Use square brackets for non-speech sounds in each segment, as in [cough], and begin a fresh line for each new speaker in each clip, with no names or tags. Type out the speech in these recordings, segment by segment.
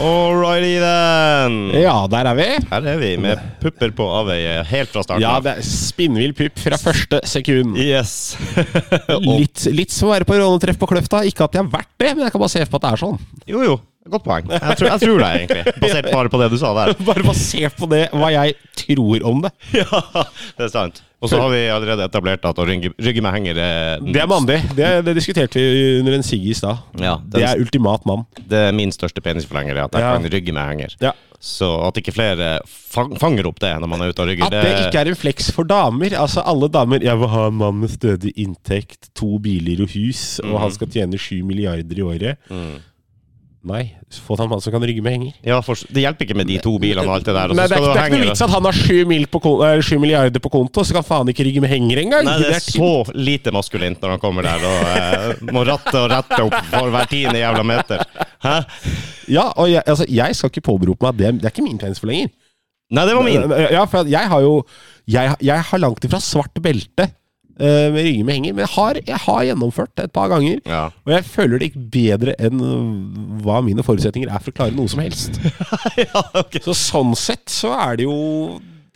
All righty then.
Ja, der er vi.
Her er vi med pupper på avveie helt fra starten
Ja,
av.
det er Spinnvill pupp fra første sekund.
Yes. [laughs] Og-
Litt, litt svare på rånetreff på Kløfta. Ikke at jeg har vært det, men jeg kan bare se på at det er sånn.
jo, jo. Godt poeng. Jeg tror, jeg tror det, egentlig. Basert bare på det du sa der.
[laughs] [laughs] Bare basert på det, hva jeg tror om det.
[laughs] Ja, det er sant. Og så har vi allerede etablert at å rygge, rygge med henger er-
Det er mandig. Det, det diskuterte vi under en sigg i stad.
Ja,
Det er ultimat mann.
det er min største penisforlenger, at jeg
Ja.
kan rygge med henger.
Ja.
Så at ikke flere fang, fanger opp det når man er ute og rygger,
At det ikke er en fleks for damer. Altså alle damer Jeg vil ha en mann med stødig inntekt, to biler og hus, og han skal tjene sju milliarder i året. Nei. Få deg en mann som kan rygge med henger.
ja, for, Det hjelper ikke med de to bilene og alt det der. Og
Nei,
så
det er,
skal
ikke-
du
det er ikke
henge
noe vits at han har sju, mil på kon- eh, sju milliarder på konto, så kan faen ikke rygge med henger engang!
Nei, det er
ti-
så lite maskulint når han kommer der og eh, må ratte og rette opp for hver tiende jævla meter. Hæ?
Ja, og jeg, altså, jeg skal ikke påberope meg at det, det er ikke min penis for lenger. Øh,
Nei, det var min.
Ja, for at jeg har jo Jeg, jeg har langt ifra svart belte eh, med rygge med henger, men jeg har, jeg har gjennomført det et par ganger.
Ja.
Og jeg føler det ikke bedre enn øh, hva mine forutsetninger er for å klare noe som helst.
[laughs] ja, ok.
Så sånn sett så er det jo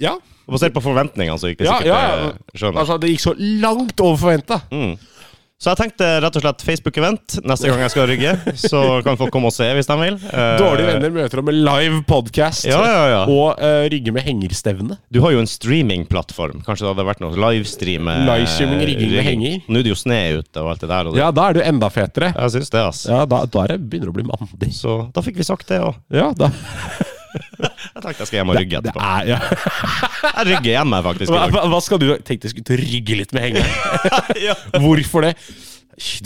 Ja.
Basert på forventningene, så gikk det
Ja,
sikkert
ja, ja.
eh, skjønner.
Altså, det gikk så langt over forventa.
Så jeg tenkte rett og slett Facebook-event neste gang jeg skal rygge. Så kan folk komme og se hvis de vil. Eh,
Dårlige venner møter om en live podcast
Ja, ja, ja.
og øh, rygge med hengerstevne.
Du har jo en streamingplattform. Kanskje det hadde vært noe livestream eh,
Livestreaming, rigging med henger.
Nå er det jo sne ute og alt det der. Og det.
Ja, da er du enda fetere.
Jeg syns det, ass.
Ja, da, da er det begynner å bli mandig.
Så da fikk vi sagt det òg.
Ja, da
Jeg tenkte jeg skal hjem og rygge
det
etterpå.
er, ja.
Jeg rygger hjemme, faktisk. i
hva,
dag.
hva hva skal du Tenkte jeg skulle ut og rygge litt med hengeren. [laughs]
Ja.
Hvorfor det?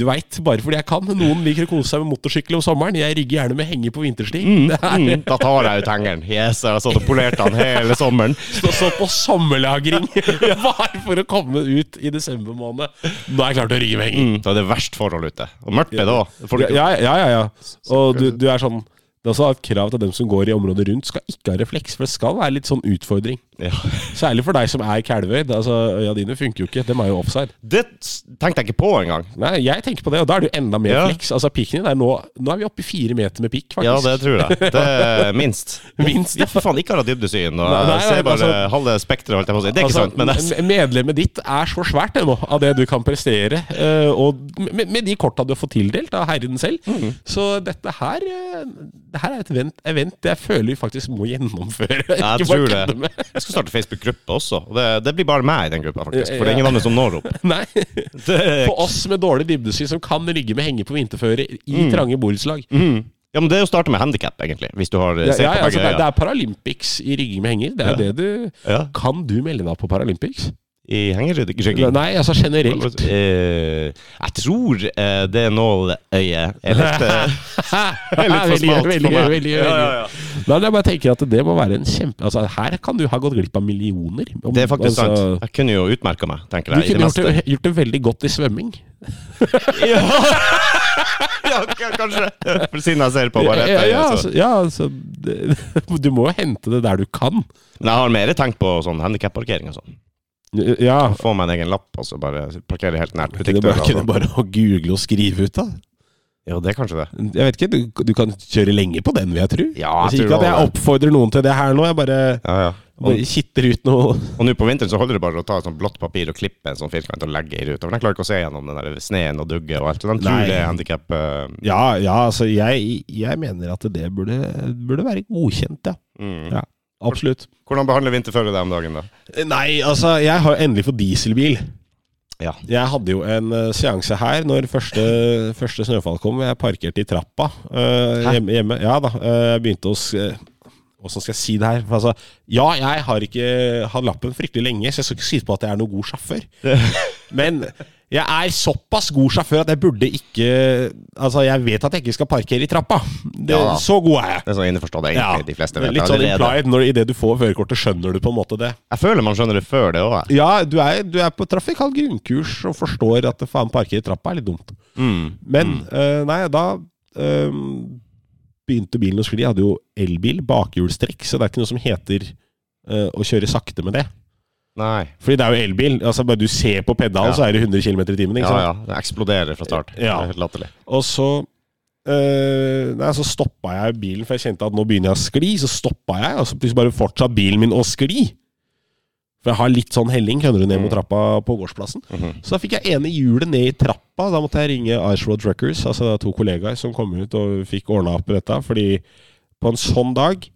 Du veit, bare fordi jeg kan. Noen liker å kose seg med motorsykkel om sommeren. Jeg rygger gjerne med henger på vinterstid. Det er
Mm, [laughs] da tar jeg ut hengeren. Yes, jeg har stått og polert den hele sommeren.
Stå så på sommerlagring [laughs] bare for å komme ut i desember måned. Da er jeg klar til å rygge med henger.
Mm, da er det verst forhold ute. Og mørkt er det òg. Får du ikke-
Ja, ja, ja. ja. Og du, du er sånn Det er også et krav til at dem som går i området rundt, skal ikke ha refleks. For det skal være litt sånn utfordring.
Ja.
Særlig for deg som er kalvøyd. Altså, øya dine funker jo ikke. Dem er jo offside.
Det s- tenkte jeg ikke på engang.
Nei, jeg tenker på det, og da er det jo enda mer
Ja.
refleks. Altså, pikken din er nå Nå er vi oppe i fire meter med pikk, faktisk.
Ja, det tror
[laughs]
jeg. Det er minst.
Minst, ja.
ja. For faen, ikke har jeg dybdesyn. Og
Nei, nei,
jeg ser bare
altså-
halve spekteret, holdt jeg på å si. Det er ikke
Altså,
sant, men jeg
me- Medlemmet ditt er så svært det nå, av det du kan prestere. eh, og med, med de korta du har fått tildelt av herren selv.
Mm.
Så dette her eh, Det her er et event, event jeg føler vi faktisk må gjennomføre.
Ja,
[laughs] Ikke
jeg
bare
tror
kødde
det.
med.
Jeg skal starte Facebook-gruppe også. og Det, det blir bare meg i den gruppa, faktisk. For det er ingen
Ja.
andre som når
[laughs]
opp.
Nei.
Det-
For oss med dårlig dybdesyn som kan rygge med henge på vinterføre i
Mm.
trange borettslag.
Ja, men det er jo å starte med handikap, egentlig. Hvis du har eh,
Ja,
sett
ja,
på begge
altså, det, er- det
øyne.
er Paralympics i rygging med henger. Det er jo det du
Ja.
Kan du melde deg på Paralympics?
I hengerygging.
Nei, altså [laughs] generelt.
Eh, jeg tror eh, det nåløyet er litt, [laughs] eh, er litt for
Veldig gøy,
smalt
veldig
for
gøy,
meg.
veldig gøy.
Ja, ja, ja.
Nei, men jeg bare tenker at det må være en kjempe... Altså, her kan du ha gått glipp av millioner. Om-
Det er faktisk
altså,
sant. Jeg kunne jo utmerka meg,
Du
tenker jeg. i
kunne
det
gjort
meste.
det, gjort det veldig godt i svømming.
[laughs] Ja, ja k- kanskje. For siden jeg ser på bare
ja,
etter.
ja,
så.
altså, ja, altså det, [laughs] Du må jo hente det der du kan.
Men jeg har mer tenkt på sånn handikapparkering og sånn.
Ja.
Få meg en egen lapp, og så bare parkere helt nært
Kunne bare,
butikkdøra.
kunne bare å google og skrive ut, da?
Ja, det er kanskje det.
Jeg vet ikke, du, du kan kjøre lenge på den, vil jeg tro.
Ja, jeg
jeg sier
tror
ikke at jeg
det.
oppfordrer noen til det her nå, jeg bare,
Ja, ja. Og,
bare kitter ut noe
og nå på vinteren så holder det bare å ta et sånt blått papir og klippe en sånn firkant og legge i ruta. For de klarer ikke å se gjennom den der sneen og dugget og alt. Så de tror
Nei.
det er handikap. eh,
Ja, ja altså jeg, jeg mener at det burde, burde være godkjent, ja.
Mm.
ja. Absolutt.
Hvordan behandler vinterføre deg om dagen, da?
Nei, altså, jeg har endelig fått dieselbil.
Ja.
Jeg hadde jo en eh, seanse her når første, første snøfall kom. Jeg parkerte i trappa eh,
Hæ?
hjemme, hjemme. Ja da. eh, Jeg begynte å s- eh, Åssen skal jeg si det her? For Altså, ja, jeg har ikke hatt lappen fryktelig lenge, så jeg skal ikke si på at jeg er noen god
[laughs]
sjåfør. Men jeg er såpass god sjåfør at jeg burde ikke Altså, jeg vet at jeg ikke skal parkere i trappa. Det,
Ja da.
Så god er jeg.
Det er sånn innforstått, egentlig. De fleste vet det
Litt sånn
allerede.
implied når idet du får førerkortet, skjønner du på en måte det.
Jeg føler man skjønner det før det òg.
Ja, du er, du er på trafikal grunnkurs og forstår at det faen parkere i trappa er litt dumt. Men
Mm.
eh, nei, da eh, begynte bilen å skli. Jeg hadde jo elbil, bakhjulstrekk, så det er ikke noe som heter eh, å kjøre sakte med det.
Nei.
Fordi det er jo elbil. altså Bare du ser på pedalen,
Ja.
så er det 100 km i timen. ikke
Ja,
sant?
ja. Det eksploderer fra start.
Ja.
Det er helt latterlig.
Og så Eh, nei, Så stoppa jeg bilen, for jeg kjente at nå begynner jeg å skli. Så stoppa jeg, og så plutselig bare fortsatte bilen min å skli. For jeg har litt sånn helling skjønner du, ned mot trappa på gårdsplassen. Så da fikk jeg ene hjulet ned i trappa. Da måtte jeg ringe Ice Road Truckers, altså det er to kollegaer som kom ut og fikk ordna opp i dette. Fordi på en sånn dag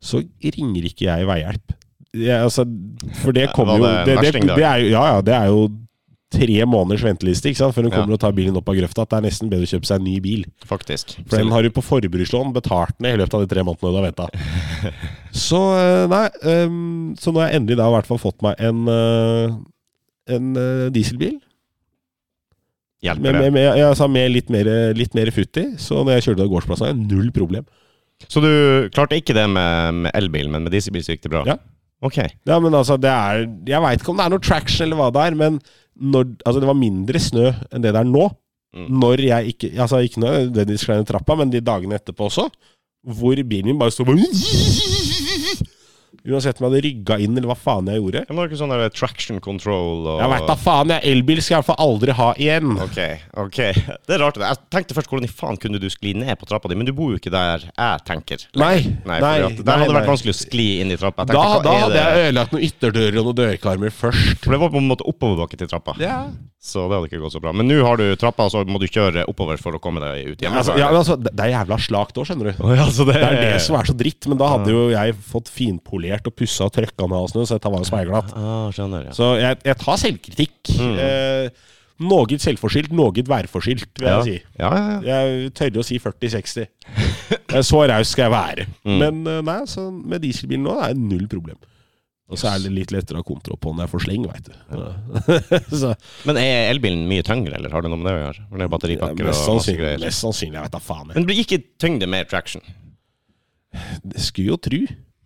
så ringer ikke jeg veihjelp. Jeg, altså, for det
Ja,
kommer
det
jo
var
det,
det en
det,
versting dag.
det er jo Ja, ja, det er jo tre måneders venteliste ikke sant? før hun kommer og tar bilen opp av grøfta. Det er nesten bedre å kjøpe seg en ny bil.
Faktisk.
For den har du på forbrukslån betalt ned i løpet av de tre månedene du
[laughs]
har venta. Så eh, nei, ehm, så nå har jeg endelig da i hvert fall fått meg en, eh, en eh, dieselbil.
Hjelper
Med,
det.
med, med, jeg sa med litt mer, litt mer futt i, så når jeg kjørte til gårdsplassen, hadde jeg null problem.
Så du klarte ikke det med, med elbil, men med dieselbil så gikk det bra?
Ja.
Ok.
Ja, men altså, det er Jeg veit ikke om det er noe traction eller hva det er, men når, altså, det var mindre snø enn det det er nå.
Mm.
Når jeg ikke Altså, ikke nødvendigvis klei ned trappa, men de dagene etterpå også, hvor bilen min bare sto bare Uansett om jeg hadde rygga inn, eller hva faen jeg gjorde.
Men det var ikke sånn der traction control og
Jeg veit da faen, jeg elbil skal jeg i hvert fall aldri ha igjen.
Ok, ok. [laughs] Det er rart. det. Jeg tenkte først hvordan i faen kunne du skli ned på trappa di, men du bor jo ikke der jeg tenker.
Nei,
Nei, fordi at Der hadde det vært vanskelig å skli inn i trappa. Jeg
Da,
tenkte, hva
da
er
hadde
det?
jeg ødelagt noen ytterdører og noen dørkarmer først.
For det var på en måte oppoverbakke til trappa,
Ja.
så det hadde ikke gått så bra. Men nå har du trappa, så må du kjøre oppover for å komme deg ut hjemme.
Altså, ja, men altså, det det er jævla slakt òg, skjønner du.
Å, [laughs] ja, så det,
Det er det som er så dritt, men da hadde jo jeg fått finpolert og pussa og trøkka ned og snø, så dette var jo speilglatt.
ah, Skjønner, ja.
Så jeg, jeg tar selvkritikk.
Mm.
Eh, noe selvforskyldt, noe værforskyldt, vil
Ja.
jeg si.
Ja, ja, ja.
Jeg tør å si 40-60. Eh, Så raus skal jeg være.
Mm.
Men eh, nei, så med dieselbilen nå er det null problem. Og så er det litt lettere å ha kontroll på når jeg får sleng, veit du. [laughs] så,
Men er elbilen mye tyngre, eller har det noe med det å gjøre? Eller batteripakker
mest
og masse
sannsynlig,
greier?
mest sannsynlig, jeg veit da faen.
Men blir ikke tyngde mer traction?
Jeg skulle jo tru.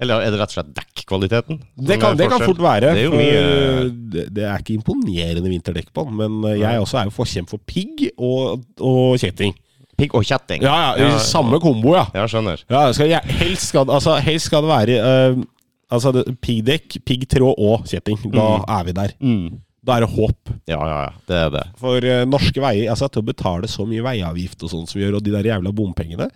Eller er det rett og slett dekkkvaliteten? som
Det kan,
er
det kan
forskjell?
fort være.
Det er jo
for
mye
det, det er ikke imponerende vinterdekk på den, men eh, jeg også er jo forkjemper for pigg og, og kjetting.
Pigg og kjetting.
Ja, ja,
Ja,
Samme kombo, ja.
ja, skjønner.
ja skal jeg, helst, skal, det- altså, helst skal det være eh, altså, det- piggdekk, piggtråd og kjetting. Da
Mm.
er vi der. Da er det håp.
Ja, ja, ja. Det er det.
For eh, norske veier altså Til å betale så mye veiavgift og sånn som vi gjør, og de der jævla bompengene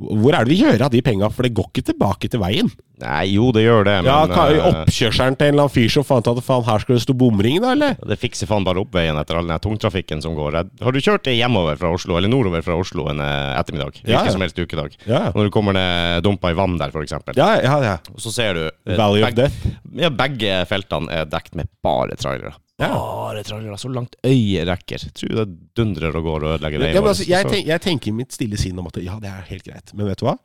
Hvor er det vi gjør av de penga? For det går ikke tilbake til veien.
Nei, jo, det gjør det, men
Ja, ka-
eh,
Oppkjørselen til en eller annen fyr som fant ut at faen, her skal det stå bomring, da, eller?
det fikser faen bare opp veien etter all den her tungtrafikken som går. Jeg- Har du kjørt det hjemover fra Oslo, eller nordover fra Oslo en eh, ettermiddag? Hvilken
Ja, ja.
som helst ukedag.
Ja, ja.
Når du kommer ned dumpa i vann der, for eksempel.
Ja, ja, ja.
Og så ser du eh,
Valley of
beg-
Death.
Ja, begge feltene er dekt med bare trailere. Bare trailere, så langt øyet rekker. Tror det dundrer og går og ødelegger veien.
Ja, men
vår,
altså, jeg,
så-
tenk, jeg tenker i mitt stille sinn om at ja, det er helt greit, men vet du hva?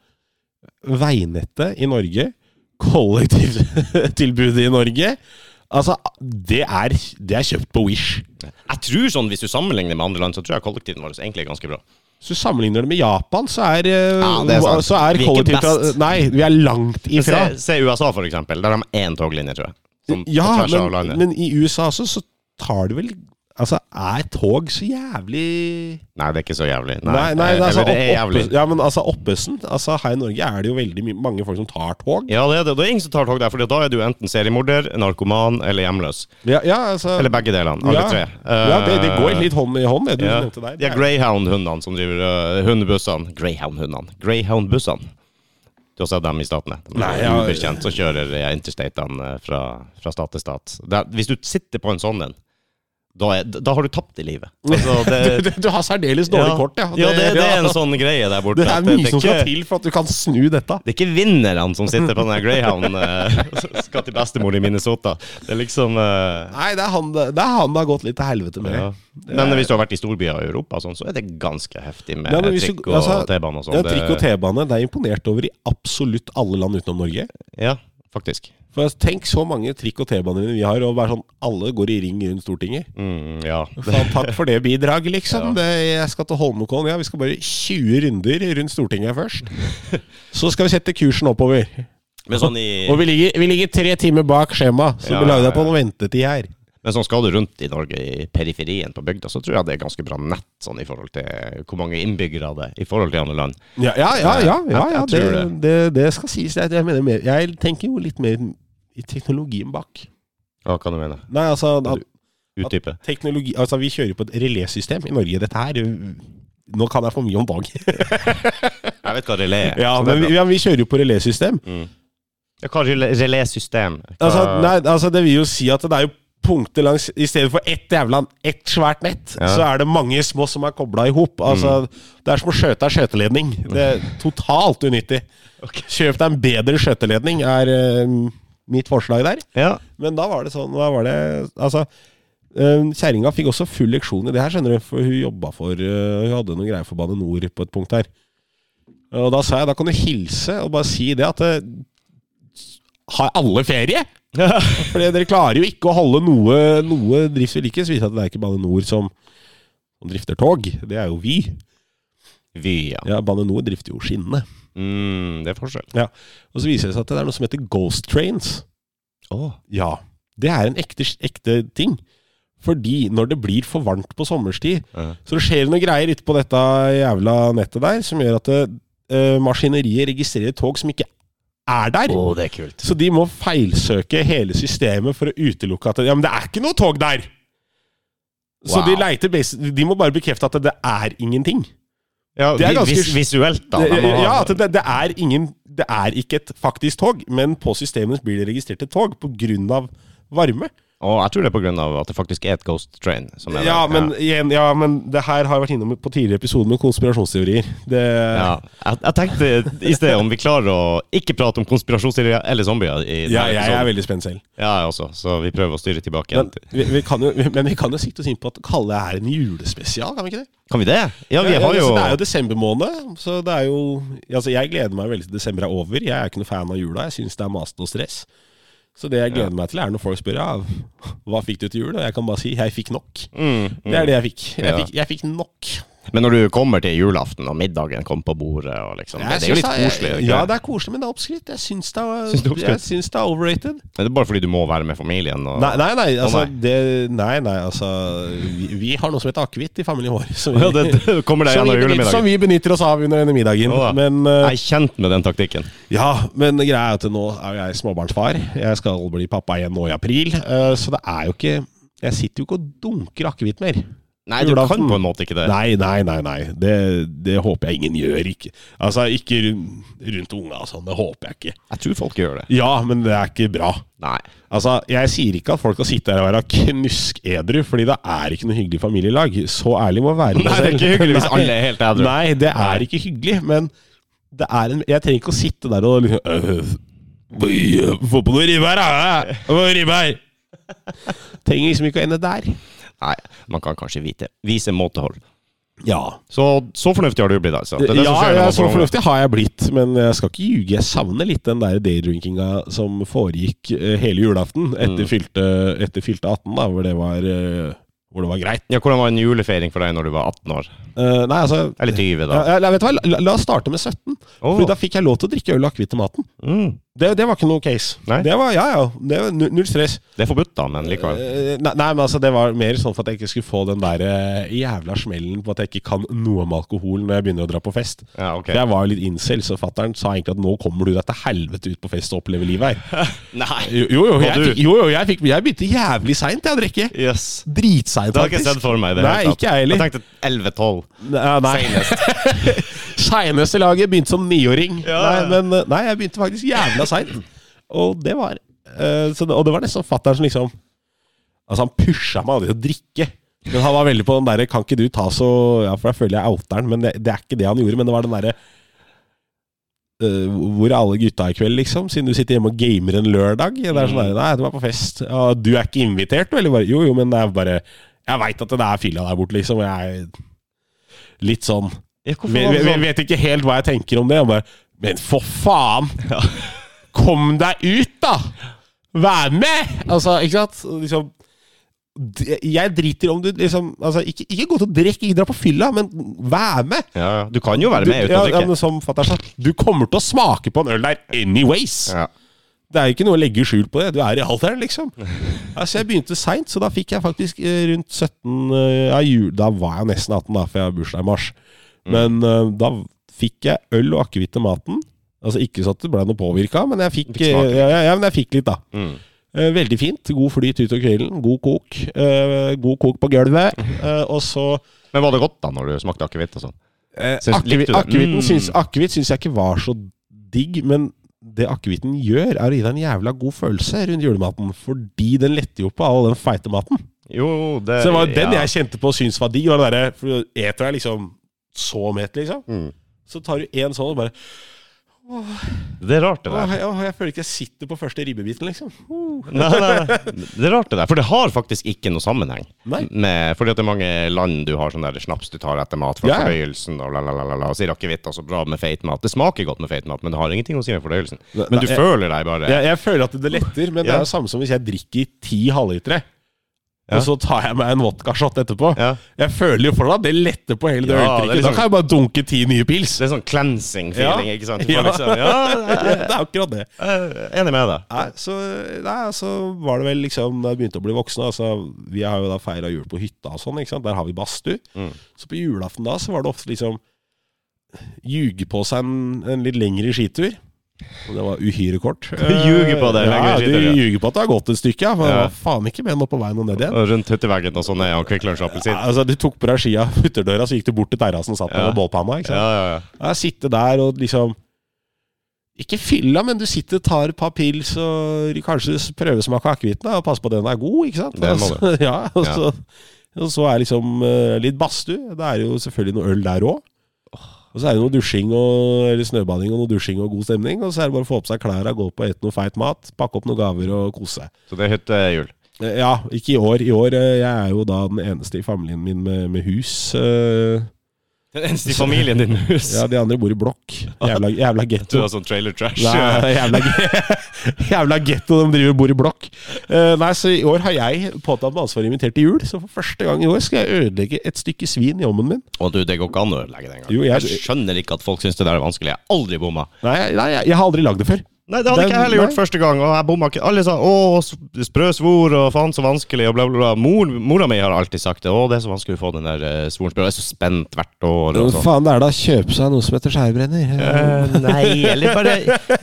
Veinettet i Norge, kollektivtilbudet i Norge, altså det er, det er kjøpt på Wish.
jeg tror sånn, Hvis du sammenligner med andre land, så tror jeg kollektiven vår egentlig er ganske bra.
Hvis du sammenligner det med Japan, så er, eh,
Ja, det er sant.
så er
Vi er ikke best.
kollektivt Nei, vi er langt ifra.
Se, se USA, for eksempel. Der har de én toglinje, tror jeg. Som, på
Ja,
tvers av
men,
landet.
men i USA også, så tar det vel Altså, er tog så jævlig
Nei, det er ikke så jævlig. Nei,
Nei, nei,
eh,
altså,
eller det er
opp-
jævlig.
opp, ja, men altså Oppesen altså, Her i Norge er det jo veldig my- mange folk som tar tog.
Ja, det er det. Det er ingen som tar tog der, for da er du enten seriemorder, narkoman eller hjemløs.
Ja, ja altså
Eller begge delene. Alle
ja,
tre. Eh,
ja det, det går litt hånd i hånd, det du
Ja.
nevnte der.
De er greyhound-hundene som driver eh, hundebussene. Greyhound-hundene. Greyhound-bussene. Du har sett dem i statene? De
Nei,
er
ja.
Uberkjent, så kjører eh, interstatene eh, fra, fra stat til stat. Det er- hvis du sitter på en sånn en, da, er, da har du tapt i livet. Altså,
[laughs]
det,
[laughs] du, du har særdeles dårlig kort, ja.
ja, det, det er en
ja.
sånn greie der borte.
[laughs] det
at
er mye som
ikke-
skal til for at du kan snu dette.
Det er ikke vinnerne som sitter på den der
[laughs]
greyhounden eh, skal til bestemor i Minnesota. Det er liksom eh,
Nei, det er han det, er han det har gått litt til helvete med.
ja. Men hvis du har vært i storbyer i Europa, og sånn, så er det ganske heftig med
Ja, men hvis du-
trikk og
altså,
T-bane og sånn.
Ja, trikk og T-bane det er jeg imponert over i absolutt alle land utenom Norge.
Ja, faktisk.
For altså, Tenk så mange trikk- og T-baner vi har, og bare sånn, alle går i ring rundt Stortinget.
Mm, ja.
Faen, takk for det bidraget, liksom. Det, jeg skal til Holmenkollen. Ja, vi skal bare 20 runder rundt Stortinget først. Så skal vi sette kursen oppover.
Men sånn, i,
Og vi ligger, vi ligger tre timer bak skjema, så
Ja,
vi lager
ja,
deg på noe ventetid her.
men sånn skal du rundt i Norge, i periferien på bygda, så tror jeg det er ganske bra nett sånn i forhold til hvor mange innbyggere det er i forhold til andre land.
Ja, ja, ja. ja, ja, ja
Jeg- jeg
det,
tror
det, det skal sies. Jeg, jeg, mener mer, jeg tenker jo litt mer i teknologien bak.
Hva kan du mene?
Nei, altså at
Utdype.
teknologi Altså, vi kjører på et relésystem i Norge. Dette her Nå kan jeg for mye om dagen.
Jeg vet hva relé er.
[laughs] Ja,
så det er
men vi,
bra.
ja, vi kjører jo på relésystem.
Ja, Hva relé- relésystem? Hva-
Altså, nei, altså, det vil jo si at det er jo punkter langs I stedet for ett jævla ett svært nett,
Ja. Mm.
så er det mange små som er kobla i hop. Altså, Det er som å skjøte ei skjøteledning. Det
[laughs]
er totalt unyttig.
Ok.
Kjøp deg en bedre skjøteledning, er eh, mitt forslag der.
Ja.
Men da var det sånn da var det, altså, eh, Kjerringa fikk også full leksjon i det her, skjønner du. For hun jobba for eh, Hun hadde noen greier for Bane Nor på et punkt her. Og da sa jeg da kan du hilse og bare si det at eh, Har alle ferie? Fordi dere klarer jo ikke å holde noe, noe drift ved like. Så viser det seg at det er ikke Bane Nor som, som drifter tog. Det er jo vi.
Vy, ja.
Ja, Bane Nor drifter jo skinnene.
Mm, det er forskjell.
Ja. Og så viser det seg at det er noe som heter Ghost Trains.
Å.
Ja, det er en ekte, ekte ting. Fordi når det blir for varmt på sommerstid,
Ja.
så skjer det noen greier ute på dette jævla nettet der, som gjør at eh, maskineriet registrerer tog som ikke er der.
Å, det er kult.
Så de må feilsøke hele systemet for å utelukke at Ja, men det er ikke noe tog der! Så
Wow.
de, leiter, bas- de må bare bekrefte at det er ingenting.
Ja,
Det er
vi-
ganske-
vis, visuelt, da.
Det,
De må ha-
ja, at det, det er ingen Det er ikke et faktisk tog, men på systemet blir det registrert et tog på grunn av varme.
Og jeg tror det er på grunn av at det faktisk er et ghost train. Som er der.
Ja, men, igjen, ja, men det her har jeg vært innom på tidligere episoder med konspirasjonsteorier. Det,
ja. Jeg, jeg tenkte i sted om vi klarer å ikke prate om konspirasjonsteorier eller zombier. I denne
ja, jeg er
episoden.
veldig spent selv.
ja, jeg også, så vi prøver å styre tilbake.
Men
igjen.
vi, vi kan jo, men vi kan jo sikte oss inn på at kalle det her en julespesial, kan vi ikke det?
Kan vi det? Ja, vi
Ja,
har jo
altså, Det er jo desember måned, så det er jo Altså, jeg gleder meg veldig til desember er over. Jeg er ikke noe fan av jula. Jeg syns det er masete og stress. Så det jeg gleder meg til, er når folk spør ja, hva fikk du til jul, og jeg kan bare si jeg fikk nok.
mm,
Det er det jeg fikk. Jeg
Ja.
fikk, jeg fikk nok.
Men når du kommer til julaften, og middagen kommer på bordet og liksom, det, det er jo litt koselig.
Jeg,
ikke
ja,
det?
det er koselig, men det er oppskrytt. Jeg syns det, er-
Syns det er oppskrytt?
jeg syns det er overrated.
Men det er bare fordi du må være med familien. Og...
Nei, nei, nei, altså,
nei.
det, nei, nei, altså vi, vi har noe som heter akevitt i familien vår. Som
[laughs] Ja,
vi,
det, det kommer deg
som, vi
gjennom
benytter, som
julemiddagen.
vi benytter oss av under denne middagen.
Ja da.
men,
Jeg
eh,
er kjent med den taktikken.
ja, men greia er at nå er jo jeg småbarnsfar. Jeg skal bli pappa igjen nå i april. eh, så det er jo ikke Jeg sitter jo ikke og dunker akevitt mer.
Nei, du
Julaften.
kan på en måte ikke det.
Nei, nei, nei. nei. Det, det håper jeg ingen gjør. Ikke, altså, ikke run- rundt unga og sånn. Det håper jeg ikke.
Jeg tror folk gjør det.
Ja, men det er ikke bra.
Nei.
Altså, Jeg sier ikke at folk skal sitte her og være knuskedru, fordi det er ikke noe hyggelig familielag. Så ærlig må jeg være med
Nei, det er ikke hyggelig hvis
Nei.
alle er helt edru.
Nei, det er ikke hyggelig, men det er en, jeg trenger ikke å sitte der og liksom øh, øh, Få på noe ribbe her, da! Få noe ribbe her! Trenger liksom ikke å ende der.
Nei, man kan kanskje vite. vise måtehold.
Ja,
Så, så fornuftig har du blitt, altså. Det er
ja,
det som skjer når
ja
man
så
får unger.
fornuftig har jeg blitt, men jeg skal ikke ljuge. Jeg savner litt den der daydrinkinga som foregikk eh, hele julaften
Mm.
etter, fylte, etter fylte 18, da, hvor det var, eh, hvor det var greit.
Ja, Hvordan var en julefeiring for deg når du var 18 år?
Eh, nei, altså
Eller 20, da?
ja, ja, vet du hva, la, la oss starte med 17.
Åh,
Fordi da fikk jeg lov til å drikke øl og akevitt til maten.
mm.
Det, det var ikke noe case.
Nei.
Det var, ja, ja, det var nu- null stress.
Det er forbudt, da, men likevel.
Eh, nei, nei, men altså Det var mer sånn for at jeg ikke skulle få den der eh, jævla smellen på at jeg ikke kan noe om alkohol når jeg begynner å dra på fest.
Ja, ok.
For Jeg var jo litt incel, så fatter'n sa egentlig at nå kommer du deg til helvete ut på fest og opplever livet her.
Nei!
[laughs] Jo, jo, jo,
Og
jeg,
du?
fikk, jo, jo jeg, fikk, jeg begynte jævlig seint jeg å drikke.
Yes.
Dritseint,
Det har jeg ikke sett
faktisk.
for meg. i Det
Nei,
hele tatt.
ikke jeg heller.
Jeg tenkte 11-12.
Nei, nei.
Senest.
Seineste laget begynte som niåring.
Ja, ja.
Nei, men eh, nei, jeg begynte faktisk jævla seint. Og det var eh, så det, Og det var nesten fatter'n som liksom Altså, han pusha meg aldri til å drikke. Men han var veldig på den derre 'kan ikke du ta så Ja, for jeg føler jeg outer han, men det, det er ikke det han gjorde. Men det var den derre eh, hvor er alle gutta i kveld, liksom? Siden du sitter hjemme og gamer en lørdag. Det er sånn der, Nei, du er på fest. Ja, du er ikke invitert, du? Eller bare Jo, jo, men det er bare Jeg veit at det er fylla der borte, liksom. og Jeg er litt sånn
Ja, hvorfor
vi,
var
vi,
det
vi
sånn?
vet ikke helt hva jeg tenker om det. Jeg bare, men for faen! [laughs] Kom deg ut, da! Vær med! Altså, ikke sant? Og Liksom, d- jeg driter om du liksom altså, ikke, ikke gå til å drikke, ikke dra på fylla, men vær med!
Ja, ja. Du kan jo være
Du,
med uten
ja,
å
ja,
drikke.
men som fatter'n sa, du kommer til å smake på en øl der anyways!
Ja.
Det er jo ikke noe å legge skjul på det. Du er i alderen,
[laughs]
liksom. Altså, jeg begynte seint, så da fikk jeg faktisk eh, rundt 17 eh, ja, jul, Da var jeg nesten 18, da, for jeg har bursdag i mars.
Mm.
Men eh, da fikk jeg øl og akevitt til maten. Altså Ikke så at det ble noe påvirka, men jeg fikk,
Fikk smak.
eh, ja, ja, ja, men jeg fikk litt, da.
Mm.
Eh, Veldig
[laughs]
fint. God flyt utover kvelden. God kok. Eh, God kok på gulvet. Eh, Og så
Men var det godt da, når du smakte akevitt og sånn?
Eh,
Syns- likte du det?
Akevitten
Mm.
syns, akevitt syns jeg ikke var så digg, men det akevitten gjør, er å gi deg en jævla god følelse rundt julematen. Fordi den letter jo på all den feite maten.
Jo, det
Så det var jo den
Eh, ja.
jeg kjente på og syntes var digg. Var den derre- for du eter deg liksom så mett, liksom.
Mm.
Så tar du én sånn og bare
Det er rart, det
Åh,
der.
jeg, åh, jeg føler ikke jeg sitter på første ribbebiten, liksom. Uh.
Nei, nei, nei. Det er rart det der, for det har faktisk ikke noe sammenheng.
Nei.
Med, fordi at det er mange land du har sånn der snaps du tar etter mat for
Ja, ja.
fordøyelsen, og la, la, la, la, la, og sier akevitt og så bra med feit mat. Det smaker godt med feit mat, men det har ingenting å si med fordøyelsen.
Ne-
Men du
nei, jeg-
føler deg bare
Jeg, jeg føler at det letter, men det
Ja.
er jo samme som hvis jeg drikker ti halvlitere.
Ja.
Og så tar jeg meg en vodkashot etterpå.
Ja.
Jeg føler jo for deg at det letter på hele det
Ja, det er
øltrykket. Da
liksom-
kan jeg bare dunke ti nye pils.
Det er sånn cleansing feeling,
Ja.
ikke sant? Du
[laughs] Ja.
får liksom, ja,
Det er akkurat det.
jeg er enig med deg.
Nei, så, nei, så var det vel liksom Da jeg begynte å bli voksen altså, Vi har jo da feira jul på hytta og sånn. ikke sant? Der har vi badstue.
Mm.
Så på julaften da så var det ofte liksom Ljuge på seg en, en litt lengre skitur. Og Det var
[laughs]
uhyre kort.
ljuger på deg en
ja,
lengre skitur,
Du
ja.
ljuger på at det har gått et stykke, ja. For det
Ja.
var faen ikke mer enn opp på veien og ned igjen.
Og rundt hytteveggen og sånn er han Kvikk Lunsj-appelsin.
Ja, altså, Du tok på deg skia på ytterdøra, så gikk du bort til terrassen og satt der
Ja.
med bålpanna. ikke sant?
Ja, ja, ja.
Ja, sitte der og liksom Ikke fylla, men du sitter, tar et par pils og kanskje prøvesmaker akevitten da, og passer på at den er god, ikke sant?
Det må du.
Altså, [laughs] ja, og så, og så er liksom eh, litt badstue. Det er jo selvfølgelig noe øl der òg. Og så er det noe dusjing og eller snøbading og noe dusjing og god stemning. Og så er det bare å få på seg klærne, gå på og ete noe feit mat, pakke opp noen gaver og kose seg.
Så det er hyttejul.
Eh, Ja, ikke i år. I år eh, jeg er jo da den eneste i familien min med, med hus. eh.
Den eneste i familien din med hus.
Ja, De andre bor i blokk. Jævla, jævla
Du
getto.
har sånn trailer trash.
Nei, det er jævla, ge- [laughs] jævla getto de driver og bor i blokk. Eh, nei, så i år har jeg påtatt meg ansvaret invitert til jul, så for første gang i år skal jeg ødelegge et stykke svin i ovnen min.
Og du, det går ikke an å ødelegge det engang.
Jo, jeg-
jeg... skjønner ikke at folk syns det der er vanskelig. Jeg har aldri bomma.
Nei, jeg- nei jeg, jeg har aldri lagd det før.
Nei, det hadde
Det-
ikke jeg heller gjort
nei.
første gang, og jeg bomma ikke. Alle sa 'å, s- sprø svor', og 'faen, så vanskelig', og bla, bla, bla. Mor, mora mi har alltid sagt det. 'Å, det er så vanskelig å få den der uh, svoren sprø'. Jeg er så spent hvert år. Og sånn.
faen det er da å kjøpe seg noe som heter skjærbrenner?
Eh, nei, eller bare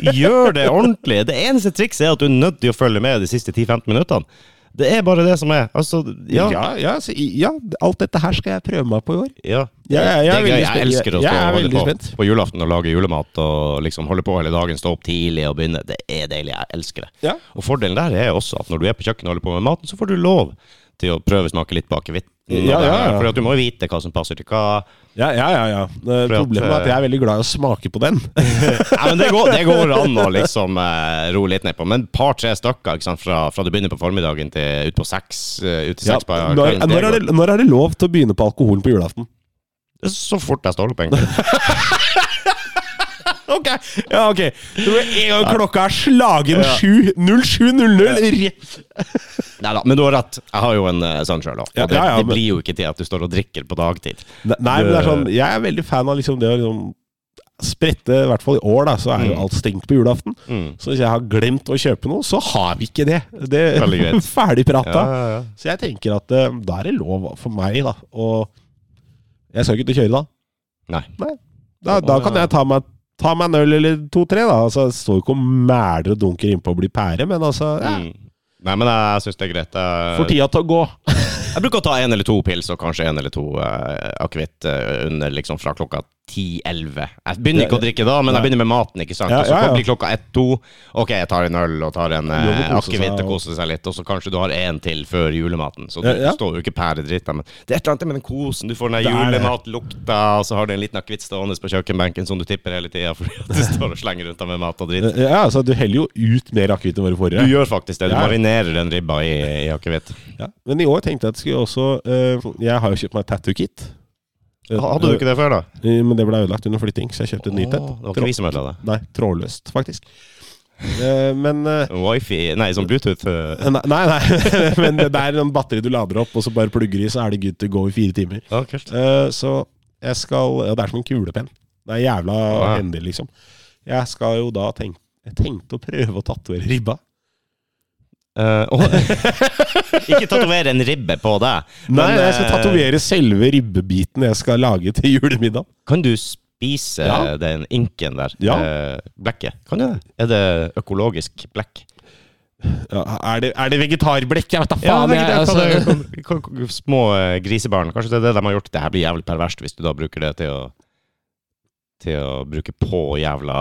gjør det ordentlig. Det eneste trikset er at du er nødt til å følge med de siste 10-15 minuttene. Det er bare det som er. Altså, ja.
Eh, Ja, ja, så, i- ja, alt dette her skal jeg prøve meg på i år.
Ja.
Ja, jeg- jeg
det er
er
gøy.
veldig
Jeg
spent.
elsker å
Jeg-
stå
jeg er
og holde
veldig
på
spent.
på julaften og lage julemat og liksom holde på hele dagen, stå opp tidlig og begynne. Det er deilig. Jeg elsker det.
Ja.
Og fordelen der er også at når du er på kjøkkenet og holder på med maten, så får du lov til å prøvesmake litt på akevitten. og
Ja,
det
ja,
her,
ja.
Fordi at du må jo vite hva som passer til hva.
Ja, ja, ja. ja. Eh,
For at,
Problemet er at jeg er veldig glad i å smake på [laughs] den.
Nei, men det går, det går an å liksom eh, roe litt ned på. Men par-tre stykker ikke sant? Fra, fra du begynner på formiddagen til ut på seks, eh, ut til
Ja,
seks på
når,
kvelden.
når, er
det,
det, når er det lov til å begynne på alkoholen på julaften?
går så fort jeg står opp, egentlig.
Ok, ja, ok. Det var en gang klokka er slagen
Ja.
7. 07.00. rett-
Nei da, men du har rett. Jeg har jo en eh, sånn sjøl òg.
Ja,
Og det,
ja, ja,
det
men-
blir jo ikke til at du står og drikker på dagtid.
Ne- Nei, men det er sånn, jeg er veldig fan av liksom det å liksom sprette, i hvert fall i år, da, så er jo alt stengt på julaften.
Mm.
Så hvis jeg har glemt å kjøpe noe, så har vi ikke det. det
Veldig greit.
[laughs] Ferdig prata.
Ja, ja, ja.
Så jeg tenker at eh, da er det lov for meg, da. Og jeg skal ikke ut og kjøre da.
Nei.
Da, da kan jeg ta meg, ta meg en øl eller to-tre, da. Altså, jeg står jo ikke og mæler og dunker innpå og blir pære, men altså ja.
Mm. Nei, men jeg syns det er greit. Jeg,
Får tida til å gå.
jeg bruker å ta en eller to pils, og kanskje en eller to eh, akevitt eh, under liksom fra klokka 10-11. Jeg begynner ikke å drikke da, men jeg begynner med maten, ikke sant.
Ja,
Og så
ja, ja.
blir klokka 1-2. Ok, jeg tar en øl og tar en eh,
Lov å kose seg,
akevitt
og-
og koser seg litt, og så kanskje du har en til før julematen. Så du
Ja, ja.
står jo ikke pæredritt der, men det er et eller annet med den kosen. Du får den der
Det er det.
julematlukta, og så har du en liten akevitt stående på kjøkkenbenken som du tipper hele tida fordi at du står og slenger rundt deg med mat og dritt.
Ja, altså Du heller jo ut mer akevitt enn
Du
våre forrige.
gjør faktisk det. Du
Ja.
marinerer den ribba i, i akevitt.
Ja. Men i år tenkte jeg at jeg skulle også eh, Jeg har jo kjøpt meg tattoo kit.
Hadde du ikke det før, da?
Eh, Men det ble ødelagt under flytting, så jeg kjøpte et nytt et.
Åh, Det var ikke vi som ødela det.
Nei, trådløst, faktisk. Eh, men eh,
Wifi Nei, sånn Bluetooth. eh.
Nei, nei. nei. [laughs] men det er en batteri du lader opp, og så bare plugger i, så er det good to go i fire timer.
Ja, kult.
Eh, så jeg skal Ja, det er som en kulepenn. Det er jævla
Ja.
hendig, liksom. Jeg skal jo da tenke Jeg tenkte å prøve å tatovere ribba.
Eh, åh. [laughs] ikke tatovere en ribbe på deg.
Nei,
men,
jeg skal
eh,
tatovere selve ribbebiten jeg skal lage til julemiddag.
Kan du spise
Ja.
den inken der?
Ja.
Eh, blekket? Kan du det? Er det økologisk blekk?
ja, er, det, er det vegetarblekk? Jeg vet da
Ja,
faen.
det,
jeg,
er ikke
[laughs]
det, hva
altså,
det, hva- hva- små eh, grisebarn. Kanskje det er det de har gjort. Det her blir jævlig perverst hvis du da bruker det til å Til å bruke på jævla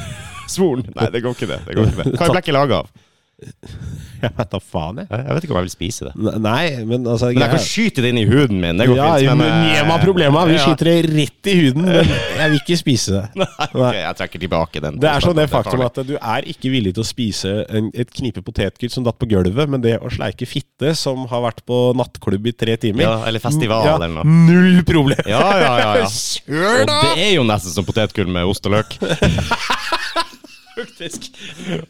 [laughs] svoren. Nei, det går ikke det. det, går ikke det. Hva er blekket laga av?
jeg vet da faen, jeg.
Jeg jeg vet ikke om jeg vil spise det.
Nei, men altså
Men jeg kan
jeg-
skyte det inn i huden min. Det går
ja,
fint.
men,
eh,
Njema problema. Vi
ja.
skyter det rett i huden, [laughs] men jeg vil ikke spise
[laughs]
det.
Ok, jeg trekker tilbake den.
Det er sånn det faktum
farlig.
at du er ikke villig til å spise en, et knipe potetgull som datt på gulvet, men det å sleike fitte som har vært på nattklubb i tre timer
Ja, eller festival
ja,
eller noe.
Null problem!
Ja, ja, ja,
[laughs]
ja.
Kjør
Og
da!
det er jo nesten som potetgull med ost og
[laughs]
løk.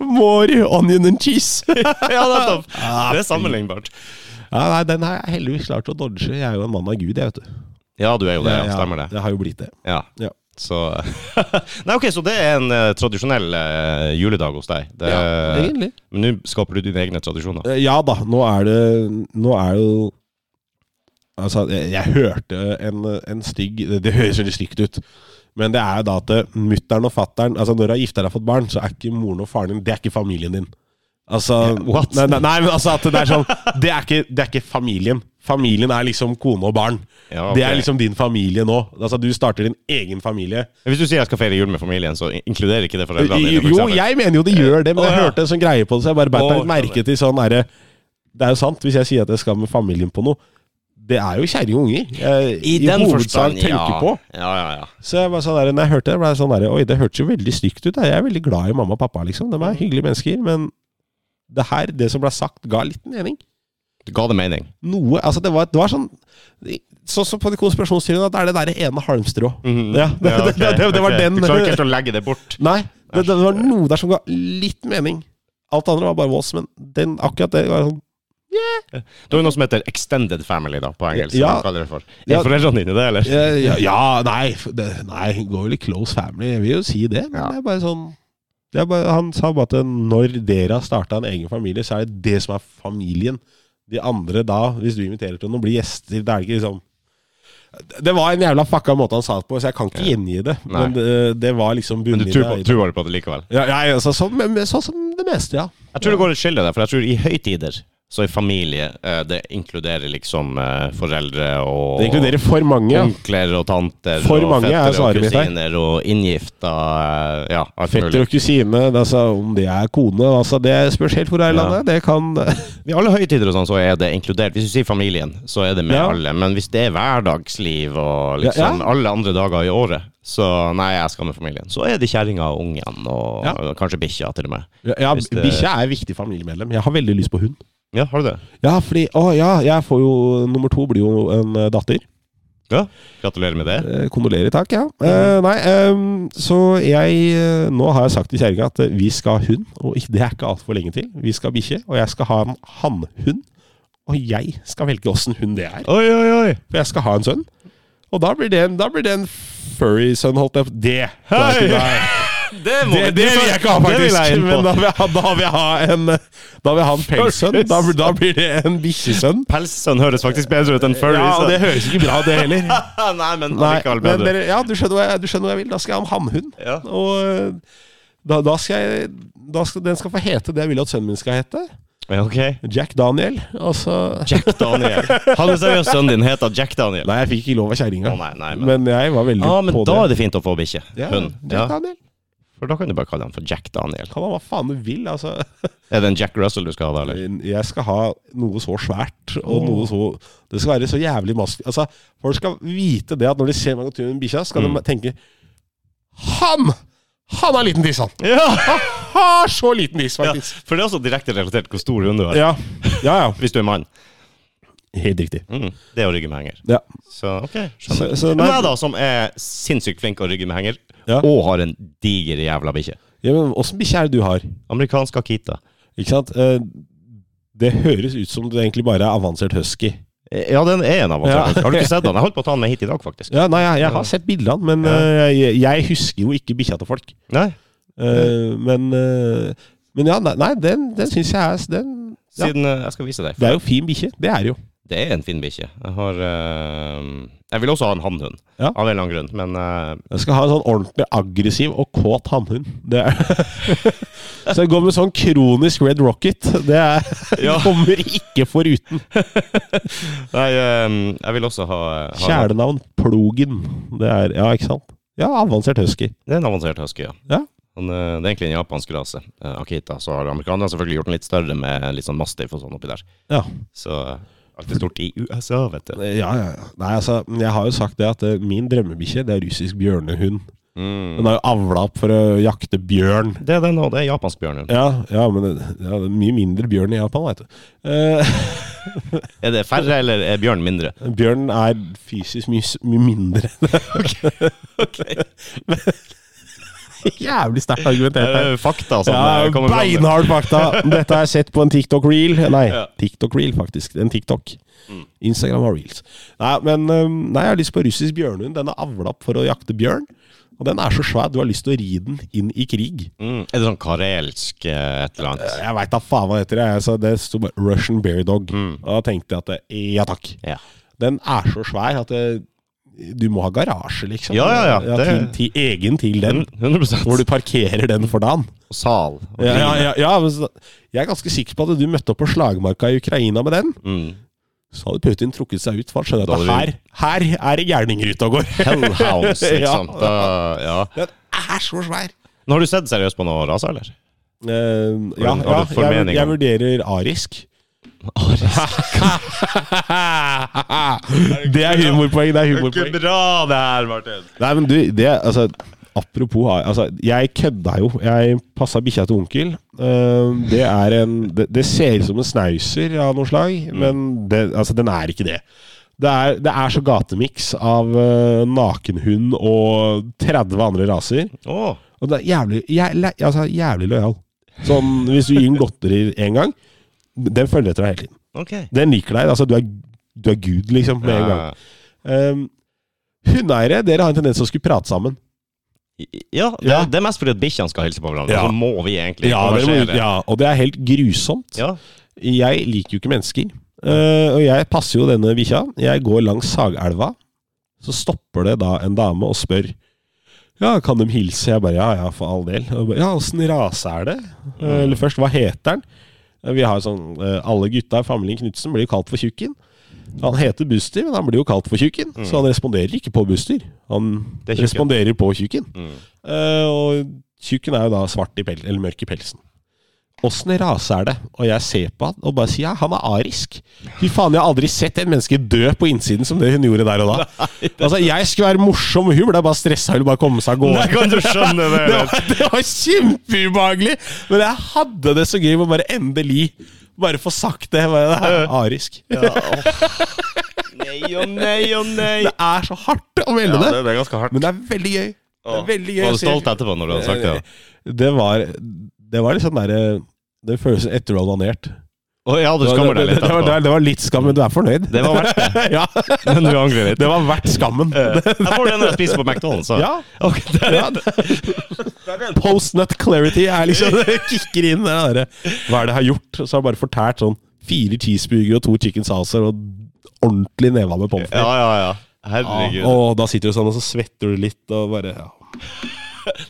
More onion and cheese.
ja, nettopp.
Ah,
Det er sammenlignbart.
ja, nei, den har jeg heldigvis klart å dodge. Jeg er jo en mann av Gud, jeg, vet du.
Ja, du er jo det. Ja, stemmer det.
Det har jo blitt det.
Ja.
Ja.
Så [laughs] Nei, ok, så det er en eh, tradisjonell eh, juledag hos deg. Det,
Ja, egentlig.
Men nå skaper du dine egne tradisjoner.
Eh, Ja da, nå er det Nå er jo Altså, jeg, jeg hørte en, en stygg det, det høres veldig stygt ut. Men det er jo da at eh, mutter'n og fatter'n altså Når du har gifta deg og fått barn, så er ikke moren og faren din Det er ikke familien din. Altså
what?
Nei, nei, nei, men altså at det er sånn det er, ikke, det er ikke familien. Familien er liksom kone og barn.
Ja,
Det er
ok.
liksom din familie nå. Altså Du starter din egen familie.
Hvis du sier jeg skal feire jul med familien, så in- inkluderer ikke det foreldrene dine? for
Jo,
eksempel?
jeg mener jo det gjør det, men
Å,
jeg
ja.
hørte en sånn greie på det, så jeg bare beit
Å,
meg litt merke til sånn derre Det er jo sant, hvis jeg sier at jeg skal med familien på noe. Det er jo kjerring og unger. Jeg, I,
den
hovedsak
forstand,
tenker
ja.
på.
Ja, ja, ja.
Så jeg bare sånn der, når jeg hørte det, ble jeg sånn der, Oi, det hørtes jo veldig stygt ut. da. Jeg er veldig glad i mamma og pappa, liksom.
Mm.
De er hyggelige mennesker. Men det her, det som ble sagt, ga litt mening.
Du ga det mening.
Noe Altså, det var, det var sånn Sånn som på de konspirasjonsteoriene, at det er det derre ene halmstrå. Ja, det,
Mhm. Ja, ok,
det, det, det, det var
ok.
den
Du klarer ikke helt å legge det bort.
Nei, det, det var noe der som ga litt mening. Alt det andre var bare vås, men den, akkurat det var sånn
Du har jo noe som heter extended family da, på engelsk.
Ja.
Hva kaller du det for? Er
Ja.
foreldrene dine det, eller?
Ja, [laughs] ja, ja, nei, f- det, nei hun går vel i close family, jeg vil jo si det. Men
Ja.
det er bare sånn det er bare, Han sa bare at når dere har starta en egen familie, så er det det som er familien. De andre da, hvis du inviterer til noen, blir gjester. Det er ikke liksom Det var en jævla fucka måte han sa det på, så jeg kan ikke gjengi det.
Nei.
Men det, det var liksom
Men du
bunnlinja.
tror på,
i det.
tror bare på det likevel?
Ja, ja, altså, sånn, men- men sånn som det meste, ja.
Jeg tror det går et skille der, for jeg tror i høytider så er familie eh, Det inkluderer liksom eh, foreldre og
Det inkluderer for mange. ja.
onkler og tanter
For
og
mange
fettere
er
og
svaret mitt her.
kusiner og inngifta eh, Ja, alt
Fetter
mulig.
og kusine, altså, om det er kone altså, Det spørs helt hvor det er i
Ja.
landet. Det kan
I alle høytider og sånn så er det inkludert. Hvis du sier familien, så er det med
Ja.
alle. Men hvis det er hverdagsliv og liksom
Ja, ja.
alle andre dager i året, så nei, jeg skal med familien. Så er det kjerringa og ungen, og
Ja.
kanskje bikkja til og med.
ja,
Hvis det-
Bikkja er et viktig familiemedlem. Jeg har veldig lyst på hund.
Ja, har du det?
Ja, fordi Å ja, jeg får jo Nummer to blir jo en eh, datter.
Ja. Gratulerer med det.
Eh, Kondolerer, takk. Ja. Eh, nei, ehm, så jeg eh, Nå har jeg sagt til kjerringa at eh, vi skal ha hund, og ikke- det er ikke altfor lenge til. Vi skal ha bikkje, og jeg skal ha en hannhund. Og jeg skal velge åssen hund det er.
Oi, oi, oi!
For jeg skal ha en sønn. Og da blir det en, da blir det en furry sønn, holdt jeg på Det! klarer jeg ikke-
Hei!
Nei.
Det, må vi-
Det, det vil jeg ikke ha,
Det vil
faktisk.
jeg inn på.
Men da vil jeg ha, da vil jeg ha en Da vil jeg ha en pelssønn. Da, blir- da blir det en bikkjesønn.
Pelssønn høres faktisk bedre ut enn furry.
Ja,
så-
og det høres ikke bra ut, det heller.
Nei, men
[laughs] Nei,
allikevel
men
bedre.
dere, ja, du skjønner, hva jeg, du skjønner hva jeg vil. Da skal jeg ha en hannhund.
Ja.
Og eh, da, da skal jeg da skal, Den skal få hete det jeg vil at sønnen min skal hete.
Ja, ok.
Jack Daniel. Og så
Jack Daniel. Han er seriøst sønnen din heter Jack Daniel.
Nei, jeg fikk ikke lov av kjerringa.
Å, nei, nei, men-
men, jeg var veldig
Ja, men
på
da
det.
er det fint å få bikkje.
Ja,
Hund.
Jack
Ja,
Daniel.
for da kan du bare kalle han for Jack Daniel.
Kall ham hva faen du vil, altså.
Er det en Jack Russell du skal ha da, eller?
Eh, Jeg skal ha noe så svært, og noe så Det skal være så jævlig mask... Altså, folk skal vite det at når de ser meg gå tur med en bikkja, skal de tenke Han! Han har liten tiss, han!
Ja!
Han har så liten tiss, faktisk.
[laughs] For det er også direkte relatert hvor stor hund du er.
Ja. ja, ja.
Hvis du er mann.
Helt riktig.
Mm, det er å rygge med henger.
Ja.
Så ok,
Så,
skjønner.
så
Men
nei,
jeg da, som er sinnssykt flink å rygge med henger,
Ja.
og har en diger jævla bikkje.
ja, men åssen bikkje er det du har?
Amerikansk akita.
Ikke sant? Eh, Det høres ut som du egentlig bare er avansert husky.
Eh, Ja, den er en av oss.
Ja.
Har du ikke sett den? Jeg holdt på å ta den med hit i dag, faktisk.
Ja, nei, jeg, jeg har sett bildene, men eh, jeg, jeg husker jo ikke bikkja til folk.
Nei?
Eh, men, eh, men ja, nei, nei den, den syns jeg er den, ja.
Siden eh, jeg skal vise deg.
Det er jo fin bikkje. Det er det jo.
Det er en fin bikkje. Jeg har eh, Jeg vil også ha en hannhund,
Ja.
av en eller annen grunn, men eh,
Jeg skal ha en sånn ordentlig aggressiv og kåt hannhund. Det er [laughs] Så jeg går med sånn kronisk Red Rocket. Det er, [laughs]
Ja.
kommer ikke foruten.
Nei, eh, jeg vil også ha, ha
Kjælenavn Plogen. Det er Ja, ikke sant? Ja, avansert husky.
Det er en avansert husky, ja.
Ja.
Han, eh, det er egentlig en japansk rase, eh, Akita. Så har amerikanerne selvfølgelig gjort den litt større med litt sånn mastiff og sånn oppi der.
Ja.
Så eh, alt er stort i USA, vet du.
Eh, Ja, ja, ja. Nei, altså, jeg har jo sagt det at eh, min drømmebikkje, det er russisk bjørnehund. Den har jo avla opp for å jakte bjørn.
Det er den nå, det er japansk bjørn.
Ja, ja men det, ja, det er mye mindre bjørn i Japan, veit du. Eh, [laughs]
Er det færre, eller er bjørn mindre?
bjørn er fysisk mye, s- mye mindre.
[laughs]
[laughs] Jævlig sterkt
Eh, Det
argumentert her.
er fakta som
Ja,
eh, kommer fram.
beinhard
[laughs]
fakta! Dette har jeg sett på en TikTok-reel. Nei,
Ja. Mm.
TikTok-reel, faktisk. En TikTok. Instagram har reels. Nei, men um, nei, jeg har lyst på russisk bjørnhund. Den er avla opp for å jakte bjørn. Og den er så svær, du har lyst til å ri den inn i krig.
Mm. Er det sånn karelsk eh, et eller annet?
Jeg veit da faen hva heter det. Jeg sa det sto bare 'Russian Bear Dog'. Og da tenkte jeg at det- ja takk.
Mm. Ja.
Den er så svær at det, du må ha garasje, liksom.
Ja, ja, ja, det-
til, til, egen til den.
100
Hvor du parkerer den for dagen.
Og Sal. Og
Ja, ja,
grin.
ja, ja, men så- jeg er ganske sikker på at du møtte opp på slagmarka i Ukraina med den.
Mm.
Så hadde Putin trukket seg ut, for han skjønner
Da
at her, her er det gærninger ute og går. [laughs]
Hellhounds, ikke
Ja.
sant. Da, ja.
Den er så svær!
Nå har du sett seriøst på noen raser, eller?
Eh, ja,
Har du-
ja
har du formening
jeg, jeg
om-
vurderer
[laughs]
arisk. [laughs] det er humorpoeng. Det er humorpoeng.
bra det her, Martin.
Nei, men du, det altså Apropos har- altså, Jeg kødda jo. Jeg passa bikkja til onkel. Ehm, Det er en Det, det ser ut som en snauser av noe slag, men det, altså, den er ikke det. Det er, det er så gatemiks av eh, nakenhund og 30 andre raser.
Å,
Og det er jævlig, jævlig, altså, jævlig lojal. Sånn, hvis du gir den godteri én gang, den følger etter deg hele tiden.
ok.
Den liker deg. Altså, du er, du er gud, liksom, med en gang. Um, hundeeiere, dere har en tendens til å skulle prate sammen.
Ja, det,
Ja.
det er mest fordi at bikkjene skal hilse på hverandre.
Ja.
Så må vi egentlig
Ja, dere må, ja, og det er helt grusomt.
Ja.
Jeg liker jo ikke mennesker. Eh, og jeg passer jo denne bikkja. Jeg går langs Sagelva. Så stopper det da en dame og spør Ja, kan de hilse. Jeg bare ja, ja, for all del. Og jeg bare, ja, åssen rase er det? Eh, Eller først, hva heter den? Eh, Vi har sånn eh, Alle gutta i familien Knutsen blir jo kalt for Tjukken. Han heter Buster, men han blir jo kalt for Tjukken. Så han responderer ikke på Buster. Han
Mm. Det er Tjukken.
responderer på Tjukken.
Mm.
Eh, og tjukken er jo da svart i pelsen, eller mørk i pelsen. Åssen rase er det? Og jeg ser på han og bare sier ja, han er arisk. Fy faen, jeg har aldri sett et menneske dø på innsiden som det hun gjorde der
[laughs]
og da. Altså, jeg skulle være morsom, og hun ble bare stressa og ville bare komme seg av gårde.
Der kan du skjønne det.
Det var, det var kjempeubehagelig! Men jeg hadde det så gøy med å bare endelig bare få sagt det. Bare, det er arisk.
[laughs] Nei og nei og nei.
Det er så hardt å melde det,
er ganske hardt.
men det er veldig gøy. Det er veldig gøy
Var
å
du
se-
stolt etterpå når du hadde sagt det?
Det var Det var litt sånn derre Den følelsen etter du har onanert.
Å ja, du
Det,
skammer deg litt
det, var- det,
etterpå.
var- det var litt skam, men du er fornøyd.
Det var verdt det.
[laughs] ja,
Men du angrer litt.
det var verdt skammen.
Jeg får det når jeg spiser på McDonald's. da.
[laughs] Ja.
Ok, det er-
Post nut clarity er liksom Det
[laughs]
kicker inn. Det derre. Hva er det jeg har gjort? Så har jeg bare fortært sånn fire cheeseburger og to chicken saucer og ordentlig neva med pommes
Ja,
frites.
ja, ja. Herregud.
og da sitter du sånn og så svetter du litt og bare ja,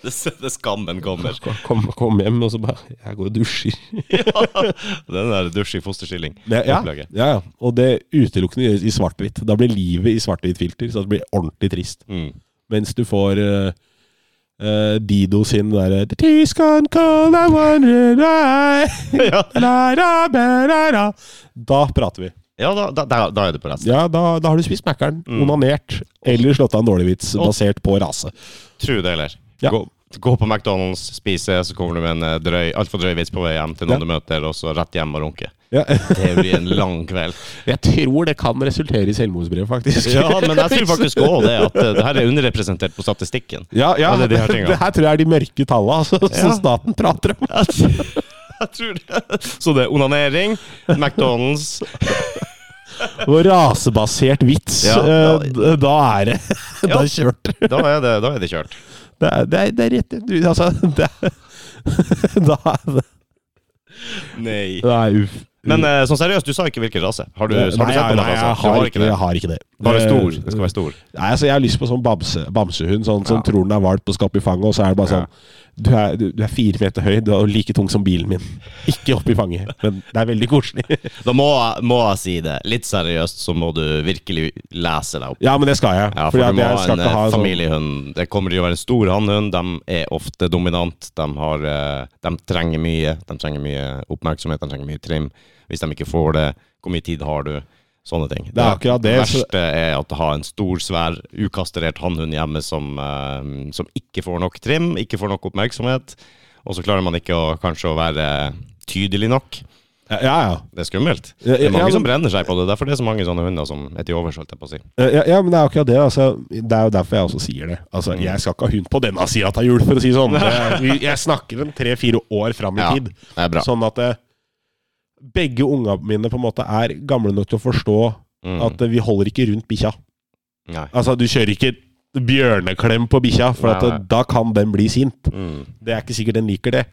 Det, [laughs] det skammen
[laughs]
kommer.
kom, kom hjem og så bare Jeg går og dusjer.
Den der dusj i fosterstilling.
Det, ja,
opplegget.
ja, ja. Og det utelukkende gjøres i svart-hvitt. Da blir livet i svart-hvitt-filter, så det blir ordentlig trist.
Mm.
Mens du får eh, eh, Dido sin derre The tea's gone cold, I wonder [laughs] why
Ja,
La, la, ba, la, la. Da prater vi.
ja da, da, da- da er du på rest.
Ja, da, da har du spist Mækkern, onanert eller slått av en dårlig vits basert på rase.
Tro det, eller?
Ja.
Gå, gå på McDonald's, spise, så kommer du med en eh, drøy, altfor drøy vits på vei hjem til noen
Ja.
du møter, og så rett hjem og runke.
Ja. [laughs]
Det blir en lang kveld.
Jeg tror det kan resultere i selvmordsbrev, faktisk.
[laughs] Ja, men jeg tror faktisk òg det, at eh, det her er underrepresentert på statistikken.
[laughs] Ja, ja,
Ja, det er de
[laughs] det,
her tinga.
her tror jeg er de mørke tallene altså, som
Ja.
staten prater om.
Jeg tr- jeg tror [laughs] det. Så det er onanering, McDonald's
Og rasebasert vits,
Ja.
eh, d- da er det [laughs]
Ja.
Da er det kjørt.
Da er det, da er det kjørt.
Det er, det er, det er rett du, [laughs] Altså, det er, da, er det-
Nei.
Nei, uff.
Men eh, sånn seriøst, du sa ikke hvilken rase. Har du, har du
Nei,
sett på noen
jeg, nei,
rase?
jeg,
Du
har ikke,
det.
jeg har ikke det.
Bare
Eh,
stor. Den skal være stor.
Nei, altså Jeg har lyst på sånn bamse, bamsehund, sånn som
Ja.
tror den er valp og skal opp i fanget, og så er det bare
Ja.
sånn du er, du, du er fire meter høy, du er like tung som bilen min. Ikke opp i fanget, men det er veldig koselig. [laughs]
Da må, jeg- må jeg si det. Litt seriøst så må du virkelig lese deg opp.
Ja, men det skal jeg.
Ja, for
Fordi at
du må
jeg
ha
skal
en
ikke ha
eh,
en sånn
familiehund. Det kommer til å være en stor hannhund. De er ofte dominant. De, har, eh, de trenger mye. De trenger mye oppmerksomhet, de trenger mye trim. Hvis de ikke får det, hvor mye tid har du? Sånne ting.
Det er akkurat det, så-
verste er at ha en stor, svær, ukastrert hannhund hjemme som, eh, som ikke får nok trim, ikke får nok oppmerksomhet, og så klarer man ikke å, kanskje å være tydelig nok.
Ja, ja.
Det er skummelt.
Ja, ja,
Det er mange
ja,
som brenner seg på det. Derfor det er så mange sånne hunder som er til overs, holdt jeg på å si.
Eh, Ja, ja, men det er akkurat det. Altså, det er jo derfor jeg også sier det. Altså,
Mm.
Jeg skal ikke ha hund på denne sida av jul, for å si
[laughs]
det sånn. Det- vi- Jeg snakker dem tre-fire år fram i
Ja,
tid.
det er bra.
Sånn at eh, begge unga mine på en måte er gamle nok til å forstå
Mm.
at eh, vi holder ikke rundt bikkja.
Nei.
Altså, du kjører ikke bjørneklem på bikkja, for at,
Nei,
eh, da kan den bli sint.
Mm.
Det er ikke sikkert den liker det.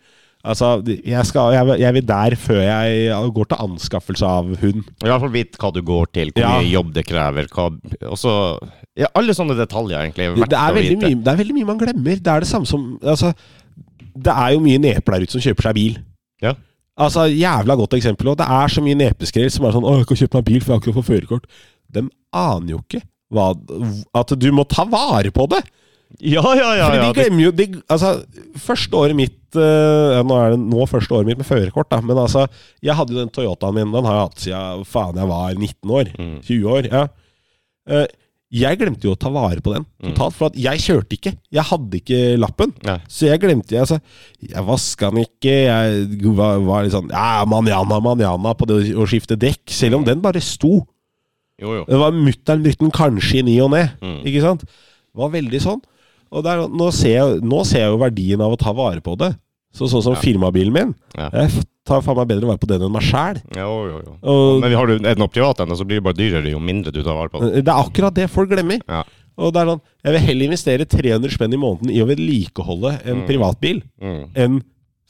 Altså, jeg, skal, jeg, vil- jeg vil der før jeg går til anskaffelse av hund.
I hvert fall vite hva du går til, hvor
Ja.
mye jobb det krever. Hva, og så- ja, alle sånne detaljer egentlig er
Det
verdt
det er,
å
veldig
vite.
mye, det er veldig mye man glemmer. Det er det samme som altså, Det er jo mye nepe der ute som kjøper seg bil.
Ja.
Altså, Jævla godt eksempel. Og det er så mye nepeskrell som er sånn 'Å, jeg kan kjøpe meg bil, for jeg har ikke lov til å få førerkort'. De aner jo ikke hva, at du må ta vare på det!
Ja, ja, ja.
Fordi
ja.
de
Det,
glemmer jo de, altså, Første året mitt eh, ja, Nå er det nå første året mitt med førerkort, da. Men altså, jeg hadde jo den Toyotaen min. Den har jeg hatt siden faen jeg var 19 år.
Mm.
20 år. ja. Eh, jeg glemte jo å ta vare på den totalt. For at jeg kjørte ikke. Jeg hadde ikke lappen.
Mm. Nei.
Så jeg glemte jeg, altså, Jeg vaska den ikke. Jeg var, var litt sånn ja, manjana, manjana på det å skifte dekk.
Mm.
Selv om den bare sto.
jo, jo.
Det var mutter'n brukte den kanskje i ny og ne.
Mm.
Ikke sant? Det var veldig sånn. Og der, nå, ser jeg, nå ser jeg jo verdien av å ta vare på det. Så, sånn som firmabilen min.
Ja.
Jeg f- tar faen meg bedre vare på den enn meg sjæl.
jo, jo, jo.
Og
Men vi har du er det noe privat ennå, så blir det bare dyrere jo mindre du tar vare på det.
Eh, det er akkurat det folk glemmer.
Ja.
Og det er sånn, Jeg vil heller investere 300 spenn i måneden i å vedlikeholde en privatbil
Mm.
enn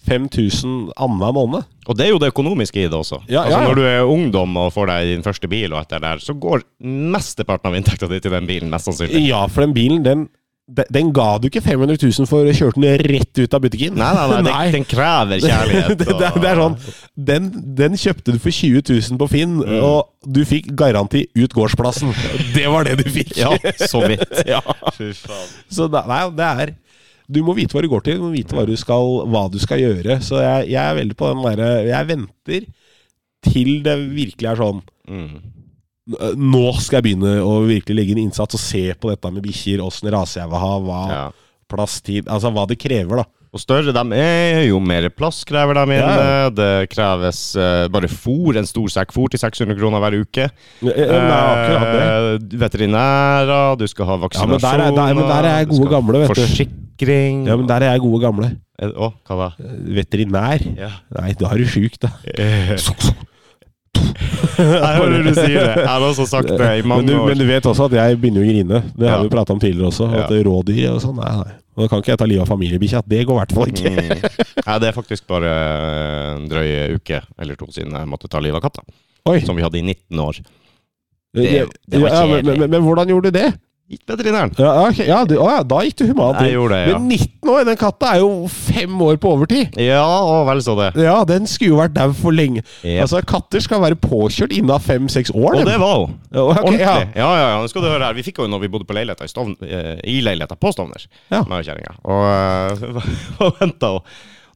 5000 annenhver måned.
Og det er jo det økonomiske i det også.
Mm. Ja,
altså,
ja, ja.
Når du er ungdom og får deg din første bil, og etter der, så går mesteparten av inntekta di til den bilen, mest sannsynlig.
Ja, for den bilen, den, den, den ga du ikke 500 000 for å kjøre den rett ut av butikken.
Nei, nei, nei,
[laughs]
Den, den krever kjærlighet.
det, det, er- det er sånn den, den kjøpte du for 20 000 på Finn,
Mm.
og du fikk garanti ut
[laughs]
gårdsplassen. sånn, Det var det du fikk.
Ja, så vidt.
[laughs] Ja.
Fy faen.
Så da, nei, det er Du må vite hva du går til, du må vite hva du skal, hva du skal gjøre. Så jeg, jeg er veldig på den derre Jeg venter til det virkelig er sånn øh,
Mm.
Nå skal jeg begynne å virkelig legge inn innsats og se på dette med bikkjer, åssen rase jeg vil ha, hva
Ja.
plass, tid Altså hva det krever, da.
Og større de er, jo mer plass krever de inne.
Ja.
Det kreves eh, bare fôr, en stor sekk fôr til 600 kroner hver uke.
Ja, ja, det er akkurat det.
Eh, veterinærer, du skal ha
Ja, men der er-
vaksinasjoner.
der- men der er jeg
du skal
gode
ha
gamle, vet du.
Forsikring.
Ja, men der er jeg gode gamle.
Eh, Å, hva da?
Veterinær.
Ja.
Nei, da er du sjuk, da. [laughs]
[laughs] Jeg hører du sier det. Jeg har også sagt det i
Men
mange
du, men
år.
du vet også at jeg begynner å grine. Det har
Ja.
vi prata om tidligere også. At rådyr og sånn, nei, nei. Da kan ikke jeg ta livet av familiebikkja. Det går i hvert fall ikke.
Mm. Nei, det er faktisk bare en drøy uke eller to siden jeg måtte ta livet av katta.
Oi.
Som vi hadde i 19 år. det- det var
ja, men, men, men, men hvordan gjorde du det?
Gitt Veterinæren.
Ja, ok, ja, du, å, ja da gikk du humant.
Jeg gjorde det, ja.
Men 19 år, den katta er jo fem år på overtid!
Ja, og vel så det.
Ja, den skulle jo vært dau for lenge.
Yep.
Altså, katter skal være påkjørt innen av fem-seks år.
Og
dem.
det var hun.
Ja, ok,
Ordentlig.
ja.
Ja. ja, ja, Nå skal du høre her. Vi fikk henne når vi bodde på leiligheta i, Stovn, eh, i leiligheta på Stovner.
Ja.
Med kjerringa. Og, eh, [laughs] og venta henne.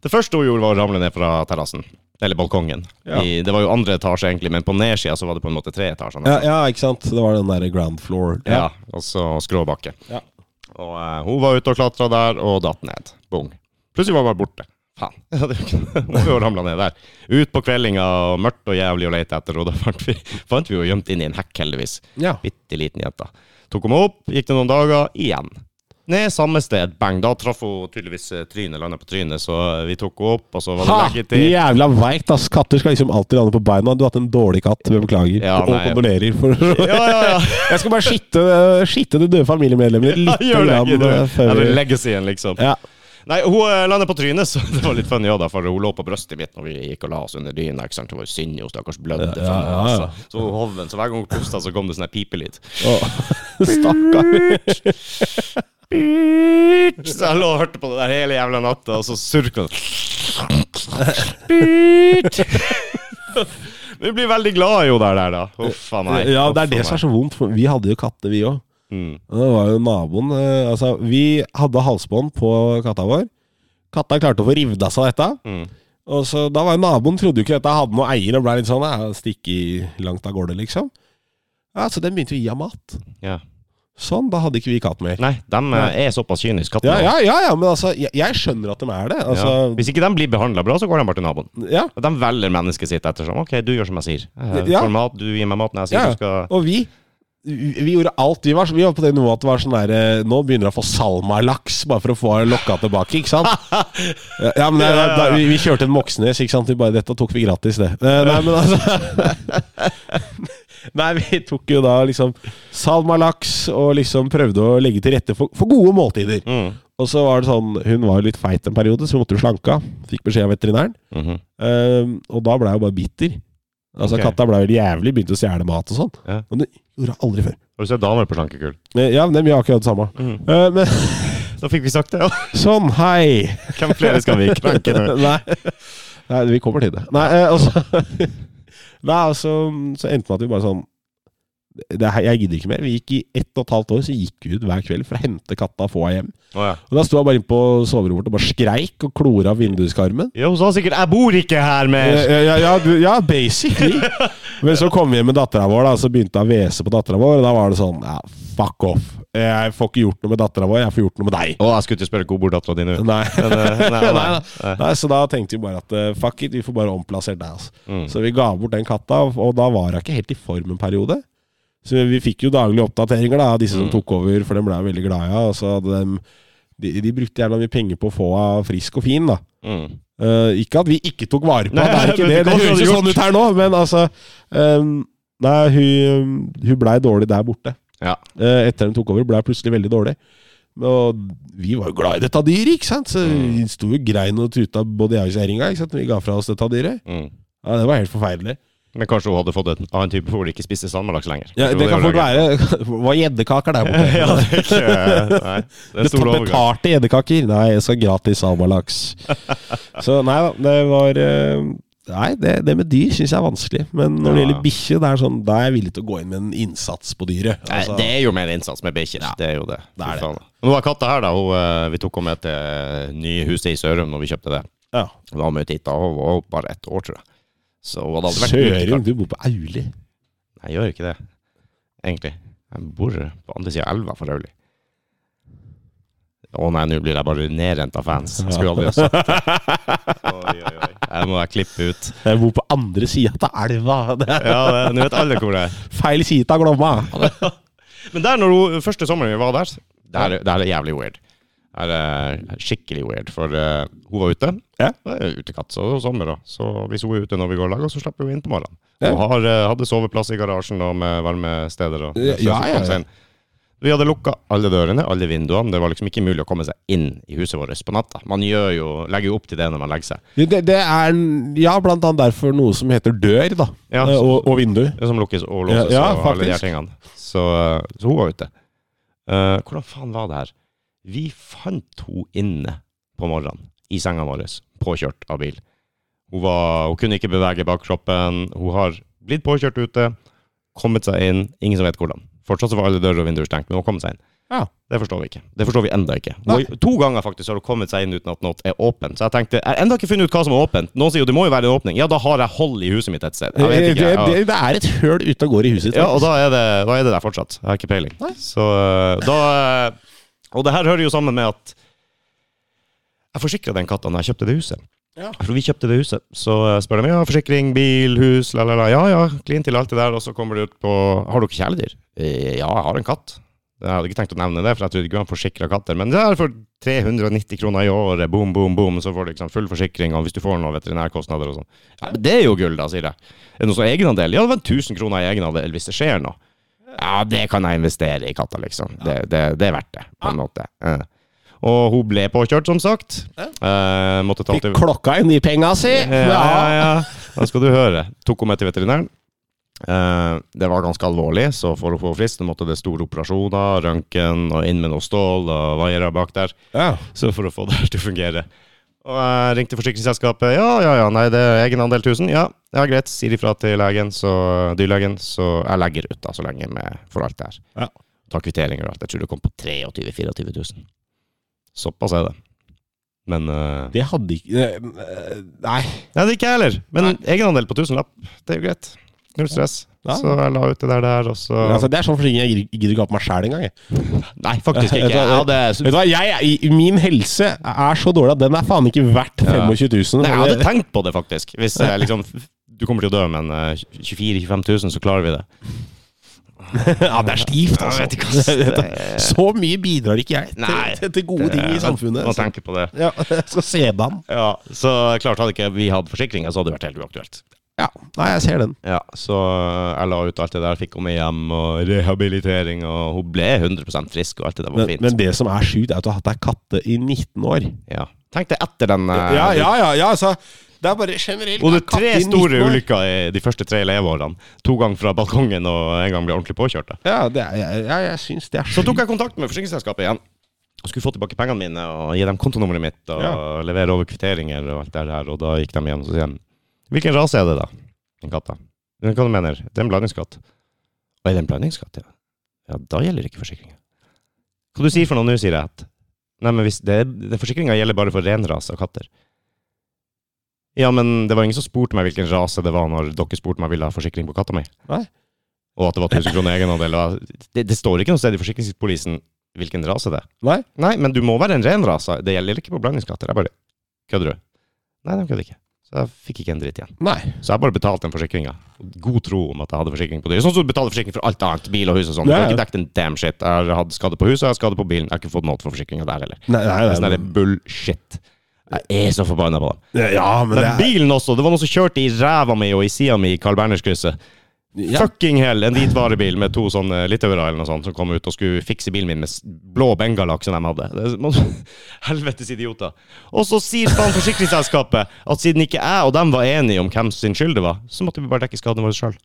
Det første hun gjorde, var å ramle ned fra terrassen. Eller balkongen.
Ja.
I, det var jo andre etasje, egentlig, men på nedsida så var det på en måte tre etasjer.
ja, ja, ikke sant. Det var den derre ground floor.
Ja, og så skråbakke.
Ja.
Og eh, hun var ute og klatra der, og datt ned. Bong. Plutselig var hun bare borte. Faen. [laughs] Ja, det er jo ikke- Hun har ramla ned der. Ut på kveldinga, og mørkt og jævlig å leite etter, og da fant vi, fant vi henne gjemt inn i en hekk, heldigvis.
Ja.
Bitte liten jente. Tok henne opp, gikk det noen dager, igjen. Ned samme sted, bang. Da traff hun tydeligvis eh, trynet, landa på trynet, så vi tok henne opp, og så var det
Ha!
[laughs] leggetid.
Jævla veikt, ass. Katter skal liksom alltid lande på beina. Du har hatt en dårlig katt. Vi beklager.
Ja,
og
nei.
kondolerer. For...
Ja, ja, ja.
[laughs] Jeg skal bare skitte, skitte det døde familiemedlemmet ditt litt.
Gjør det,
grann,
ikke
eh,
du?
før
Ja, det
vi-
er legacyen, liksom.
ja.
Nei, hun eh, landet på trynet, [laughs] så det var litt funny òg, da. For hun lå på brystet mitt når vi gikk og la oss under dyna. ikke sant? Hun var jo syndig, hun stakkars blødde.
Ja, ja,
fra
ja, ja.
nesa. Så hun hoven, så hver gang hun pusta, så kom det sånn her pipelyd.
[laughs] Stakkar.
Så jeg lå og hørte på det der hele jævla natta, og så surka det. Du blir veldig glad i henne der, der, da. Uff a meg.
Ja, det er det som er så vondt. For vi hadde jo katter, vi òg.
Mm.
Det var jo naboen eh, Altså, vi hadde halsbånd på katta vår. Katta klarte å få revet av seg dette.
Mm.
Og så Da var jo naboen trodde jo ikke dette hadde noe eier, og ble litt sånn ja, Stikke i langt av gårde, liksom. Ja, Så den begynte vi å gi ham mat.
Ja.
Sånn, da hadde ikke vi katt mer.
Nei, de eh, er såpass kyniske,
Ja,
kattene.
ja, ja, ja, men altså, jeg, jeg skjønner at de er det. Altså,
Ja. Hvis ikke de blir behandla bra, så går de bare til naboen.
ja.
Og De velger mennesket sitt etter sånn. Ok, du gjør som jeg sier. Jeg
Ja.
får mat, du gir meg mat når jeg sier
Ja,
du skal
Og vi vi gjorde alt. Vi var, vi var på det nivået at det var sånn der eh, Nå begynner jeg å få salmalaks, bare for å få lokka tilbake, ikke
[laughs]
sant? Ja, ja, men det,
Ja, ja, ja.
Da, vi, vi kjørte en Moxnes, ikke sant? Vi bare, Dette tok vi gratis, det. Eh, Nei, men altså [laughs] Nei, vi tok jo da liksom salmalaks og liksom prøvde å legge til rette for, for gode måltider.
Mm.
Og så var det sånn Hun var jo litt feit en periode, så hun måtte jo slanke av. Fikk beskjed av veterinæren.
Mhm.
Ehm, og da blei hun bare bitter. Altså
Ok.
Katta blei jævlig, begynte å stjele mat og sånn.
Ja.
Men det gjorde hun aldri før.
Har du sett damer på slankekull?
Eh, Ja, men vi har akkurat det samme.
Mhm.
Eh, men [laughs]
Da fikk vi sagt det, ja. [laughs]
sånn, hei!
Hvem flere skal vi krenke nå?
[laughs] Nei. Nei, vi kommer til det. Nei, eh, og så [laughs] Nei, og så, så endte det med at vi bare sånn det her, Jeg gidder ikke mer. Vi gikk I ett og et halvt år så gikk vi ut hver kveld for å hente katta og få henne hjem.
Å, ja.
Og Da sto jeg bare inne på soverommet vårt og bare skreik og klora vinduskarmen.
Ja, hun sa sikkert 'jeg bor ikke her mer'.
Eh, Ja, ja, ja, du- ja, basically.
[laughs]
Men så kom vi hjem med dattera vår, da, så begynte jeg å hvese på dattera vår. Og da var det sånn ja, fuck off. Jeg får ikke gjort noe med dattera vår, jeg får gjort noe med deg.
Å, jeg skulle ikke spørre hvor bor dattera di nå.
Nei.
Men, eh, nei,
[laughs]
nei, nei. Nei.
Nei, så da tenkte vi bare at eh, fuck it, vi får bare omplassert deg. Altså.
Mm.
Så vi ga bort den katta, og da var hun ikke helt i form en periode. Så vi fikk jo daglige oppdateringer da, av disse
Mm.
som tok over, for dem ble jeg veldig glad i. Ja. og så hadde dem- de, de brukte jævla mye penger på å få henne frisk og fin. da.
Mm.
Eh, ikke at vi ikke tok vare
[laughs]
på
Nei,
det, er ikke
men
det.
det
det
kan
høres
vi
jo
ha
sånn
gjort.
ut her nå, men altså ehm, Nei, hun, hun blei dårlig der borte.
Ja.
Eh, etter hun tok over, blei hun plutselig veldig dårlig. Og vi var jo glad i dette dyret, ikke sant? Så
Mm.
vi sto jo grein og tuta både jeg og kjerringa ikke sant? når vi ga fra oss dette dyret.
Mm.
Ja, Det var helt forferdelig.
Men kanskje hun hadde fått en annen type hvor de ikke spiste sandmalaks lenger.
Ja,
Jo,
det kan
var
fort være [laughs] Det var gjeddekaker der borte.
[laughs] ja, det
[laughs]
er ikke Nei, det er
Det
stor overgang.
Betalte edderkaker? Nei, jeg skal gratis
[laughs]
salmalaks. så nei da, det var eh, Nei, det, det med dyr syns jeg er vanskelig. Men når det
Ja.
gjelder bikkje, det er sånn, da er jeg villig til å gå inn med en innsats på dyret.
Nei,
Altså,
det er jo mer innsats med bikkjer. Det er jo det.
det
Fy
er det.
faen. Nå er katta her, da. Hun, eh, vi tok henne med til nye huset i Sørum når vi kjøpte det.
ja.
Hun var med og titta, hun var bare ett år, tror jeg. Så hun hadde aldri vært ute,
Søring, du bor på Auli.
Nei, jeg gjør ikke det, egentlig. Jeg bor på andre sida av elva for øvrig. Å nei, nå blir jeg bare nedrent av fans. Jeg skulle aldri ha sagt det. [laughs] Oi, oi, oi. Jeg må jeg klippe ut.
Jeg bor på andre sida av elva. Det er
Ja, det- nå vet alle hvor det er.
Feil side av Glomma.
Men der, når hun, første sommeren vi var der Det her, er- det her er jævlig weird. Det her er eh, skikkelig weird, for eh, hun var ute.
Ja.
Det er utekatt, så det er sommer da. Så hvis hun er ute når vi går og lager oss, så slipper hun inn på morgenen.
Ja.
Hun har, eh, hadde soveplass i garasjen da, med varmesteder. Og,
Ja,
så- så
ja,
kom seg
ja.
inn. Vi hadde lukka alle dørene, alle vinduene. Det var liksom ikke mulig å komme seg inn i huset vårt på natta. Man gjør jo, legger jo opp til det når man legger seg.
[laughs] Det, det er en- ja, blant annet derfor noe som heter dør, da.
Ja,
Eh, og, og vindu.
Det som lukkes og låses
Ja, ja,
og alle de her
faktisk.
tingene. Så, eh, så hun var ute. Eh, hvordan faen var det her? Vi fant hun inne på morgenen i senga vår, påkjørt av bil. Hun, var, hun kunne ikke bevege bakkroppen. Hun har blitt påkjørt ute, kommet seg inn, ingen som vet hvordan. Fortsatt så var alle dører og vinduer stengt, men hun kom seg inn.
Ja.
Det forstår vi ikke. Det forstår vi enda ikke.
Nei.
Hun, to ganger faktisk har hun kommet seg inn uten at noe er åpent. Så jeg tenkte, jeg har enda ikke funnet ut hva som er åpent. Noen sier jo det må jo være en åpning. Ja, da har jeg hold i huset mitt et sted.
Det,
Jeg vet ikke.
Eh, det,
jeg-
det, det er et høl ute og går i huset.
ja, og da er, det, da er det der fortsatt. Jeg har ikke peiling.
Nei.
Så øh, da øh, Og det her hører jo sammen med at jeg forsikra den katta når jeg kjøpte det huset.
Ja.
For vi kjøpte det huset, så øh, spør de ja, forsikring, bil, hus, la, la, la. Ja, ja, klin til alt det der. Og så kommer det ut på Har dere kjæledyr? «Eh, Ja, jeg har en katt. Jeg hadde ikke tenkt å nevne det, for jeg trodde ikke man forsikra katter. Men det er for 390 kroner i året, boom, boom, boom, så får du liksom full forsikring. Og hvis du får noen veterinærkostnader og sånn. Ja, men det er jo gull, da, sier jeg. Er det noe sånn egenandel? Ja, det var 1000 kroner i egenandel hvis det skjer noe. Ja, det kan jeg investere i katta, liksom. Det, det, det er verdt det, på en måte. Ja. Og hun ble påkjørt, som sagt. Eh, måtte ta
Fikk
til
klokka inn i penga si!
Ja, ja, ja. Da skal du høre. Tok hun med til veterinæren. Eh, det var ganske alvorlig, så for å få fristen måtte det store operasjoner, røntgen og inn med noe stål og vaiere bak der.
Ja.
Så for å få det her til å fungere. Og jeg ringte forsikringsselskapet. Ja, ja, ja, nei, det er egenandel 1000. Ja, ja, greit. Sier ifra til legen, så dyrlegen, så jeg legger ut da, så lenge med, for alt det her.
Ja.
Ta kvitteringer og alt. Jeg tror det kom på 23 000-24 000. Såpass er det. Men eh,
Det hadde ikke eh, Nei.
Nei, det er ikke jeg heller. Men egenandel på tusenlapp, det er jo greit. Null stress.
Ja.
Så jeg la ut det der, der og så
Men Altså, det er sånn forsikring jeg gidder- gidder ikke ha på meg sjæl engang. jeg.
Nei, faktisk
[laughs]
ikke.
Vet du hva-
Jeg hadde,
Vet du hva, jeg, i- min helse er så dårlig at den er faen ikke verdt 25 000.
Nei, jeg hadde
Det-
tenkt på det, faktisk. Hvis jeg liksom Du kommer til å dø, men eh, 24 000-25 000, så klarer vi det.
[laughs] ja, det er
Jeg
stivt, altså.
vet ikke,
[laughs]
ass.
Så mye bidrar ikke jeg til,
Nei.
til, til gode ting i samfunnet. altså.
Må
så-
tenke Eh, på det.
Ja, [laughs] jeg skal se den.
Ja, Så klart, hadde ikke vi hatt forsikringa, så hadde det vært helt uaktuelt.
Ja, nei, jeg ser den.
Ja, Så jeg la ut alt det der, fikk henne med hjem, og rehabilitering, og hun ble 100 frisk, og alt det der var
Men,
fint.
men det som er sjukt, er at du har hatt deg katte i 19 år.
ja. Tenk deg etter den eh,
Ja, ja, ja, ja altså. Det er bare generelt.
Og det er
er
tre
katter i 19
store
år.
ulykker i de første tre leveårene. To ganger fra balkongen, og en gang ble jeg ordentlig påkjørt. da.
Ja, det er, ja, ja, jeg syns det er
Så
sjukt.
tok jeg kontakt med forsikringsselskapet igjen. Og skulle få tilbake pengene mine og gi dem kontonummeret mitt og
Ja.
levere over kvitteringer og alt det her. Og da gikk de hjem og så sier de, Hvilken rase er det, da? Den katta. Men Hva du mener Det er en blandingskatt. Og er det en blandingskatt, ja? Ja, da gjelder ikke forsikringa. Hva du sier for noe nå, sier jeg at Nei, men hvis det, det forsikringa gjelder bare for renrase av katter. Ja, men det var ingen som spurte meg hvilken rase det var når dere spurte meg om jeg ville ha forsikring på katta mi.
Nei.
Og at det var 1000 kroner egenandel. og jeg- Det, det står ikke noe sted i forsikringspolisen hvilken rase det er.
Nei.
Nei, men du må være en ren rase. Det gjelder ikke på blandingskatter. Jeg bare Kødder du? Nei, de kødder ikke. Så jeg fikk ikke en dritt igjen.
Nei.
Så jeg bare betalte den forsikringa. God tro om at jeg hadde forsikring på dyr. Sånn som du betaler forsikring for alt annet. Bil og hus og sånn. Du
Ja,
har
ja.
ikke dekket en damn shit. Jeg har hatt skade på huset, jeg har skade på bilen. Jeg har ikke fått noe for forsikringa der heller.
Nei, nei,
Det
nei,
er sånn der bullshit. Jeg er så forbanna på dem.
Ja, men
Men
det er
bilen også. Det var noen som kjørte i ræva mi og i sida mi i Carl Berners-krysset.
ja.
Fucking hell! En hvit varebil med to sånne litauere eller noe sånt som kom ut og skulle fikse bilen min med s- blå bengalakk som de hadde. Det er, man, [laughs] helvetes idioter. Og så sier faen forsikringsselskapet at siden ikke jeg og dem var enige om hvem sin skyld det var, så måtte vi bare dekke skadene våre sjøl.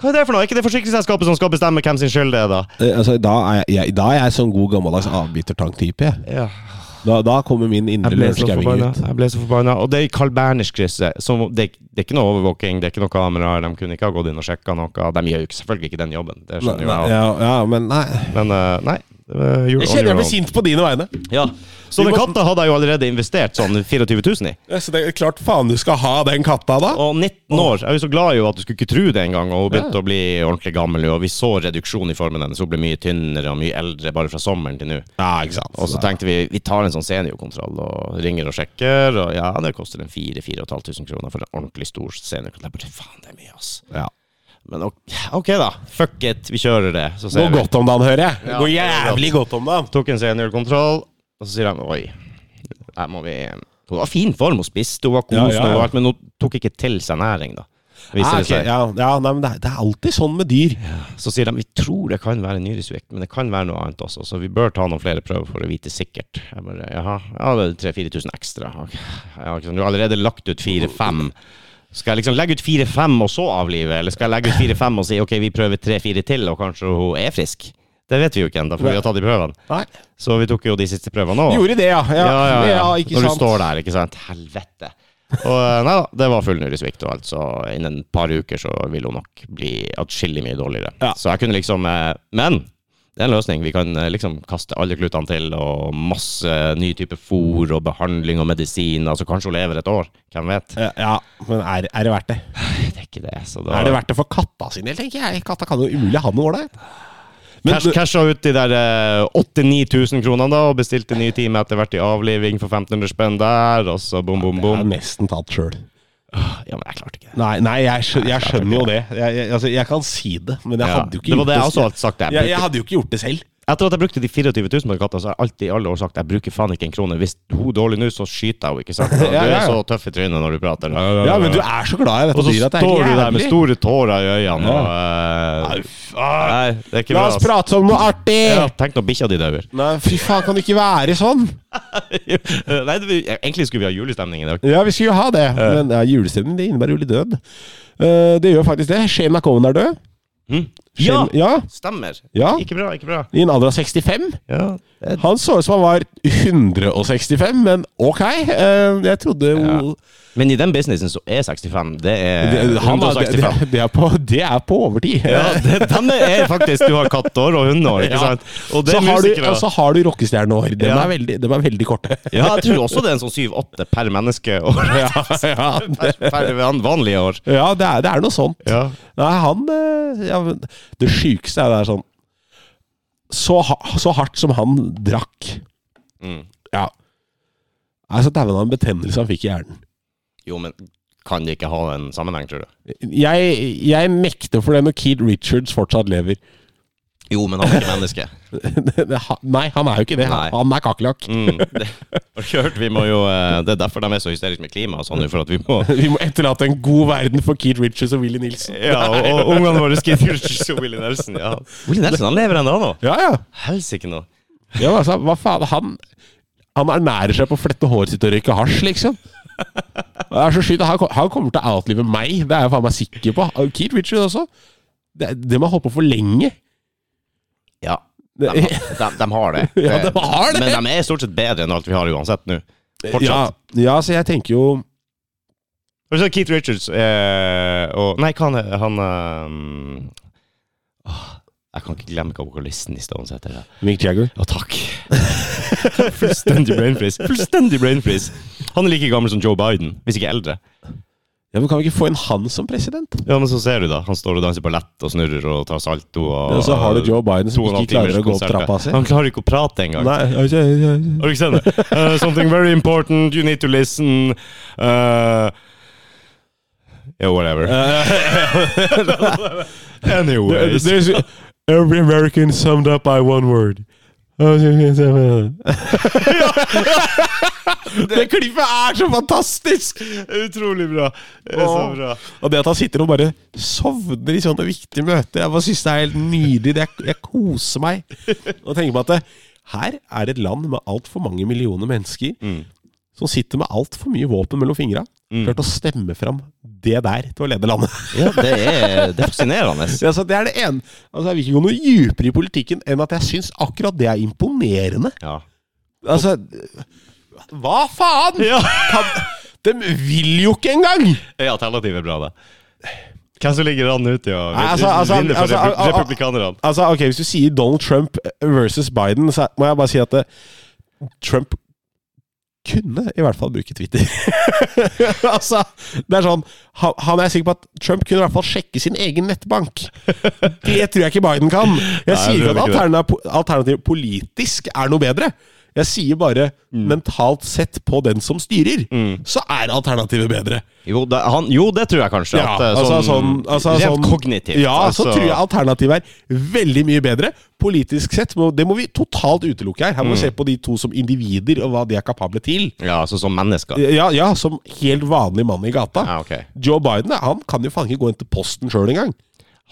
Hva er det for noe? Er ikke det forsikringsselskapet som skal bestemme hvem sin skyld det er, da?
Eh, altså, da, er jeg, jeg, da er jeg sånn god gammeldags avbitertank-type. jeg.
Ja.
Da, da kommer min indre
Jeg ble så altså.
lørenskauing
forbanna.
ut.
Jeg ble så forbanna. Og det er i Carl Berners-krysset. som- Det, det er ikke noe overvåking, det er ikke noe kameraer. De kunne ikke ha gått inn og sjekka noe. De gjør jo ikke- selvfølgelig ikke den jobben. Det skjønner jo jeg.
Ja,
også.
ja, men nei
Men eh, nei. det var jul-
Jeg kjenner jeg blir
jul-
sint på dine vegne.
Ja. Så den katta hadde jeg jo allerede investert sånn 24 000 i.
Ja, Så det er klart faen du skal ha den katta, da.
Og 19 år. Jeg er jo så glad i henne at du skulle ikke tro det engang. Og hun begynte å bli ordentlig gammel, og vi så reduksjon i formen hennes. Hun ble mye tynnere og mye eldre bare fra sommeren til nå.
Ja, ikke sant.
Og så tenkte vi vi tar en sånn seniorkontroll og ringer og sjekker. Og ja, det koster en 4000-4500 kroner for en ordentlig stor seniorkontroll. Jeg bare, faen, det er mye, ass.
ja.
Men ok, ok, da. Fuck it, vi kjører det. Så
Går
ser vi.
godt om dagen, hører jeg.
Ja,
Går jævlig godt om dagen.
Tok en seniorkontroll, og så sier de oi, her må vi Hun var i fin form, hun spiste, hun var
Ja,
kosende,
ja, ja.
og alt, men hun tok ikke til seg næring, da. Viser
Ja,
det
Ah, ok,
seg.
ja, ja nei, men det, er- det er alltid sånn med dyr.
Så sier de vi tror det kan være nyresvikt, men det kan være noe annet også, så vi bør ta noen flere prøver for å vite sikkert. Jeg bare, jaha, ja, det er 3000-4000 ekstra. Ok. Ja, ikke sant. Du har allerede lagt ut 4-5. Skal jeg liksom legge ut 4-5 og så avlive, eller skal jeg legge ut 4-5 og si ok, vi prøver 3-4 til, og kanskje hun er frisk? Det vet vi jo ikke ennå, for vi har tatt de prøvene.
Nei.
Så vi tok jo de siste prøvene òg.
Gjorde det, ja. Ja,
Ja, ja, ja.
ikke
Når du
sant.
står der, ikke sant. Helvete. Og eh, nei da, det var full nyresvikt og alt, så innen et par uker så vil hun nok bli atskillig mye dårligere.
Ja.
Så jeg kunne liksom eh, Men det er en løsning. Vi kan eh, liksom kaste alle klutene til, og masse ny type fôr og behandling og medisin. Altså kanskje hun lever et år. Hvem vet?
Ja, Ja, men er, er det verdt det?
[laughs] Det er ikke det. Så da
Er det verdt det for katta sin del, tenker jeg? Katta kan jo umulig ha noe ålreit. Men
Cash, casha ut de der eh, 8-9 000 kronene da, og bestilte ny time etter hvert i avliving for 1500 spenn der, og så bom, bom,
jeg har
bom.
nesten tatt sjøl.
Ja, men jeg klarte ikke det.
Nei, nei, jeg, skjø, jeg skjønner jo det. Jeg, jeg, altså, jeg kan si det, men jeg
Ja.
hadde jo ikke
det var det jeg
gjort
også
det
hadde sagt. Jeg,
jeg, jeg
bruker-
hadde jo ikke gjort det selv.
Etter at jeg brukte de 24 000 på den katta, så har jeg alltid i alle år sagt jeg bruker faen ikke en krone. Hvis hun er dårlig nå, så skyter jeg henne, ikke
[laughs]
sant? Du
Ja, ja,
er
ja.
så tøff i trynet når du prater.
Ja, men du er så glad i dette
Og så
dyret at det er
står du der med
jævlig.
store tårer i øynene og eh, Nei, det er ikke
La
bra.
oss
ass.
prate om noe artig!
Ja, tenk når bikkja di
[laughs]
dauer.
Nei, fy faen, kan det ikke være sånn?
Nei, det, egentlig skulle vi ha julestemning i dag.
Ja, vi skulle jo ha det, men ja, julestemning det innebærer jo litt død. Eh, det gjør faktisk det. Shane McCowan er død.
Hm? Ja!
Shane, ja.
Stemmer.
Ja.
Ikke bra, ikke bra.
I en alder av 65.
Ja.
Han så ut som han var 165, men ok. eh, jeg trodde jo
Ja. Eh, Men i den businessen så er 65 Det er
det, han, det,
165.
det, det, er på, det er på overtid.
Ja, det, den er faktisk Du har kattår og hundeår, ikke
Ja.
sant? Og det
så
er
har du,
musikere.
og så har du rockestjerneår. De,
Ja.
er veldig- de er veldig
[laughs]
korte.
altså- Ja, jeg tror også det er en sånn 7-8 per menneske år.
ja, ja,
Per, per van- vanlige år.
ja det, er, det er noe sånt.
Ja.
Nei, han eh, ja, men Det sjukeste er det er sånn så, ha- så hardt som han drakk
Mm.
Ja. Nei, så dæven av en betennelse han fikk i hjernen.
Jo, men kan det ikke ha en sammenheng, tror du?
Jeg, jeg nekter for det når Keith Richards fortsatt lever. [laughs]
Jo, men han er ikke menneske.
Nei, han er jo ikke det.
Nei.
Han er kakerlakk.
[laughs] Mm. Det, har du hørt, vi må jo, eh, det er derfor de er så hysteriske med klima og sånn, for at vi må
[laughs] Vi må etterlate en god verden for Keith Richards og Willy Nilsen.
Ja, og, og ungene våre skriver jo Willy Nelson. Ja. Willy Nelson han lever ennå, nå.
Ja, ja.
Helsike nå.
ja men altså, hva faen? Han, han ernærer seg på å flette håret sitt og røyke hasj, liksom. Det er så skyt. Han, kom- han kommer til å outlive meg, det er jeg faen meg sikker på. Og Keith Richards også. Det, det må ha holdt på for lenge.
Ja, de, [laughs]
Det,
har- de, de har det.
Ja, de har det.
Men de er stort sett bedre enn alt vi har uansett nå. Fortsatt.
ja, ja, så jeg tenker jo
Og så Keith Richards eh, og Nei, hva han er- han ehm, åh, Jeg kan ikke glemme hva vokalisten i Stones heter. Ja,
Mick Jagger.
ja takk. Fullstendig brain freeze. Fullstendig brain freeze. Han er like gammel som Joe Biden, hvis ikke eldre.
Ja, men Kan vi ikke få inn han som president?
Ja, Men så ser du, da. Han står og danser ballett og snurrer og tar salto. Og,
Og så har du Joe Biden
to
som
og en halv
ikke klarer å
timers
gå opp
konsert.
trappa si.
Han klarer ikke å prate engang.
Nei, altså, ja, ja.
Har du ikke sett det? Uh, something very important, you need to listen. Uh, yeah,
[laughs]
whatever. [laughs] Anyways.
every American summed up by one word. det klippet er så fantastisk!
Utrolig bra. Det er Så
Åh.
bra.
Og det at han sitter og bare sovner i sånne viktige møter, jeg bare synes det er helt nydelig. Det er, jeg koser meg. Og tenker på at det, her er det et land med altfor mange millioner mennesker som sitter med altfor mye våpen mellom fingra. Klart å stemme fram det der til å lede landet.
Ja, det er, det er fascinerende.
[laughs] Ja, så det er det ene. Altså, jeg vil ikke gå noe dypere i politikken enn at jeg syns akkurat det er imponerende.
Ja.
Altså Hva faen?!
ja.
Kan, de vil jo ikke engang!
Er alternativet bra, da? Hvem som ligger an ute og
Nei, altså, altså,
vinner for
altså,
repu-
al- al-
republikanerne?
Altså, ok, Hvis du sier Donald Trump versus Biden, så må jeg bare si at det, Trump kunne i hvert fall bruke Twitter. [laughs] altså, det er sånn han, han er sikker på at Trump kunne i hvert fall sjekke sin egen nettbank. Det tror jeg ikke Biden kan. Jeg
Nei, jeg
sier ikke at
tror ikke det.
alternativet alternativ politisk er noe bedre. Jeg sier bare
Mm.
mentalt sett på den som styrer, så er alternativet bedre.
Jo det, han, jo, det tror jeg kanskje.
Ja,
at, eh,
altså, sånn,
sånn,
altså,
rent
sånn,
kognitivt.
Ja,
altså.
så tror jeg alternativet er veldig mye bedre. Politisk sett, må, det må vi totalt utelukke her. Her
Mm.
må vi se på de to som individer, og hva de er kapable til.
Ja, altså som mennesker.
Ja, ja, som helt vanlig mann i gata.
Ja, ok.
Joe Biden han kan jo faen ikke gå inn til posten sjøl engang.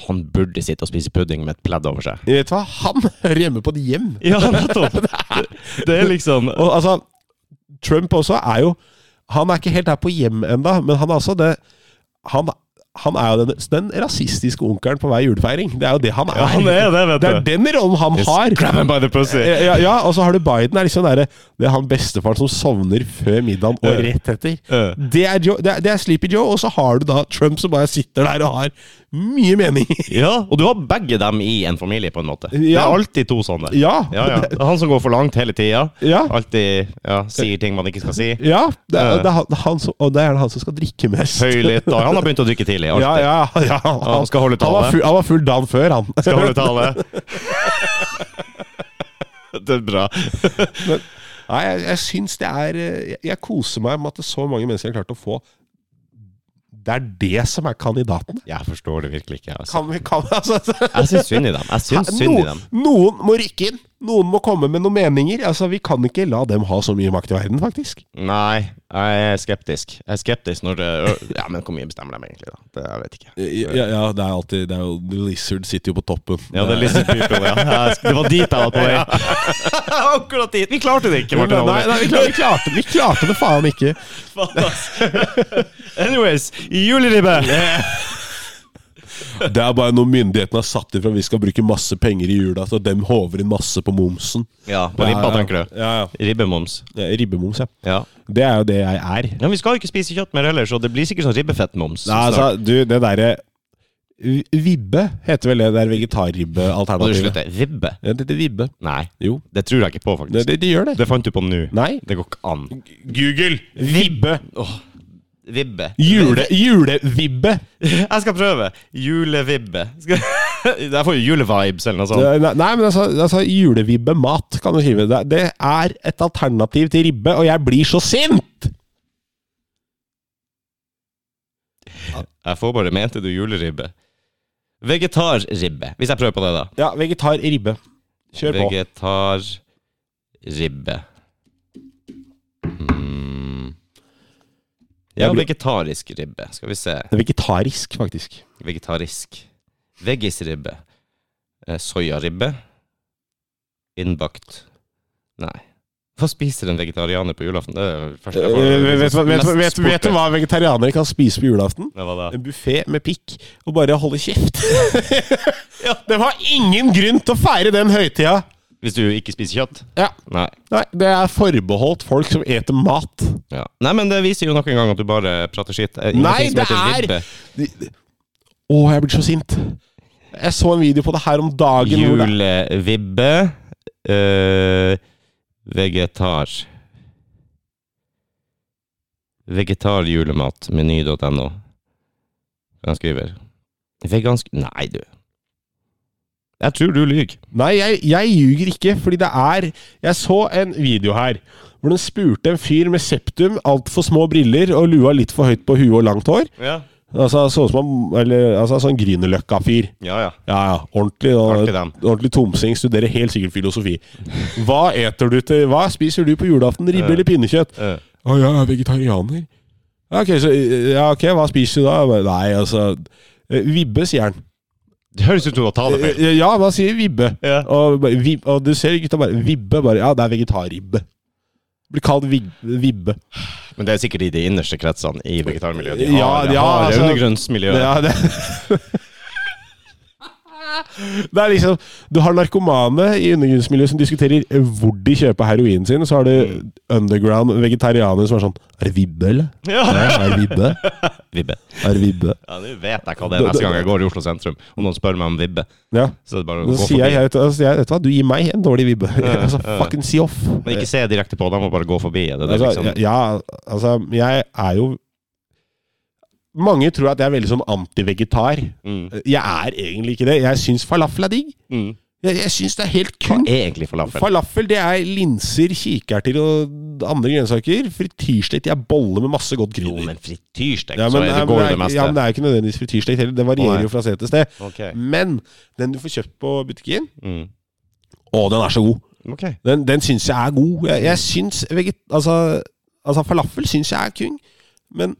Han burde sitte og spise pudding med et pledd over seg.
Vet du hva? Han hører hjemme på et hjem.
Ja, nettopp. Det er liksom
Og altså, Trump også er jo Han er ikke helt der på hjem enda, men han er også det Han, han er jo den, den rasistiske onkelen på hver julefeiring. Det er jo det han er.
Ja, han er det, vet
Det er
du.
den rollen han har. Eh,
Grab him by the pussy.
Ja, ja, ja, og så har du Biden. Er liksom der, det er han bestefaren som sovner før middagen og rett etter.
Ja.
Det er, Joe, det, er, det er Sleepy Joe, og så har du da Trump som bare sitter der og har mye mening. [laughs]
Ja, og du har begge dem i en familie, på en måte. Det
Ja.
er alltid to sånne.
Ja.
Ja, ja. Det er Han som går for langt hele tida.
Ja.
Alltid ja, sier ting man ikke skal si.
Ja, det er,
Ja.
det er han, han som, og det er han som skal drikke mest.
Høy litt. Og han har begynt å drikke tidlig. Alltid.
Ja, ja, ja. Han,
Han skal holde
han var
tale.
full, han var full dagen før, han.
Skal holde tale. Det er bra.
[laughs] Nei, jeg, jeg syns det er eh, jeg, jeg koser meg med at det er så mange mennesker jeg har klart å få. Det er det som er kandidatene.
Jeg forstår det virkelig ikke. Altså.
Kan vi, kan, altså,
Jeg syns synd i dem. Jeg syns synd i
noen,
dem.
noen må rykke inn. Noen må komme med noen meninger. Altså, Vi kan ikke la dem ha så mye makt i verden, faktisk.
Nei, jeg er skeptisk. Jeg er skeptisk når det, Ja, men hvor mye bestemmer de egentlig, da? Det, jeg vet ikke.
Ja, det er alltid det er jo, Lizard sitter jo på toppen.
Ja, det er Lizard People, ja. Jeg- Det var dit jeg var på vei. [laughs] Akkurat dit! Vi klarte det ikke,
Nei,
Martin Olli.
nei, vi, klarte, vi, klarte, vi klarte det faen ikke.
Faen, ass. Anyways, juleribbe!
[laughs] Det er bare noe myndighetene har satt ifra. Vi skal bruke masse penger i jula, så dem håver inn masse på momsen.
Ja, på ribba, tenker du.
Ja, ja.
Ribbemoms.
Ja, Ribbemoms, ja.
Ja.
Det er jo det jeg er.
ja. Vi skal jo ikke spise kjøtt mer heller, så det blir sikkert sånn ribbefettmoms.
Nei,
snart.
altså, du, det derre Vibbe heter vel det
Må
der
du
vegetarribbealternativet.
slutte? Ribbe?
Ja, det heter vibbe.
Nei,
Jo,
det tror jeg ikke på,
det,
faktisk.
det, det gjør det.
Det fant du på nå.
Nei.
Det går ikke an.
Google! Vibbe.
Åh, Vibbe.
Jule, julevibbe.
[laughs] Jeg skal prøve. Julevibbe. Skal... [laughs] Jeg får jo julevibes eller noe sånt.
Det- Nei, nei, men altså, altså julevibbe-mat, kan du skrive. Det, det er et alternativ til ribbe, og jeg blir så sint!
Jeg får bare mente du juleribbe. Vegetarribbe, hvis jeg prøver på det, da.
Ja, vegetar-ribbe. Kjør på.
Vegetarribbe. Hmm. Ja,
Jeg ble-
vegetarisk ribbe. Skal vi se.
Vegetarisk, faktisk.
Vegetarisk. Veggisribbe. Eh, Soyaribbe. Innbakt. Nei. Hva spiser en vegetarianer på julaften? Det er det første jeg får-
Eh, vet, du hva- vet, du-
Mest
vet, du- vet du hva vegetarianere kan spise på julaften?
Det var det.
En buffé med pikk, og bare holde kjeft. [laughs]
Ja.
Det var ingen grunn til å feire den høytida!
Hvis du ikke spiser kjøtt?
Ja.
Nei.
Nei, det er forbeholdt folk som eter mat.
Ja. Nei, men det viser jo nok en gang at du bare prater skitt. Eh, ingenting
Nei,
som
det
heter
er-
ribbe.
Å, jeg blir så sint. Jeg så en video på det her om dagen. hvor det-
Julevibbe. eh, vegetar. Vegetarjulemat. Meny.no. Han skriver Vegansk Nei, du. Jeg tror du lyver.
Nei, jeg, jeg ljuger ikke, fordi det er Jeg så en video her hvor den spurte en fyr med septum, altfor små briller og lua litt for høyt på huet og langt hår.
Ja.
Altså sånn som han Eller altså, sånn Grünerløkka-fyr.
ja, ja.
Ja, ja. Ordentlig,
Artig dem.
og, ordentlig tomsing. Studerer helt sikkert filosofi. Hva eter du til Hva spiser du på julaften? Ribbe eller pinnekjøtt?
Eh,
Å, jeg er vegetarianer. Ja, ok, så, ja, ok, hva spiser du da? Jeg bare, Nei, altså eh, Vibbe, sier han.
Det høres ut som du har talefeil.
Eh, Ja, hva sier vibbe?
Ja.
Og, bare, vib, og du ser gutta bare Vibbe, bare Ja, det er vegetarribbe. Blir kalt vib, vibbe.
Men det er sikkert i de innerste kretsene i vegetarmiljøet. De
Ja,
har, de
ja,
har
altså-
undergrunnsmiljøet.
Ja, det Det er liksom Du har narkomane i undergrunnsmiljøet som diskuterer hvor de kjøper heroinen sin, og så har du underground vegetarianere som er sånn Er det vibbe, eller?
Ja.
Ja, er det vibbe?
Vibbe.
Er det vibbe?
Ja, Nå vet jeg hva det er neste gang jeg går i Oslo sentrum, og noen spør meg om vibbe.
Ja.
Så det er bare å
Så
gå
sier jeg,
forbi.
vet, du- så sier jeg vet du hva, du gir meg en dårlig vibbe.
Ja,
[laughs] altså,
ja.
fucking si off.
Men ikke se direkte på dem, og bare gå forbi. Det, det, er
Altså,
liksom.
ja, ja, altså, jeg er jo Mange tror at jeg er veldig sånn antivegetar.
Mm.
Jeg er egentlig ikke det. Jeg syns falafel er digg.
Mm.
Jeg, jeg syns det er helt
Hva
kult.
er egentlig falafel?
Falafel det er linser, kikerter og andre grønnsaker. Frityrstek er bolle med masse godt
Jo,
krydder.
men frityrstek,
Ja,
så er
men, ja,
det
men
går jo
det er
det
ikke-
meste.
ja, men det er jo ikke nødvendigvis frityrstek heller. Det varierer
Nei.
jo fra sted til sted.
Ok.
Men den du får kjøpt på butikken,
Mm.
å, den er så god.
ok.
Den, den syns jeg er god. Jeg, jeg syns veget... Altså, altså falafel syns jeg er kung, men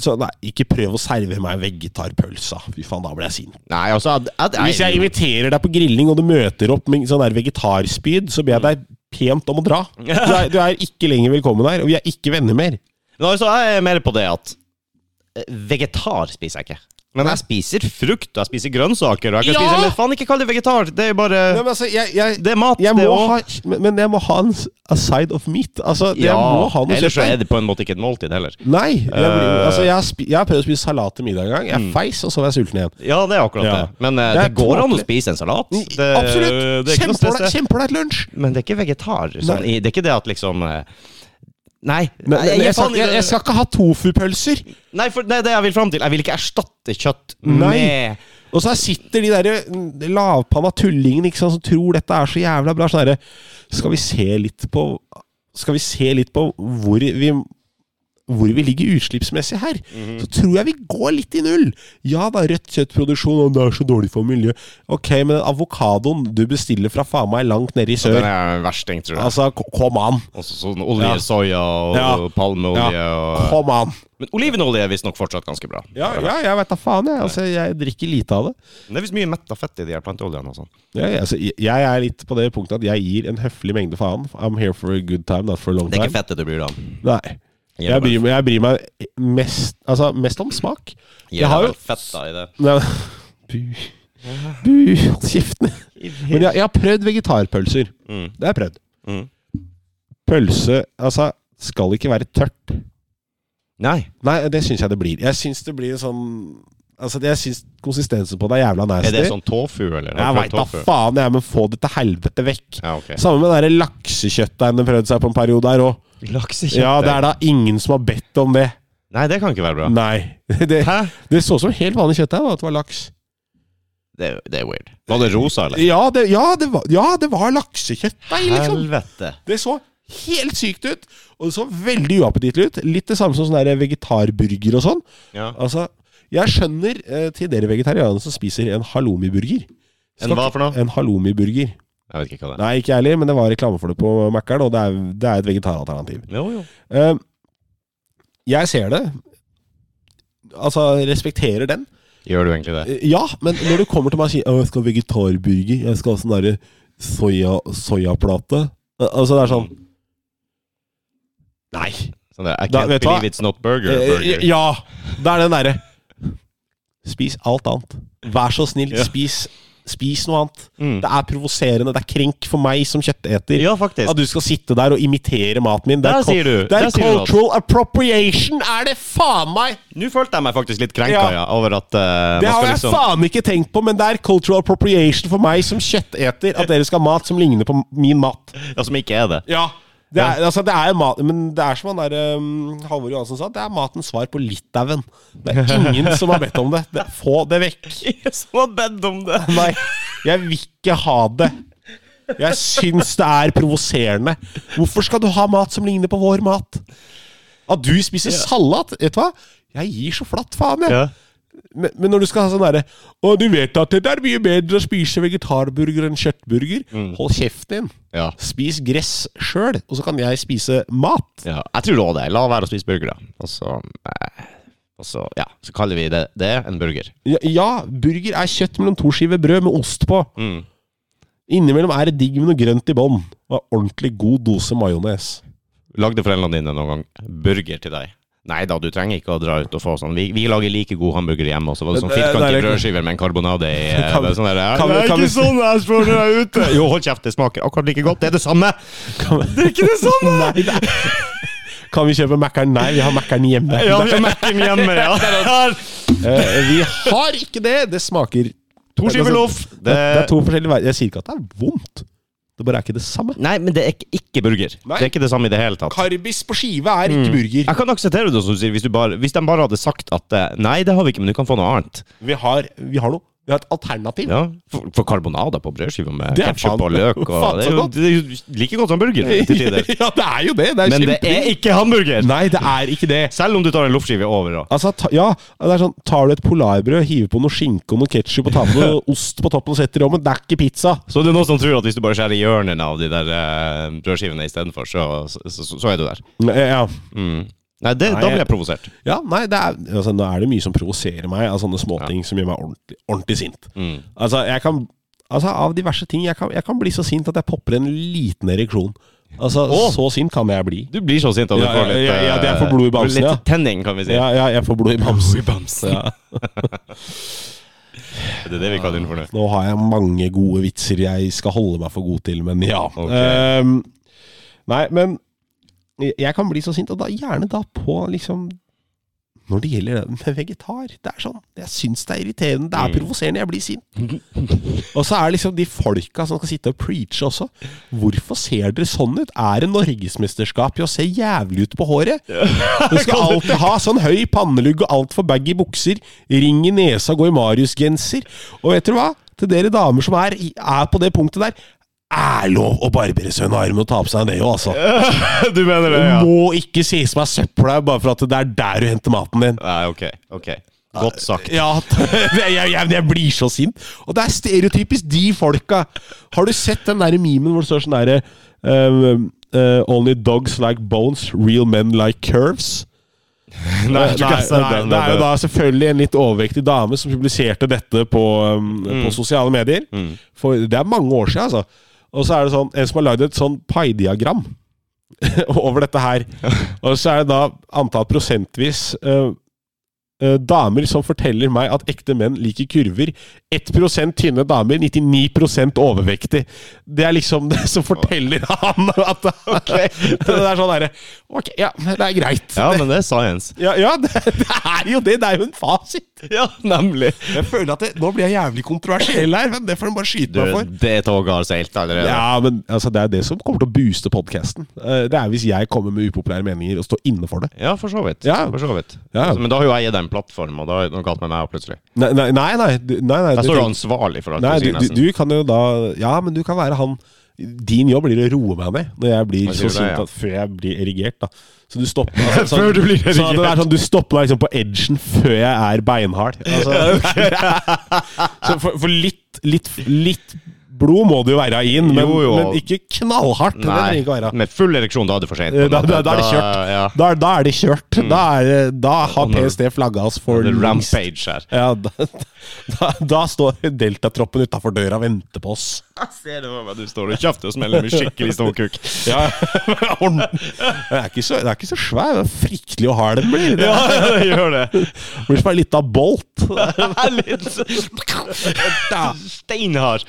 så nei, ikke prøv å servere meg vegetarpølsa. Fy faen, da blir jeg sint.
Nei, altså ad, ad,
Hvis jeg inviterer deg på grilling, og du møter opp med sånn der vegetarspyd, så ber jeg deg pent om å
[laughs]
dra. Du er, du er ikke lenger velkommen her, og vi er ikke venner mer.
Men altså, jeg er mer på det at eh, Vegetar spiser jeg ikke. Men jeg spiser frukt, og jeg spiser grønnsaker, og jeg kan
Ja!
spise Men faen, ikke kall det vegetar! Det er jo bare
Nei, men altså, jeg, jeg,
Det er mat,
jeg
det
må
òg.
ha, men- men jeg må ha en s- a side of meat. Altså, jeg
Ja,
må ha noe
ellers så
kjøttdeig.
er det på en måte ikke et måltid heller.
Nei. Jeg, blir,
Eh. Mm.
altså, jeg, har spi, jeg har prøvd å spise salat til middag en gang. Jeg feis, og så var jeg sulten igjen.
Ja, det er akkurat
Ja.
det. Men eh,
Det
det,
er
går an å
tåpelig. Mm,
spise en salat. Det,
Absolutt!
det er ikke noe stress, det.
Kjempeålreit lunsj!
Men det er ikke vegetar. Sånn,
Nei.
i- det er ikke det at liksom eh, Nei.
Men,
nei,
men jeg,
faen
skal, jeg,
ikke-
jeg skal ikke ha tofupølser!
nei, for det er det jeg vil fram til. Jeg vil ikke erstatte kjøtt
Nei.
med
Og så her sitter de der mm, lavpanna tullingene ikke sant, som tror dette er så jævla bra. Sånn herre Skal vi se litt på Skal vi se litt på hvor vi hvor vi ligger utslippsmessig her, så tror jeg vi går litt i null. Ja da, rødt kjøttproduksjon, og det er så dårlig for miljøet. Ok, men den avokadoen du bestiller fra faen meg langt nede i
Den
sør,
er en versting, tror jeg.
altså, k- kom an.
Også sånn olje,
Ja.
soya og
Ja.
palmeolje og
Kom an.
Men olivenolje er visstnok fortsatt ganske bra.
Ja, ja, jeg veit da faen, jeg. Altså, jeg drikker lite av det.
Men Det er visst mye metta fett i de her planteoljene og sånn.
Ja, jeg, altså, jeg- jeg er litt på det punktet at jeg gir en høflig mengde faen. I'm here for a good time, not for a long
Det er
time.
ikke fettet du bryr deg om.
Nei.
Gir det
Jeg bryr, meg- jeg bryr meg mest, altså, mest om smak.
Gir
Jeg har
deg
jo
vel fetta i det.
Nei, [laughs] Bu. Bu. Hold kjeften. [laughs] Men jeg, jeg har prøvd vegetarpølser.
Mm.
Det har jeg prøvd.
Mm.
Pølse Altså, skal ikke være tørt.
Nei.
Nei, det syns jeg det blir. Jeg syns det blir en sånn Altså, jeg syns konsistensen på det er jævla nasty.
Er det sånn tofu, eller?
jeg veit da faen, jeg, men få det til helvete vekk.
Ja, ok.
Samme med det der laksekjøttdeigen de prøvde seg på en periode her òg.
Laksekjøtt?
Ja, det er da ingen som har bedt om det.
Nei, det kan ikke være bra.
Nei. [laughs] Det,
Hæ?
det så ut som helt vanlig kjøttdeig, at det var laks.
Det, er- det er weird. Var det rosa, eller?
Ja, det, ja, det, var, ja, det var laksekjøttdeig, liksom.
Helvete.
Det så helt sykt ut, og det så veldig uappetittlig ut. Litt det samme som sånn der vegetarburger og sånn.
Ja.
Altså, jeg skjønner eh, til dere vegetarianere som spiser en halloumi-burger.
En hva for noe?
En halloumi-burger.
Jeg vet ikke hva det er.
Nei, ikke jeg heller, men det var reklame for det på Mækkern, og det er, det er et vegetaralternativ.
Jo, jo.
Eh, Jeg ser det. Altså, respekterer den.
Gjør du egentlig det?
Eh, Ja, men når du kommer til meg og sier «Å, jeg skal ha vegetarburger, jeg skal ha sånn derre soya, soyaplate Eh, Altså, det er sånn Nei.
Sånn der, I
Da-
can't
vet du hva?
believe it's not burger.
Eh,
burger.
Ja! Det er den derre Spis alt annet. Vær så snill,
Ja.
spis, spis noe annet.
Mm.
Det er provoserende. Det er krenk for meg som kjøtteter.
Ja, faktisk.
At du skal sitte der og imitere maten min.
Der
er cul-
sier du-
Det er
der sier du noe.
cultural appropriation, er det faen meg!
Nå følte jeg meg faktisk litt krenka
Ja.
ja. over at eh,
Det
man
har
skal
jeg
liksom
faen ikke tenkt på, men det er cultural appropriation for meg som kjøtteter at dere skal ha mat som ligner på min mat.
Ja, som ikke er
[laughs]
det.
Ja. Det er, altså, det er jo mat, men det er som han der um, Halvor Johansen sa, det er matens svar på Litauen. Det er ingen som har bedt om det. det få det vekk.
Ingen som har bedt om det.
Nei, jeg vil ikke ha det. Jeg syns det er provoserende. Hvorfor skal du ha mat som ligner på vår mat? At du spiser salat, vet du hva? Jeg gir så flatt faen, jeg.
[laughs] Ja.
Men, men når du skal ha sånn derre Å, du vet at det er mye bedre å spise vegetarburger enn kjøttburger.
Mm.
Hold kjeften din.
Ja.
Spis gress sjøl, og så kan jeg spise mat.
ja. Jeg tror òg det. La være å spise burgere. Og så eh, Og så, ja. Så kaller vi det, det en burger.
Ja, ja, burger er kjøtt mellom to skiver brød med ost på.
Mm.
Innimellom er det digg med noe grønt i bånn. Og en ordentlig god dose majones.
Lagde foreldrene dine noen gang burger til deg? Nei da, du trenger ikke å dra ut og få sånn. Vi, vi lager like god hamburger hjemme, og så var det sånn
Det- det er
firkantet
ikke-
brødskiver med en karbonade i. eh,
Kan-
det er sånn der,
kan-
det er
kan
ikke
vi-
sånn jeg står når jeg er ute! Jo, hold kjeft, det smaker akkurat like godt. Det er det samme! Det er ikke det samme!
[laughs] Nei, det er- [laughs] Kan vi kjøpe Mækkern? Nei, vi har Mækkern hjemme.
[laughs] Ja, vi har Mac-en hjemme, [laughs] ja. Her.
Eh, vi har ikke det! Det smaker
To skiver loff.
Det, sånn- det er to forskjellige veier. Jeg sier ikke at det er vondt. Det bare er ikke det samme.
Nei, men det er ikke, ikke burger.
Nei.
Det er ikke det samme i det hele tatt.
Karbis på skive er ikke burger.
Jeg kan akseptere det som du sier, hvis, du bare, hvis de bare hadde sagt at eh, nei, det har vi ikke, men du kan få noe annet.
Vi har, vi har noe. Vi har et alternativ.
Ja, For, for karbonader på brødskiva med
Det er faen-
ketsjup og løk og
faen så
det, er jo,
godt.
det er jo like godt som burger til tider.
[laughs] ja, det er jo det. Det er
Men det er
kjempedigg.
ikke hamburger!
Nei, det er ikke det.
Selv om du tar en loffskive over. da.
Altså, ta, ja, det er sånn, Tar du et polarbrød, hiver på noe skinke og noe ketsjup og tar
[laughs]
på noe ost på toppen og setter i ovnen, det er ikke pizza.
Så det er noen som tror at hvis du bare skjærer hjørnene av de der eh, brødskivene istedenfor, så, så, så, så er du der.
Ja,
Mm. Nei, det, da blir jeg provosert.
ja nei, det er, altså, Nå er det mye som provoserer meg av sånne småting som gjør meg ordentlig, ordentlig sint.
Mm.
Altså, jeg kan Altså, av diverse ting jeg kan, jeg kan bli så sint at jeg popper en liten ereksjon. Altså,
Å!
så sint kan jeg bli.
Du blir så sint at du
Ja,
får
ja,
litt
ja, ja,
eh,
det er for blod i bamsen,
Litt
ja.
tenning, kan vi si.
Ja, ja, jeg får blod i bamsen.
Ja. [laughs] det er det vi kaller den for nå.
Nå har jeg mange gode vitser jeg skal holde meg for god til, men ja.
Ok.
Ehm, nei, men jeg- jeg kan bli så sint, og da gjerne da på liksom Når det gjelder det med vegetar. Det er sånn, Jeg syns det er irriterende, det er provoserende, jeg blir sint. Og så er det liksom de folka som skal sitte og preache også. Hvorfor ser dere sånn ut? Er det norgesmesterskap i å se jævlig ut på håret? Du skal alltid ha sånn høy pannelugg og altfor baggy bukser, ring i nesa, gå i Marius-genser. Og vet dere hva? Til dere damer som er, er på det punktet der, er lov å barbere seg under armen og ta på seg en øye, altså.
du mener det,
Det
ja?
må ikke sies meg søpla bare for at det er der du henter maten din.
Nei, ok. ok. Godt sagt.
[laughs] Ja, jeg, jeg, jeg blir så sint. Og det er stereotypisk de folka. Har du sett den der memen hvor det står sånn derre um, uh, Only dogs like bones, real men like curves?
Nei,
Nei, nei, det er jo da selvfølgelig en litt overvektig dame som publiserte dette på, um, på sosiale medier. For det er mange år siden, altså. Og så er det sånn, en som har lagd et sånn pai-diagram [laughs] over dette her. Og så er det da antall prosentvis eh, eh, damer som forteller meg at ekte menn liker kurver. 1 tynne damer, 99 overvektig. Det er liksom det som forteller [laughs] han at [laughs] Det er sånn derre Ok, ja, det er greit.
Ja, men det er science.
Ja, [laughs] ja det, det er jo det. Det er jo en fasit.
Ja, nemlig.
Jeg føler at det, Nå blir jeg jævlig kontroversiell her, men det får du bare skyte
Du,
meg for.
det toget har seilt allerede.
Ja, men altså, Det er det som kommer til å booste podkasten. Det er hvis jeg kommer med upopulære meninger og står inne for det.
Ja, for så vidt.
Ja.
For så vidt.
Ja.
Altså, men da har jo jeg gitt deg en plattform, og da er det noe galt med meg plutselig.
Nei, nei, nei. nei, du- nei, nei,
Jeg
du
står jo
tenker-
ansvarlig for altså. alt
nei
du
du,
sier,
du,
nesten.
du kan jo da Ja, men du kan være han Din jobb blir å roe meg ned når jeg blir
Jeg
så
sier det,
sint
ja.
at før jeg blir erigert. da Så du stopper
[laughs]
altså, sånn,
Før du blir
sånn at det
erigert.
er sånn, Du stopper meg liksom på edgen før jeg er
[laughs]
beinhard. Altså, [laughs] så for, for litt, litt, litt blod må det jo være inn, men,
Jo, jo.
men ikke knallhardt. Det trenger det ikke være. Eh,
Nei, med full ereksjon, da er det for sent. på en
[laughs] Da, da,
måte.
da er det kjørt.
Ja. Mm.
Da, er- da er det kjørt. Da, er, det- da har PST flagga oss for
Det er
lengst.
rampage her.
Ja, da, da, da står deltatroppen utafor døra og venter på oss. [laughs]
Jeg ser det for meg. Du står og kjefter og smeller med skikkelig ståkuk.
Ja,
[laughs]
det, er ikke så, det er ikke så svær, det er fryktelig å ha den blir. Det
Ja, det gjør det.
blir som en liten
[laughs]
bolt.
Litt så- Steinhard.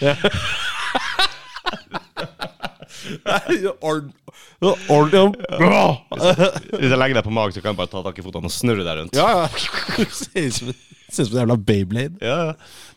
Ord- Ordentlig
Hvis jeg legger deg på magen, så kan jeg bare ta tak i fotene og snurre deg rundt.
Ja, ja. Ser ut som ser ut som en jævla Bayblade.
Ja,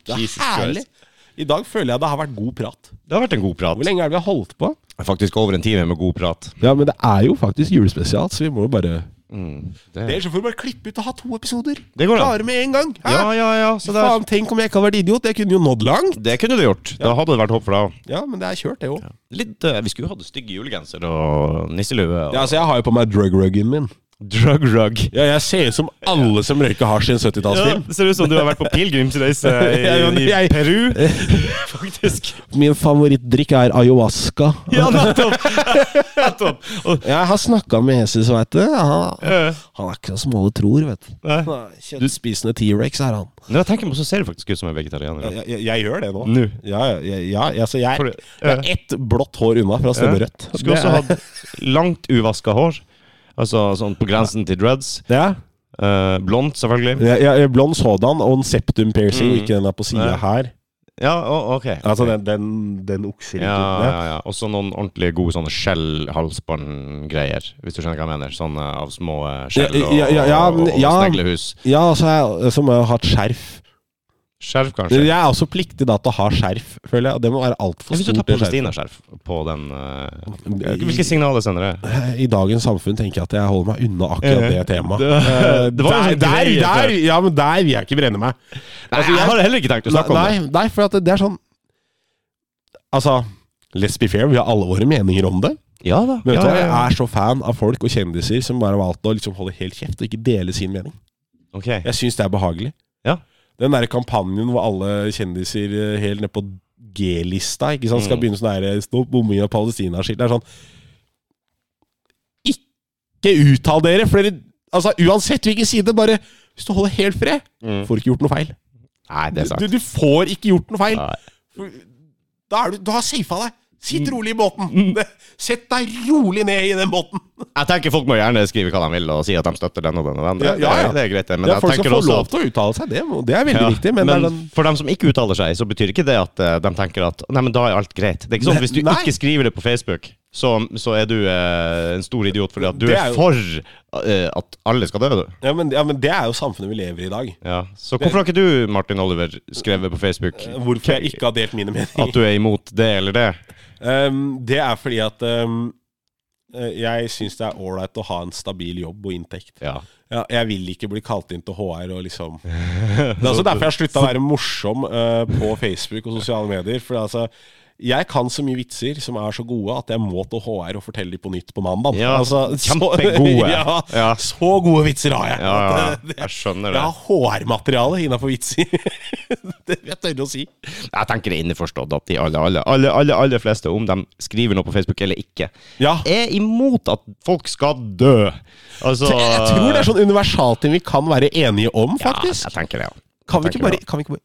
Det
ja.
er
Jesus
herlig.
Christ.
I dag føler jeg det har vært god prat.
Det har vært en god prat.
Hvor lenge er det vi har holdt på?
Faktisk over en time med god prat.
Ja, men det er jo faktisk julespesial, så vi må jo bare
Mm, Det,
Ellers så får vi bare klippe ut og ha to episoder.
Det går an.
Klare med en gang. Hæ?
ja, ja, ja. Så det, er-
Faen, tenk om jeg ikke hadde vært idiot. Jeg kunne jo nådd langt.
det kunne du gjort. Da hadde det vært håp for deg òg.
Ja, men det er kjørt, det òg. Ja.
Litt, eh, vi skulle jo hatt stygge julegenser og nisselue. Og
altså, jeg har jo på meg drug ruggen min.
Drug rug.
Ja, jeg ser ut som alle som røyker hasj i en
Ja,
70-tallsfilm.
det ser ut som du har vært [laughs] på pilegrimsreise i,
Ja, men
i
jeg-
Peru, [laughs] faktisk.
Min favorittdrikk er ayahuasca.
Ja, [laughs] nettopp! nettopp. Og,
Jeg har snakka med Jesus, veit du. Han,
eh,
han er ikke sånn som alle tror, vet du.
nei.
Han er Kjøttspisende T-rex er han.
Når jeg tenker meg om, så ser du faktisk ut som en vegetarianer.
Jeg, jeg, jeg gjør det nå.
Nå.
Ja, ja, ja, ja, altså jeg,
For det-
jeg er ett blått hår unna fra å stemme
Ja.
rødt.
Eh, Skulle
Det
også
er-
hatt langt uvaska hår. Altså sånn på grensen til dreads.
ja.
Eh, blondt, selvfølgelig.
Jeg, jeg, blond sådan og en septum piercing, ikke den der på sida
Nei.
her.
Ja, å, ok.
Altså den, den, den okser
Ja,
ikke.
ja, ja. Og så noen ordentlig gode sånne skjell-halsbånd-greier, hvis du skjønner hva jeg mener. Sånne av små eh, skjell og,
Ja, ja, ja,
og, og, og
ja.
sneglehus.
Ja, altså, jeg, som har hatt skjerf.
Skjerf, kanskje.
Jeg er også pliktig da til å ha skjerf, føler jeg. Og det må være altfor
Hvis du
stort.
tar
det skjerfet.
palestinaskjerf på den eh, Hvilke signaler sender det?
I dagens samfunn tenker jeg at jeg holder meg unna akkurat det temaet.
[laughs] Det-
Eh,
det var jo
der,
sånn
der,
greie
der,
før.
ja, men der vil jeg ikke brenne meg. Altså,
jeg har heller ikke tenkt å snakke om
nei, nei, for at det er sånn Altså, let's be fair, vi har alle våre meninger om det.
det. Ja da.
Men vet
ja,
du hva,
ja,
jeg
ja.
er så fan av folk og kjendiser som bare har valgt å liksom holde helt kjeft og ikke dele sin mening.
Ok.
Jeg syns det er behagelig.
Ja.
Den derre kampanjen hvor alle kjendiser eh, helt ned på G-lista ikke sant, skal
Mm.
begynne sånn derre Stopp bombing av Palestina-skilt. Det er sånn Ikke uttal dere! For dere Altså, uansett hvilken side, bare Hvis du holder helt fred,
Mm.
får du ikke gjort noe feil.
Nei, det er
Du,
sant.
du får ikke gjort noe feil!
Nei.
Da er du, du har safa deg!
Mm.
Sitt rolig i båten! Sett deg rolig ned i den båten!
Jeg tenker Folk må gjerne skrive hva de vil og si at de støtter den og den. og den. Det,
Ja, ja, ja.
det- det er greit, det. Men
Ja,
jeg
folk skal
tenker
få
også
lov
at
til å uttale seg, det, må- det er veldig
ja,
viktig. Men,
men
det er sånn- den,
for dem som ikke uttaler seg, så betyr ikke det at eh, de tenker at Nei, men da er alt greit. Det er ikke sånn at Hvis du
Nei.
ikke skriver det på Facebook, så, så er du eh, en stor idiot fordi at du
Det
er,
er jo-
for eh, at alle skal dø, du.
ja, men, ja, men det er jo samfunnet vi lever i i dag.
Ja. Så hvorfor har ikke du, Martin Oliver, skrevet på Facebook
Hvorfor jeg ikke har delt mine meninger.
at du er imot det eller det?
Um, det er fordi at um, eh, jeg syns det er ålreit å ha en stabil jobb og inntekt.
Ja.
Ja, jeg vil ikke bli kalt inn til HR og liksom [laughs] Det er også derfor jeg slutta å være morsom eh, på Facebook og sosiale medier. For altså, Jeg kan så mye vitser som er så gode at jeg må til HR og fortelle de på nytt på mandag. Altså,
Ja,
så-
kjempegode.
[laughs] ja,
Ja.
Så gode vitser har jeg.
Ja, ja,
At, eh, [laughs] det-
jeg skjønner
Jeg
det.
har HR-materiale innafor vitser. [laughs] det vil jeg tørre å si.
Jeg tenker det er innforstått at de alle, alle, alle, alle, alle fleste, om de skriver noe på Facebook eller ikke,
Ja.
er imot at folk skal dø. Altså
Jeg, jeg tror det er sånn universalting vi kan være enige om, faktisk.
Ja, jeg tenker det, ja.
kan, vi ikke
tenker
bare,
det.
kan vi ikke bare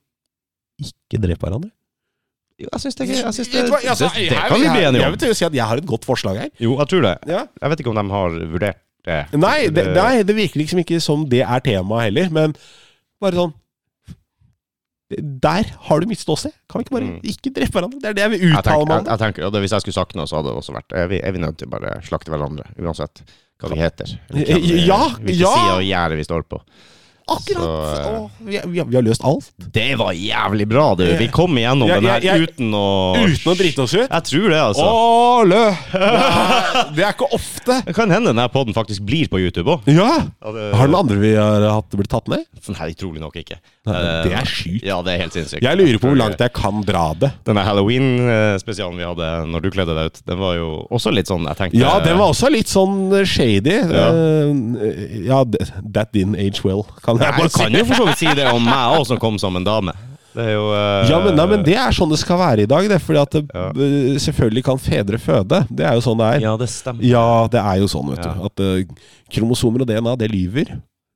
ikke drepe hverandre?
Jo, Jeg syns det, jeg synes det,
Vet du hva, altså,
det, det
her-
kan vi bli
her-
enige
Jeg
om.
vil til å si at jeg har et godt forslag her.
Jo, jeg tror det.
Ja.
Jeg vet ikke om de har vurdert det.
Nei, det, nei, det virker liksom ikke som det er temaet heller, men bare sånn Der har du mitt ståsted! Kan vi ikke bare
Mm.
ikke drepe hverandre? Det er det jeg vil
Jeg
uttale
tenker,
meg
jeg,
om. det.
jeg tenker, og det, Hvis jeg skulle sagt noe, så hadde det også vært Er vi, er vi nødt til å bare slakte hverandre, uansett hva vi heter? eller hvem vi-
Ja,
Hvilke
ja.
sider og gjerder vi står på.
Akkurat!
Så, eh,
Åh, vi, vi, har- vi har løst alt.
Det var jævlig bra, du! Vi kom igjennom
Jeg-
den
jeg-
her
jeg-
uten å
Uten å drite oss ut.
Jeg tror det, altså.
Åle! [laughs] Det er ikke ofte.
Det kan hende denne poden faktisk blir på YouTube òg.
Ja!
det-
Har den andre vi har hatt, blitt tatt ned?
Nei, utrolig nok ikke.
Nei, det er
Eh,
sjukt.
Ja, det er helt sinnssykt.
Jeg lurer på hvor langt jeg kan dra det.
Denne halloween-spesialen vi hadde når du kledde deg ut, den var jo også litt sånn jeg tenkte,
Ja, den var også litt sånn eh, shady. Eh, Ja, d- that didn't age well, kan jeg
Jeg
bare si.
kan jo for så vidt si det om meg òg, som kom som en dame. Det er jo eh,
Ja, men, nei, men det er sånn det skal være i dag. Det, fordi at det, eh, selvfølgelig kan fedre føde. Det er jo sånn det er.
Ja, det stemmer.
Ja, det er jo sånn, vet
Ja.
du. At eh, kromosomer og DNA, det lyver,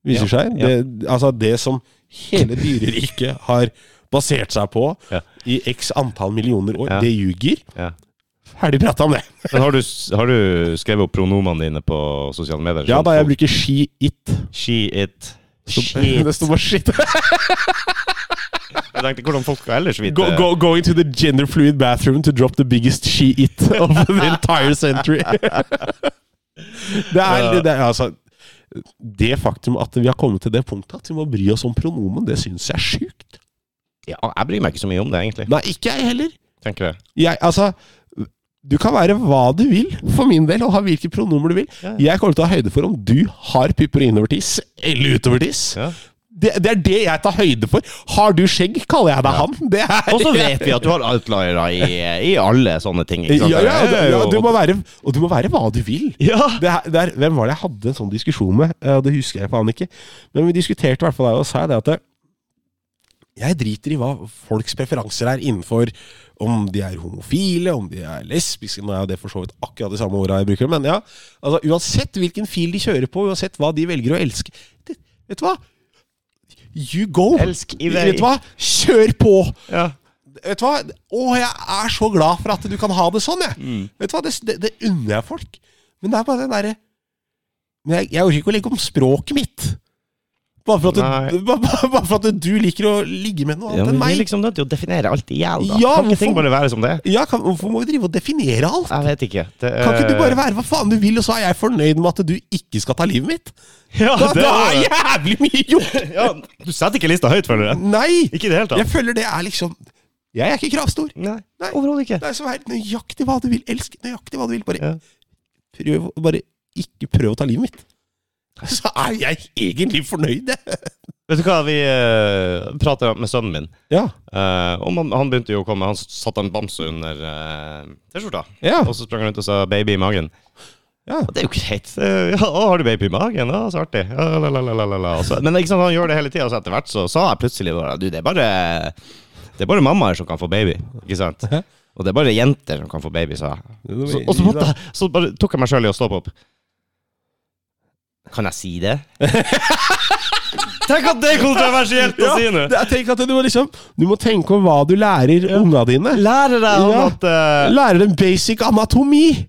viser
Ja,
seg.
ja.
Det, altså det som hele dyreriket har basert seg på
Ja.
i x antall millioner år,
Ja.
det ljuger.
Ja.
Ferdig prata om det.
Men har du, har du skrevet opp pronomene dine på sosiale medier?
Ja
Sånn
da, jeg
folk-
bruker she, it.
She, it, shit.
[laughs] Det står bare shit.
Jeg tenkte hvordan folk skal ellers vite
Go, go, going to the gender fluid bathroom to drop the biggest she it of
[laughs]
the entire century. det, er, det, er altså Det faktum at vi har kommet til det punktet at vi må bry oss om pronomen, det syns jeg er sjukt.
Ja, jeg bryr meg ikke så mye om det, egentlig.
Nei, ikke jeg heller.
Tenker jeg.
Jeg, altså du kan være hva du vil, for min del, og ha hvilke pronomer du vil.
Ja.
Jeg kommer til å ta høyde for om du har pupper innovertiss eller utovertiss. [laughs]
Ja.
Det, det er det jeg tar høyde for. Har du skjegg, kaller jeg deg han. Det er
Og så vet vi at du har outliere i, i alle sånne ting. Ikke sant?
Ja, ja,
Det er
ja
jo-
du må være, og du må være hva du vil.
ja.
Det er, det er, hvem var det jeg hadde en sånn diskusjon med? Eh, Det husker jeg faen ikke. Men vi diskuterte i hvert fall det, og sa det at det, jeg driter i hva folks preferanser er innenfor om de er homofile, om de er lesbiske Nå er jo det for så vidt akkurat de samme orda jeg bruker, men ja. Altså, uansett hvilken fil de kjører på, uansett hva de velger å elske det, Vet du hva? You go!
Elsk i vei.
Vet du hva? Kjør på!
Ja.
Vet du hva? Å, jeg er så glad for at du kan ha det sånn, jeg.
Mm.
Vet du hva? Det, det, det unner jeg folk. Men det er bare den derre Men jeg, jeg orker ikke å legge om språket mitt. Bare for at, du,
Nei.
bare, bare- bare for at du liker å ligge med noe
Ja, men
annet
vi
enn
er
meg.
liksom nødt til å definere alt i hjel, da.
Ja,
kan ikke ting
hvorfor-
bare være som det? er?
Ja, kan, Hvorfor må vi drive og definere alt?
Jeg vet ikke. Det,
Kan ikke du bare være hva faen du vil, og så er jeg fornøyd med at du ikke skal ta livet mitt?
[laughs] [laughs] ja,
Da,
det,
da er jævlig mye
[laughs]
gjort!
ja, Du setter ikke lista høyt, føler jeg.
Nei!
Ikke i det hele tatt.
Jeg føler det er liksom Jeg er ikke kravstor.
Nei,
Nei.
overhodet ikke.
Det er så helt nøyaktig hva du vil. Elsk nøyaktig hva du vil. Bare,
Ja.
prøv, bare ikke prøv å ta livet mitt. Så er jeg egentlig fornøyd, jeg.
Vet du hva, vi uh, prata med sønnen min,
Ja.
eh, og man, han begynte jo å komme Han satte en bamse under eh, T-skjorta,
Ja.
og så sprang han rundt og sa 'baby i magen'.
Ja.
Og det er jo greit. Eh, ja, å, har du baby i magen? Ja, så artig. Ja, la, la, la, la, la, la. Og Så, men ikke sant, han gjør det hele tida, så etter hvert så sa jeg plutselig bare Du, det er bare Det er bare mammaer som kan få baby, ikke sant? Og det er bare jenter som kan få baby, sa jeg. Så, og så, måtte, jeg- så bare tok jeg meg sjøl i å stoppe opp. Kan jeg si
[laughs]
det? Tenk at det er kontroversielt å si nå!
det er- tenk at du, må liksom, du må tenke om hva du lærer unga dine.
Lærer deg om
Ja.
at, eh,
Lærer dem basic anatomi!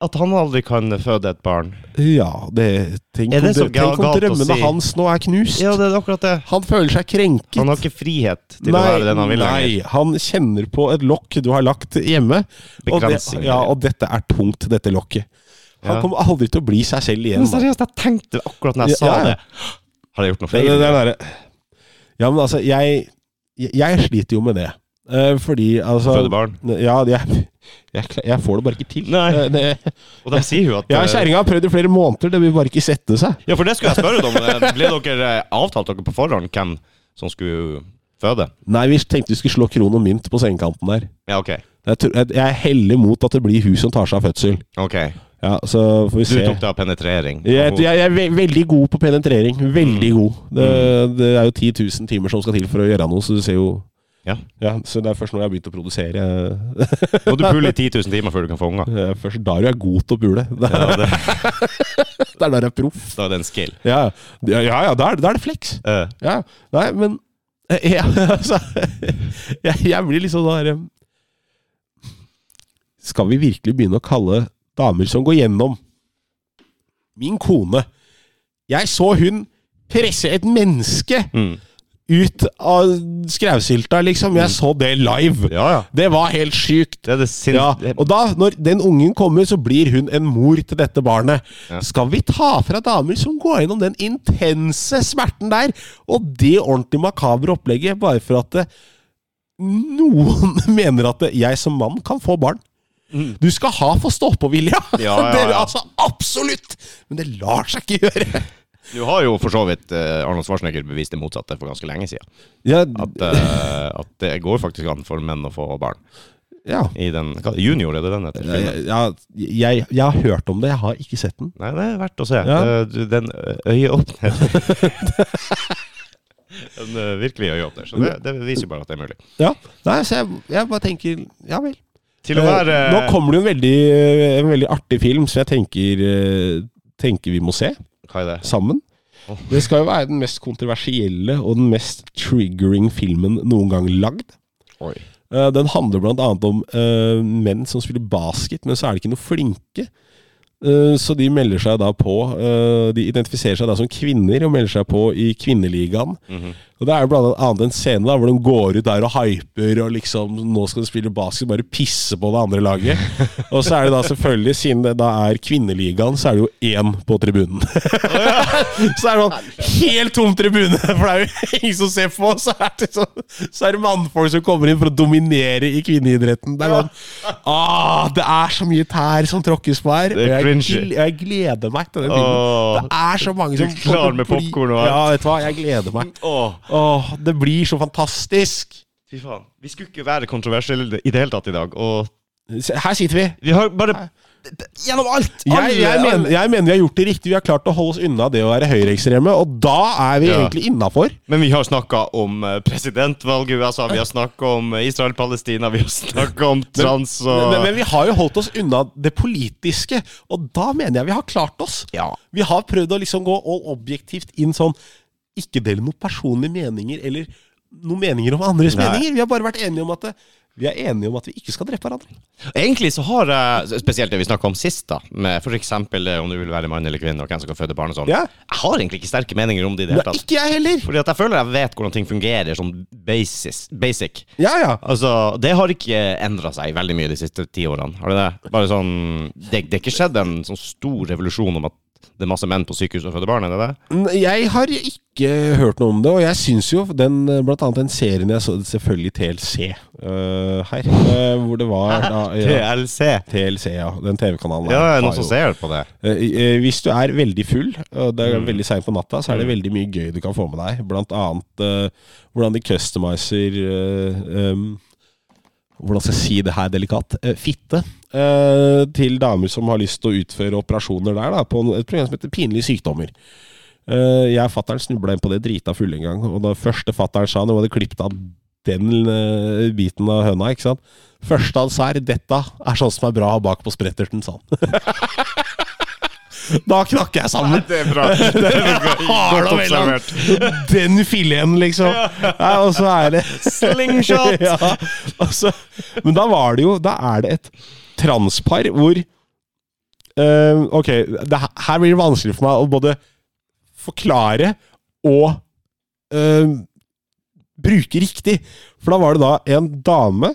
at han aldri kan føde et barn.
Ja, det Tenk
Er
om,
det så
drø- tenk om
galt å
drømmene
si?
hans nå er knust.
Ja, det er akkurat det.
Han føler seg krenket.
Han har ikke frihet til å være den han vil lenger.
nei, han kjenner på et lokk du har lagt hjemme. Og, det,
Begrensninger.
ja, og dette er tungt, dette lokket. Han
Ja.
kommer aldri til å bli seg selv igjen.
Men seriøst, jeg tenkte akkurat når jeg
Ja,
sa
ja.
det. Har jeg gjort noe
Det,
feil?
det, det er der- Ja, men altså, jeg, jeg- jeg sliter jo med det. Eh, fordi altså
Føde barn.
Ja, jeg, jeg, kla- jeg får det bare ikke til.
Nei.
Eh, det,
Og de sier jo at
ja,
eh,
Kjerringa har prøvd i flere måneder, det vil bare ikke sette seg.
Ja, for det skulle jeg spørre deg om. Ble dere eh, avtalt dere på forhånd hvem som skulle føde?
Nei, vi tenkte vi skulle slå kron og mynt på sengekanten der.
Ja, ok.
Jeg, tror, jeg, jeg heller mot at det blir hun som tar seg av fødsel.
Ok.
Ja, så får
Du
vi se.
tok da penetrering.
Jeg, jeg, jeg er ve veldig god på penetrering. Veldig
Mm.
god. Det, det er jo 10 000 timer som skal til for å gjøre noe, så du ser jo
Ja.
Så det er først når jeg har begynt å produsere jeg- [laughs]
Må du pule i 10 000 timer før du kan få unger.
Det er først da du er god til å [laughs] pule. Det er,
Ja, det,
det er da du er proff.
da er det en skill.
Ja, ja, ja, ja da, er, da er det flex.
Eh,
Ja, nei, men [laughs] eh, ja, altså, jeg, jeg blir liksom sånn der eh, Skal vi virkelig begynne å kalle damer som går gjennom Min kone Jeg så hun presse et menneske
Mm.
ut av skrausylta, liksom. Jeg så det live.
Ja, ja.
Det var helt sjukt.
Det er det sin...
Ja,
det-
og da, når den ungen kommer, så blir hun en mor til dette barnet.
Ja.
Skal vi ta fra damer som går gjennom den intense smerten der, og det ordentlig makabre opplegget, bare for at det, noen [laughs] mener at det, jeg som mann kan få barn? Du skal ha for stå-på-vilja!
Ja, ja,
[laughs] Det er
ja.
Altså, absolutt! Men det lar seg ikke gjøre.
Du har jo for så vidt eh, Arnold Schwarzenegger bevist det motsatte for ganske lenge siden.
[laughs] Ja,
At, eh, at det går faktisk an for menn å få barn.
ja.
I den hva, Junior, er det den heter?
Jeg, jeg, jeg har hørt om det, jeg har ikke sett den.
Nei, det er verdt å se.
Ja.
Eh, du, Den [laughs] øyeåpner En eh, virkelig øyeåpner. Så det, det viser jo bare at det er mulig.
Ja, Nei, så jeg, jeg bare tenker Ja vel.
Til å være
Eh, Nå kommer det jo en veldig, en veldig artig film som jeg tenker, eh, tenker vi må se
Hva er det?
sammen.
Oh.
Det skal jo være den mest kontroversielle og den mest triggering filmen noen gang lagd.
Oi.
Eh, Den handler bl.a. om eh, menn som spiller basket, men så er de ikke noe flinke. Eh, Så de melder seg da på eh, De identifiserer seg da som kvinner og melder seg på i kvinneligaen. Og Det er jo blant annet en scene da hvor de går ut der og hyper og liksom Nå skal de spille basket, bare pisse på det andre laget. Og så er det da selvfølgelig, siden det da er kvinneligaen, så er det jo én på tribunen. [laughs] så er det sånn helt tom tribune, [laughs] for det er jo ingen som ser på. Så er det, sånn, så er det mannfolk som kommer inn for å dominere i kvinneidretten. Det er sånn ah, Det er så mye tær som tråkkes på her. Og
Det er
jeg,
cringy.
gl- jeg gleder meg til den filmen.
Åh.
Det er så mange
Du
som
klar med
blir-
popcorn og alt.
Ja, vet du hva, jeg gleder meg.
Åh,
Åh, det blir så fantastisk!
fy faen. Vi skulle ikke være kontroversielle i det hele tatt i dag. Og
Se, Her sitter vi.
vi har bare Gjennom alt!
Jeg, jeg, mener, jeg mener vi har gjort det riktig. Vi har klart å holde oss unna det å være høyreekstreme, og da er vi
Ja.
egentlig innafor.
Men vi har snakka om eh, presidentvalget i USA, vi har snakka om eh, Israel-Palestina, vi har snakka om trans og
Men, men vi har jo holdt oss unna det politiske, og da mener jeg vi har klart oss.
Ja.
Vi har prøvd å liksom gå all objektivt inn sånn Ikke del noen personlige meninger eller noen meninger om andres
Nei.
meninger. Vi har bare vært enige om at det, vi er enige om at vi ikke skal drepe hverandre.
Egentlig så har jeg, spesielt det vi snakka om sist, da, med f.eks. om du vil være mann eller kvinne, og hvem som kan føde barn og sånn,
Ja.
jeg har egentlig ikke sterke meninger om det i det hele
Nei,
tatt.
ikke jeg heller!
Fordi at jeg føler jeg vet hvordan ting fungerer sånn basis, basic.
Ja, ja.
Altså, Det har ikke endra seg veldig mye de siste ti årene. Har det det? Bare sånn, det, det er ikke skjedd en sånn stor revolusjon om at det er masse menn på sykehus som føder barn? er det det?
N- Jeg har ikke hørt noe om det, og jeg syns jo den, blant annet den serien jeg så, selvfølgelig TLC øh, her, øh, hvor det var da, ja,
TLC.
TLC, ja. Den TV-kanalen.
Ja,
her
er det
har
noen som
jo-
ser på det?
Eh, eh, Hvis du er veldig full, og det er veldig seint på natta, så er det veldig mye gøy du kan få med deg. Blant annet eh, hvordan de customizer eh, em, Hvordan skal jeg si det her delikat? Eh, fitte. eh, til damer som har lyst til å utføre operasjoner der, da, på en- et program som heter Pinlige sykdommer. Eh, jeg og fatter'n snubla inn på det drita fulle en gang, og da første fatter'n sa når vi hadde klippet av den eh, biten av høna, ikke sant Første han sa er 'dette er sånn som er bra å ha bak på spretterten', sa han. [laughs] Da knakk jeg sammen.
Det er
[laughs]
bra. Det er
Harald Velland. Den fileten, liksom. Nei, og så er det
Slingshot!
[laughs] ja, og så, Men da var det jo Da er det et transpar hvor eh, Ok, det, her- her blir det vanskelig for meg å både forklare og eh, bruke riktig. For da var det da en dame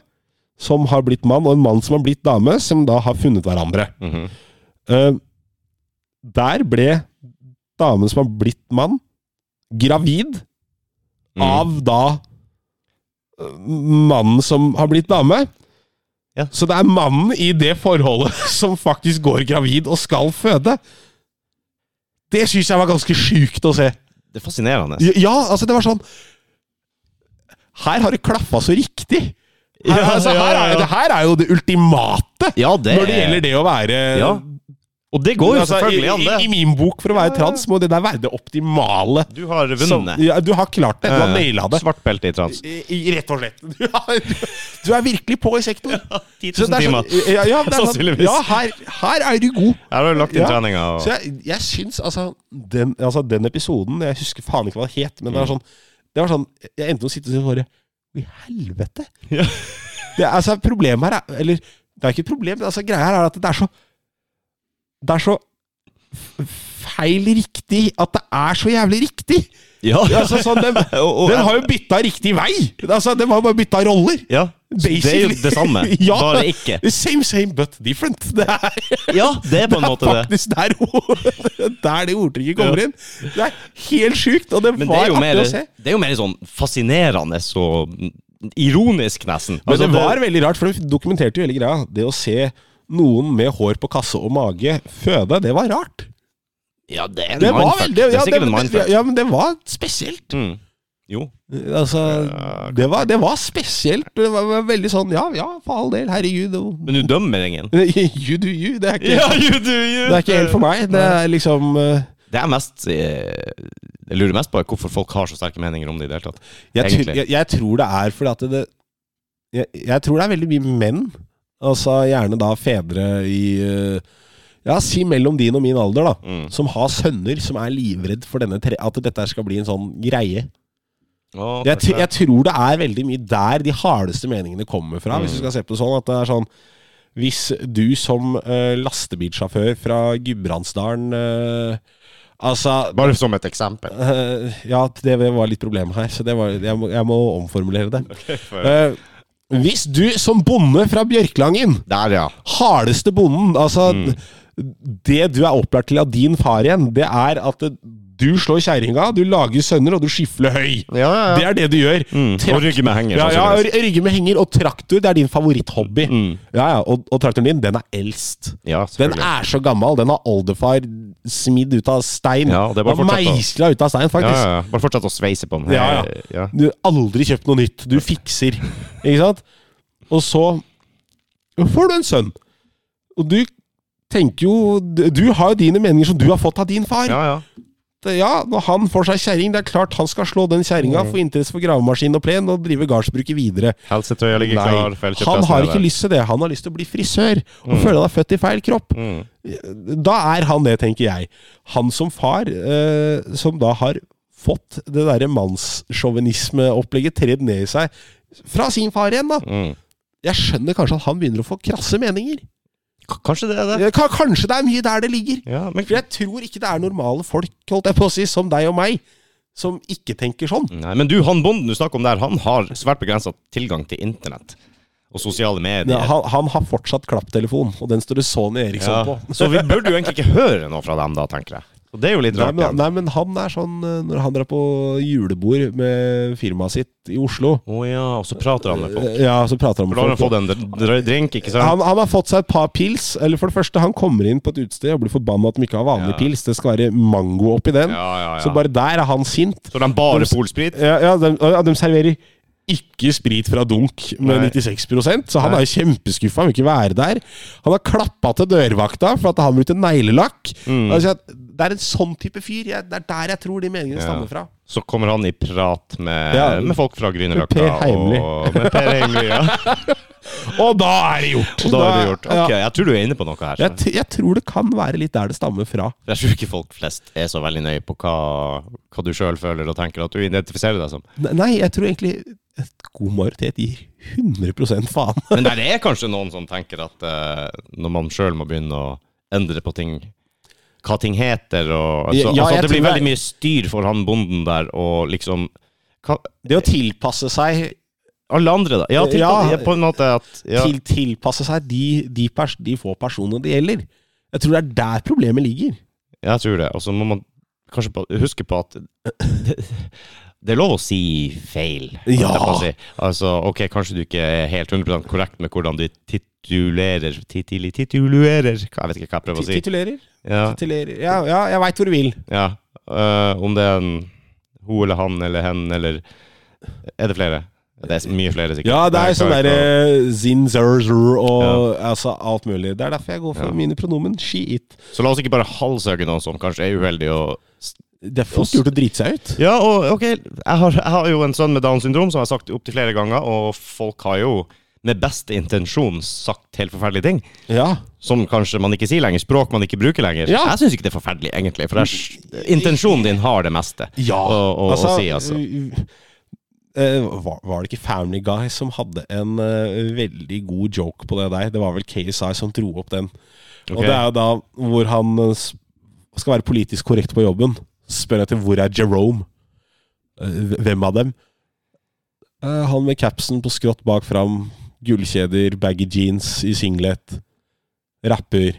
som har blitt mann, og en mann som har blitt dame, som da har funnet hverandre.
Mhm.
Eh, der ble damen som har blitt mann, gravid
Mm.
av da eh, mannen som har blitt dame.
Ja.
Så det er mannen i det forholdet [laughs] som faktisk går gravid og skal føde. Det syns jeg var ganske sjukt å se. altså,
Det er fascinerende.
Ja, altså, det var sånn Her har det klaffa så riktig! Her, altså, her, er, det her er jo det ultimate
Ja, det
når det gjelder det å være
Ja. Og det går jo
altså, i,
selvfølgelig an,
i, I
det.
min bok, for å være trans, må det der være det optimale.
Du har
Som-
vunnet.
ja, du har klart det. Du har naila det.
Svart belte i trans.
I, i, rett og [laughs] slett. Du, har, du er virkelig på i sektoren.
10 000
Så det er
timer.
sånn- ja, ja, [laughs] det er sånn-
Sannsynligvis.
Ja, her, her er du god.
Her har du lagt inn
Ja.
treninga.
Så
Og...
jeg, jeg syns altså den, altså den episoden Jeg husker faen ikke hva det het, men det var sånn Det var sånn Jeg endte med å sitte og si bare Hva i helvete?
Ja.
Det, er- altså, problemet her er Eller, det er ikke et problem. men Altså, greia her er at det er så Det er så f- feil riktig at det er så jævlig riktig!
Ja.
Altså, sånn, [laughs] den,
[laughs] Og- og-
den har jo bytta riktig vei! Altså, Den har jo bare bytta roller!
Ja. Så Det er jo
Basically.
det samme,
[laughs] Ja.
bare ikke.
Same, same, but different. Det er
Ja, det er på en måte det.
faktisk der, ord- der [laughs] det ordtrykket kommer inn. Det er helt sjukt, og det
Men det
var
er, jo
artig
mer,
å se.
det er jo mer sånn fascinerende og ironisk, nesten.
Men
Altså,
det var veldig rart, for du dokumenterte jo hele greia. Det å se noen med hår på kasse og mage føde, det var rart.
Ja, det er en
Det var
mindfuck.
veldig
Det er
ja,
sikkert en
det-
mindfuck.
Ja, men det var spesielt.
Mm. Jo.
Altså, det var, det var spesielt. Det var, var veldig sånn ja, ja, for all del, herregud. og-
Men du dømmer ingen?
[laughs] You do you. Det er ikke,
you do, you.
det er ikke helt for meg. Det er liksom eh,
Det er mest eh, Jeg lurer mest på er hvorfor folk har så sterke meninger om det i det hele tatt.
Jeg,
Egentlig.
tror- jeg, jeg tror det er fordi at det, det jeg, jeg tror det er veldig mye menn, altså gjerne da fedre i eh, Ja, si mellom din og min alder, da.
Mm.
Som har sønner som er livredd for denne tre, at dette her skal bli en sånn greie.
Å,
Jeg, tr-
kanskje.
jeg tror det er veldig mye der de hardeste meningene kommer fra, hvis
Mm.
du skal se på det sånn. At det er sånn Hvis du som eh, lastebilsjåfør fra Gudbrandsdalen eh, Altså,
Bare som et eksempel.
Eh, ja, det var litt problem her, så det var, jeg, må, jeg må omformulere det. Eh, hvis du som bonde fra Bjørklangen,
Der, ja.
hardeste bonden Altså,
Mm.
det du er opplært til av din far igjen, det er at du slår kjerringa, du lager sønner, og du skifler høy.
Ja, ja,
Det er det du gjør.
Mm.
Trakt-
Og rygge med henger.
Ja, ja,
sannsynligvis. Mm.
ry- rygge med henger og traktor, det er din favoritthobby. Ja, ja, og, og traktoren din, den er eldst.
ja
Den
selvfølgelig.
er så gammel. Den har oldefar smidd ut av stein.
Ja, det er bare
og
fortsatt, da.
meisla ut av stein,
Ja,
faktisk.
ja, ja. Bare fortsett å sveise på den. her.
Ja,
ja.
Du har aldri kjøpt noe nytt. Du fikser. Ikke sant? Og så får du en sønn. Og du tenker jo Du har jo dine meninger som du har fått av din far.
ja, ja.
Det- ja, når han får seg kjerring, det er klart han skal slå den
Mm.
kjerringa, få interesse for gravemaskin og plen, og drive gardsbruket videre.
Helsetøyet ligger
Nei,
klar. feilkjøpt
han
resten
har
av
ikke
det.
lyst til det. Han har lyst til å bli frisør, og føler han er født i feil kropp.
Mm.
Da er han det, tenker jeg. Han som far, eh, som da har fått det derre mannssjåvinismeopplegget tredd ned i seg fra sin far igjen, da.
Mm.
Jeg skjønner kanskje at han begynner å få krasse meninger.
K- Kanskje det er det.
Eh, ka- Kanskje det er mye der det ligger.
Ja, men
For jeg tror ikke det er normale folk, holdt jeg på å si, som deg og meg, som ikke tenker sånn.
Nei, men du, han bonden du snakker om der, han har svært begrensa tilgang til internett og sosiale medier.
Ja, han, han har fortsatt klapptelefon, og den står det Sony Eriksson
Ja.
på.
Så vi burde jo egentlig ikke høre noe fra dem da, tenker jeg. Og det er jo litt
Nei
rart.
men,
igjen.
nei, men han er sånn eh, Når han drar på julebord med firmaet sitt i Oslo
Å ja, og så prater han med folk.
Eh, Ja, så prater han
For da har han
med
fått en dr- dr- drink, ikke sant?
Han, han har fått seg et par pils. Eller for det første, han kommer inn på et utested og blir forbanna at de ikke har vanlig
Ja.
pils. Det skal være mango oppi den.
Ja, ja, ja.
Så bare der er han sint.
Så de bare polsprit?
Ja, ja, de, ja, de serverer ikke sprit fra dunk med
Nei.
96 så han
Nei.
er jo kjempeskuffa. Han vil ikke være der. Han har klappa til dørvakta for at han brukte neglelakk.
Mm.
Altså, det er en sånn type fyr. Jeg, det er der jeg tror de meningene stammer fra.
Så kommer han i prat med,
Ja.
med folk fra Grünerløkka.
Per Heimly.
og- Med Per Heimly. Ja.
[laughs] Og da er det gjort!
Og da er det gjort.
ja.
Ok, jeg tror du er inne på noe her.
jeg, t jeg tror det kan være litt der det stammer fra.
Jeg tror ikke folk flest er så veldig nøye på hva, hva du sjøl føler og tenker at du identifiserer deg som.
Ne- Nei, jeg tror egentlig et god majoritet gir 100 faen.
Men der er kanskje noen som tenker at eh, når man sjøl må begynne å endre på ting Hva ting heter og altså,
Ja,
altså,
jeg
At det blir
tror
veldig
jeg-
mye styr for han bonden der, og liksom hva,
[laughs] Det å tilpasse seg
Alle andre, da. Ja, til,
Ja.
på en måte at ja.
til, tilpasse seg de, de, pers de få personene det gjelder. Jeg tror det er der problemet ligger.
Jeg tror det. Og så må man kanskje på, huske på at [clears throat] det, det er lov å si feil. holdt jeg
Ja.
på å Si. Altså, ok, kanskje du ikke er helt 100 korrekt med hvordan du titulerer Titili, Tituluerer Jeg vet ikke hva jeg prøver å si.
Titulerer.
Ja,
Titulerer. Ja, ja jeg veit hvor du vil.
ja. Eh, Om det er en hun eller han eller hen eller Er det flere? Det er mye flere, sikkert.
Ja, det er
Jeg
sånn
klarer ikke
derre zin, zer, zer og altså, alt mulig. Det er derfor jeg går for mine pronomen she, it.
å- Så la oss ikke bare halshøge noen som kanskje er uheldig og
Det er fort gjort å drite seg ut.
Ja, og ok, jeg har, jeg har jo en sønn med Downs syndrom, som jeg har sagt opptil flere ganger, og folk har jo med beste intensjon sagt helt forferdelige ting.
Ja.
Som kanskje man ikke sier lenger, språk man ikke bruker lenger.
Ja.
Jeg syns ikke det er forferdelig, egentlig, for jeg, intensjonen din har det meste å, å, å si, altså.
eh, var, var det ikke Family Guy som hadde en eh, veldig god joke på det der? Det var vel KSI som dro opp den. Og
Ok. [laughs]
det er jo da hvor han eh, s- skal være politisk korrekt på jobben. Spør etter hvor er Jerome? Eh, hv- Hvem av dem? Eh, Han med capsen på skrått bak fram, gullkjeder, baggy jeans i singlet,
[laughs]
rapper.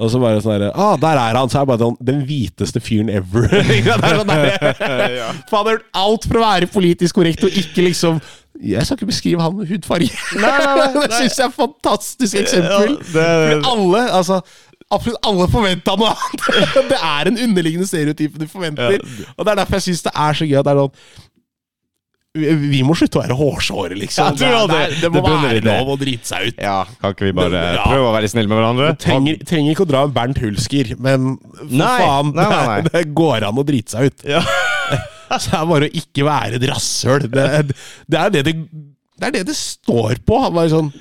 Og så bare sånn herre Ah, der er han! Så er det bare sånn Den hviteste fyren ever.
[laughs]
det er sånn der, Fader, alt for å være politisk korrekt og ikke liksom Jeg skal ikke beskrive han med hudfarge. [laughs] det syns jeg er et fantastisk eksempel.
Ja, det-
For alle, altså Absolutt alle forventa noe annet! [laughs] Det er en underliggende stereotyp du forventer. Og det er derfor jeg syns det er så gøy. at Det er sånn vi, vi må slutte å være hårsåre, liksom.
Jeg tror det.
det, det, det må
Det bunner i
være
det.
lov å drite seg ut.
Ja, kan ikke vi bare
Ja.
prøve å være snille med hverandre?
Trenger, trenger ikke å dra en Bernt Hulsker, men for
Nei,
faen,
nei,
[laughs]
nei, nei.
Det, det går an å drite seg ut.
Ja.
[laughs] Så det er bare å ikke være et rasshøl. Det, det, er det, det, det er det det står på. Han bare sånn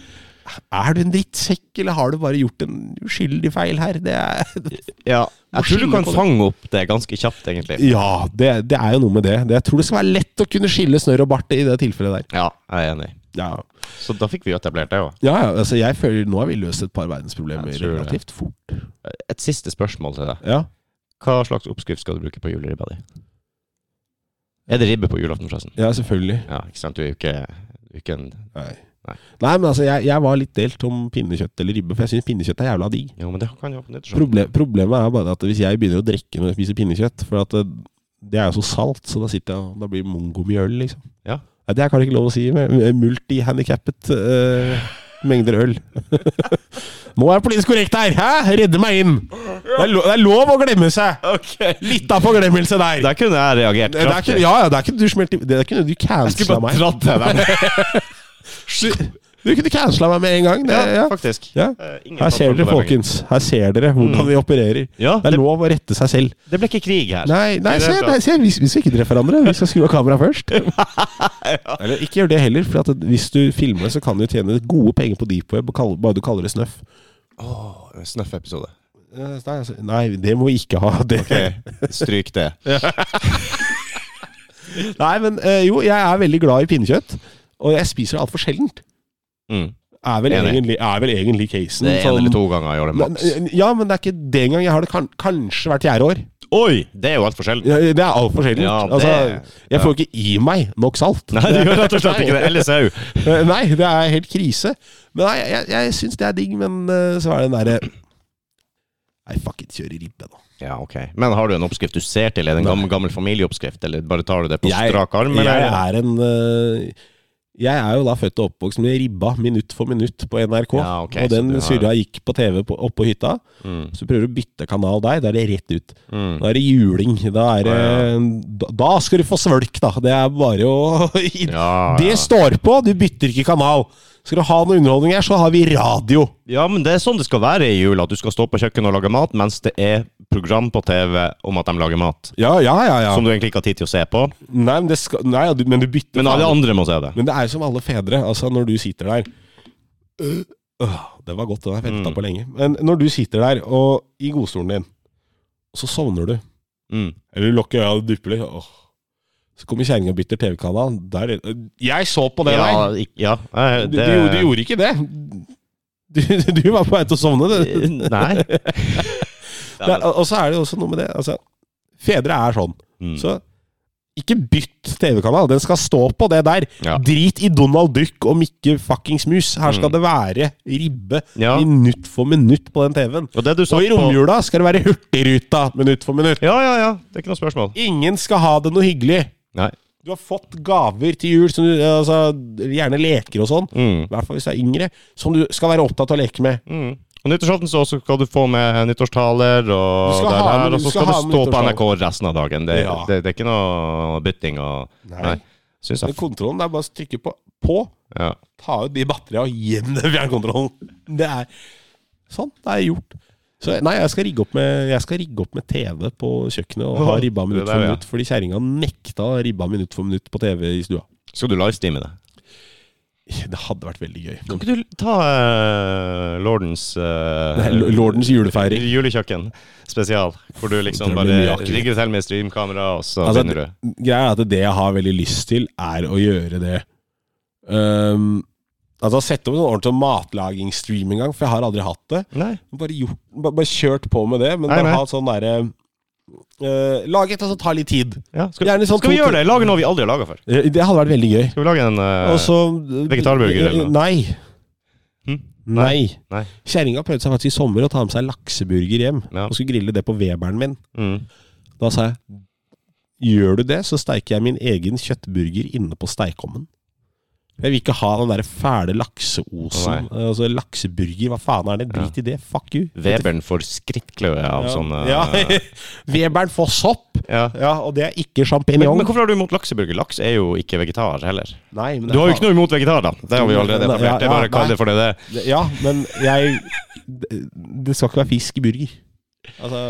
Er du en drittsekk, eller har du bare gjort en uskyldig feil her? Det er,
Ja.
Må
Jeg tror du
skille
kan
på det.
fange opp det ganske kjapt, egentlig.
[laughs] ja, det, det er jo noe med det. det. Jeg tror det skal være lett å kunne skille snørr og bart i det tilfellet der.
Ja, jeg er enig.
Ja,
Så da fikk vi jo etablert det òg.
ja, ja altså jeg føler Nå har vi løst et par verdensproblemer
Jeg tror det.
relativt fort.
Et siste spørsmål til deg.
Ja.
Hva slags oppskrift skal du bruke på juleribba di? Er det ribbe på julaften, forresten?
ja, selvfølgelig.
Ja, ikke sant? Du er jo ikke, du er ikke en
Nei.
Nei.
Nei, men altså, jeg, jeg var litt delt om pinnekjøtt eller ribbe, for jeg syns pinnekjøtt er jævla digg.
Jo, men det kan jo åpne nyttårsaften.
Proble problemet er bare at hvis jeg begynner å drikke når jeg spiser pinnekjøtt, for at det, det er jo så salt, så da, sitter jeg, og- da blir det mongomjøl, liksom.
Ja.
Nei, det er kanskje ikke lov å si. Multihandikappet uh, mengder øl. [laughs] Nå er jeg politisk korrekt her! Hæ? Redde meg inn! Det er, lo det er lov å glemme seg! Litt av forglemmelse der!
Der kunne jeg reagert
Det er ikke, ja, ja, det er ikke du smelt i Det er ikke du cancela meg.
dratt det
[laughs]
der.
Du kunne cancela meg med en gang. Det,
Ja,
ja.
faktisk.
Ja.
Eh, ingen
Her ser
tatt på
dere,
det lenger.
folkens. Her ser dere hvordan vi opererer.
Mm. Ja,
Det er
det,
lov å rette seg selv.
det ble ikke krig her.
Nei,
Det
nei
er
se,
bra.
nei, se vi, vi skal ikke treffe hverandre. Vi skal skru av kameraet
[laughs]
først. Eller ikke gjør det heller, for at hvis du filmer, så kan du tjene gode penger på deep web, og kall- bare du kaller det snøff.
Åh, Snøff-episode.
Eh, Nei, altså, nei, det må vi ikke ha. Det.
Stryk det.
[laughs] Nei, men eh, jo, jeg er veldig glad i pinnekjøtt, og jeg spiser det altfor sjeldent.
Mm.
Er vel,
Enig.
egentlig, er vel egentlig casen.
Det er en
sånn-
eller to ganger i året maks.
Men- Ja, men det er ikke den gang jeg har det kan, kanskje hvert fjerde år.
Oi! Det er jo altfor sjelden.
Ja, Det er altfor sjeldent.
Ja, det-
altså, jeg får ikke i meg nok salt.
Nei, det gjør rett og slett ikke det. LSAU.
Eh, Nei, det er helt krise. Men nei, jeg, jeg syns det er digg, men eh, så er det den derre Nei, fuck it, kjøre ribbe, da.
Ja, ok. Men har du en oppskrift du ser til? Er det en gammel, gammel familieoppskrift, eller bare tar du det på
Jeg-
strak arm?
Jeg
Eller?
er en eh, Jeg er jo da født og oppvokst med ribba minutt for minutt på NRK.
Ja, ok,
og den
så du har-
surra gikk på TV på, oppe på hytta.
Mm.
Så prøver du å bytte kanal der, da er det rett ut.
Mm.
Da er det juling. Da, er det, da, da skal du få svølk, da. Det er bare å [laughs]
Ja,
Det
ja.
står på! Du bytter ikke kanal. Skal du ha noe underholdning her, så har vi radio.
Ja, men det er sånn det skal være i jula. At du skal stå på kjøkkenet og lage mat, mens det er program på TV om at de lager mat.
Ja, ja, ja. ja.
Som du egentlig ikke har tid til å se på.
Nei, men, det skal, nei, ja, du, men du bytter
Men alle
kanal.
andre må se det.
Men det er jo som alle fedre. Altså, når du sitter der Øh, øh, Det var godt, det har jeg
Mm.
venta på lenge. Men når du sitter der og, i godstolen din, og så sovner du
Mm.
Eller du lukker øya og dupper litt. Åh. Så kommer kjerringa og bytter TV-kanal. Der er det- Jeg så på det der!
Ja, ik- ja. eh,
Du,
det-
du, gjorde- du gjorde ikke det. Du, du var på vei til å sovne,
[laughs]
du.
Nei.
Det er- og så er det jo også noe med det altså, Fedre er sånn.
Mm.
Så ikke bytt TV-kanal. Den skal stå på det der.
Ja. Mm.
Drit i Donald Duck og Mikke fuckings Mus. Her skal det være ribbe
Ja.
minutt for minutt på den TV-en.
Og det du
Og
satt
i
på
romjula skal det være Hurtigruta minutt for minutt.
Ja, ja, ja. Det er ikke noe spørsmål.
Ingen skal ha det noe hyggelig.
Nei.
Du har fått gaver til jul, som du, altså, gjerne leker og sånn. I
Mm.
hvert fall hvis du er yngre. Som du skal være opptatt av å leke med.
Mm. Og Nyttårsaften så også skal du få med nyttårstaler, og,
Du skal
det
ha
der,
med-
og
du
så
skal
skal,
ha
du
med
stå på
nyttårstaler.
NRK resten av dagen. Det,
Ja.
det, det er ikke noe bytting. Og,
Nei.
Syns
Men
jeg.
kontrollen er bare å trykke på, på
Ja.
ta ut de batteriene og gi dem den fjernkontrollen. Det er sånn. Det er gjort. Så nei, jeg skal rigge opp med, jeg skal rigge opp med TV på kjøkkenet og ha [laughs]
Åh,
ribba
det
minutt
der,
for
ja.
minutt, fordi kjerringa nekta ribba minutt for minutt på TV i stua.
Skal du livestreame det?
Det hadde vært veldig gøy.
Kan ikke du ta eh, Lordens eh,
Det er L- Lordens julefeiring.
Julekjøkken spesial, hvor du liksom
Det blir mye
bare
akkurat.
rigger til med streamkamera, og så
Altså,
begynner du.
Greia er at det jeg har veldig lyst til, er å gjøre det um, Altså sette opp en ordentlig matlagingsstream en gang, for jeg har aldri hatt det.
Nei.
Bare, gjort, bare, bare kjørt på med det, men
Nei, nei.
bare ha sånn derre uh, Lag et, og så ta litt tid.
Ja, skal,
Gjerne sånn
skal vi
to-
gjøre det? Lage noe vi aldri har laga før.
Eh, Det hadde vært veldig gøy.
Skal vi lage en eh,
Og så
vegetarburger eller noe?
Nei.
Hm?
Nei.
Nei.
Kjerringa prøvde seg faktisk i sommer å ta med seg lakseburger hjem.
Ja.
Og skulle grille det på Weberen min.
Mm.
Da sa jeg gjør du det, så steiker jeg min egen kjøttburger inne på steikommen. Jeg vil ikke ha den der fæle lakseosen. Eh, Altså Lakseburger, hva faen er det? Drit i det. Fuck you.
Webern får skrittkløe av
Ja.
sånne
ja. [laughs] Weberen får sopp!
ja.
Ja, og det er ikke
Men,
sjampinjong.
men hvorfor har du imot lakseburger? Laks er jo ikke vegetar heller.
Nei, men det
Du har
er
jo ikke noe imot vegetar, da. Det har vi jo allerede
Nei, ja,
etablert. Det er
ja,
bare å kalle det for det det. er.
Det- Ja, men jeg Det det skal ikke være fisk i burger. Altså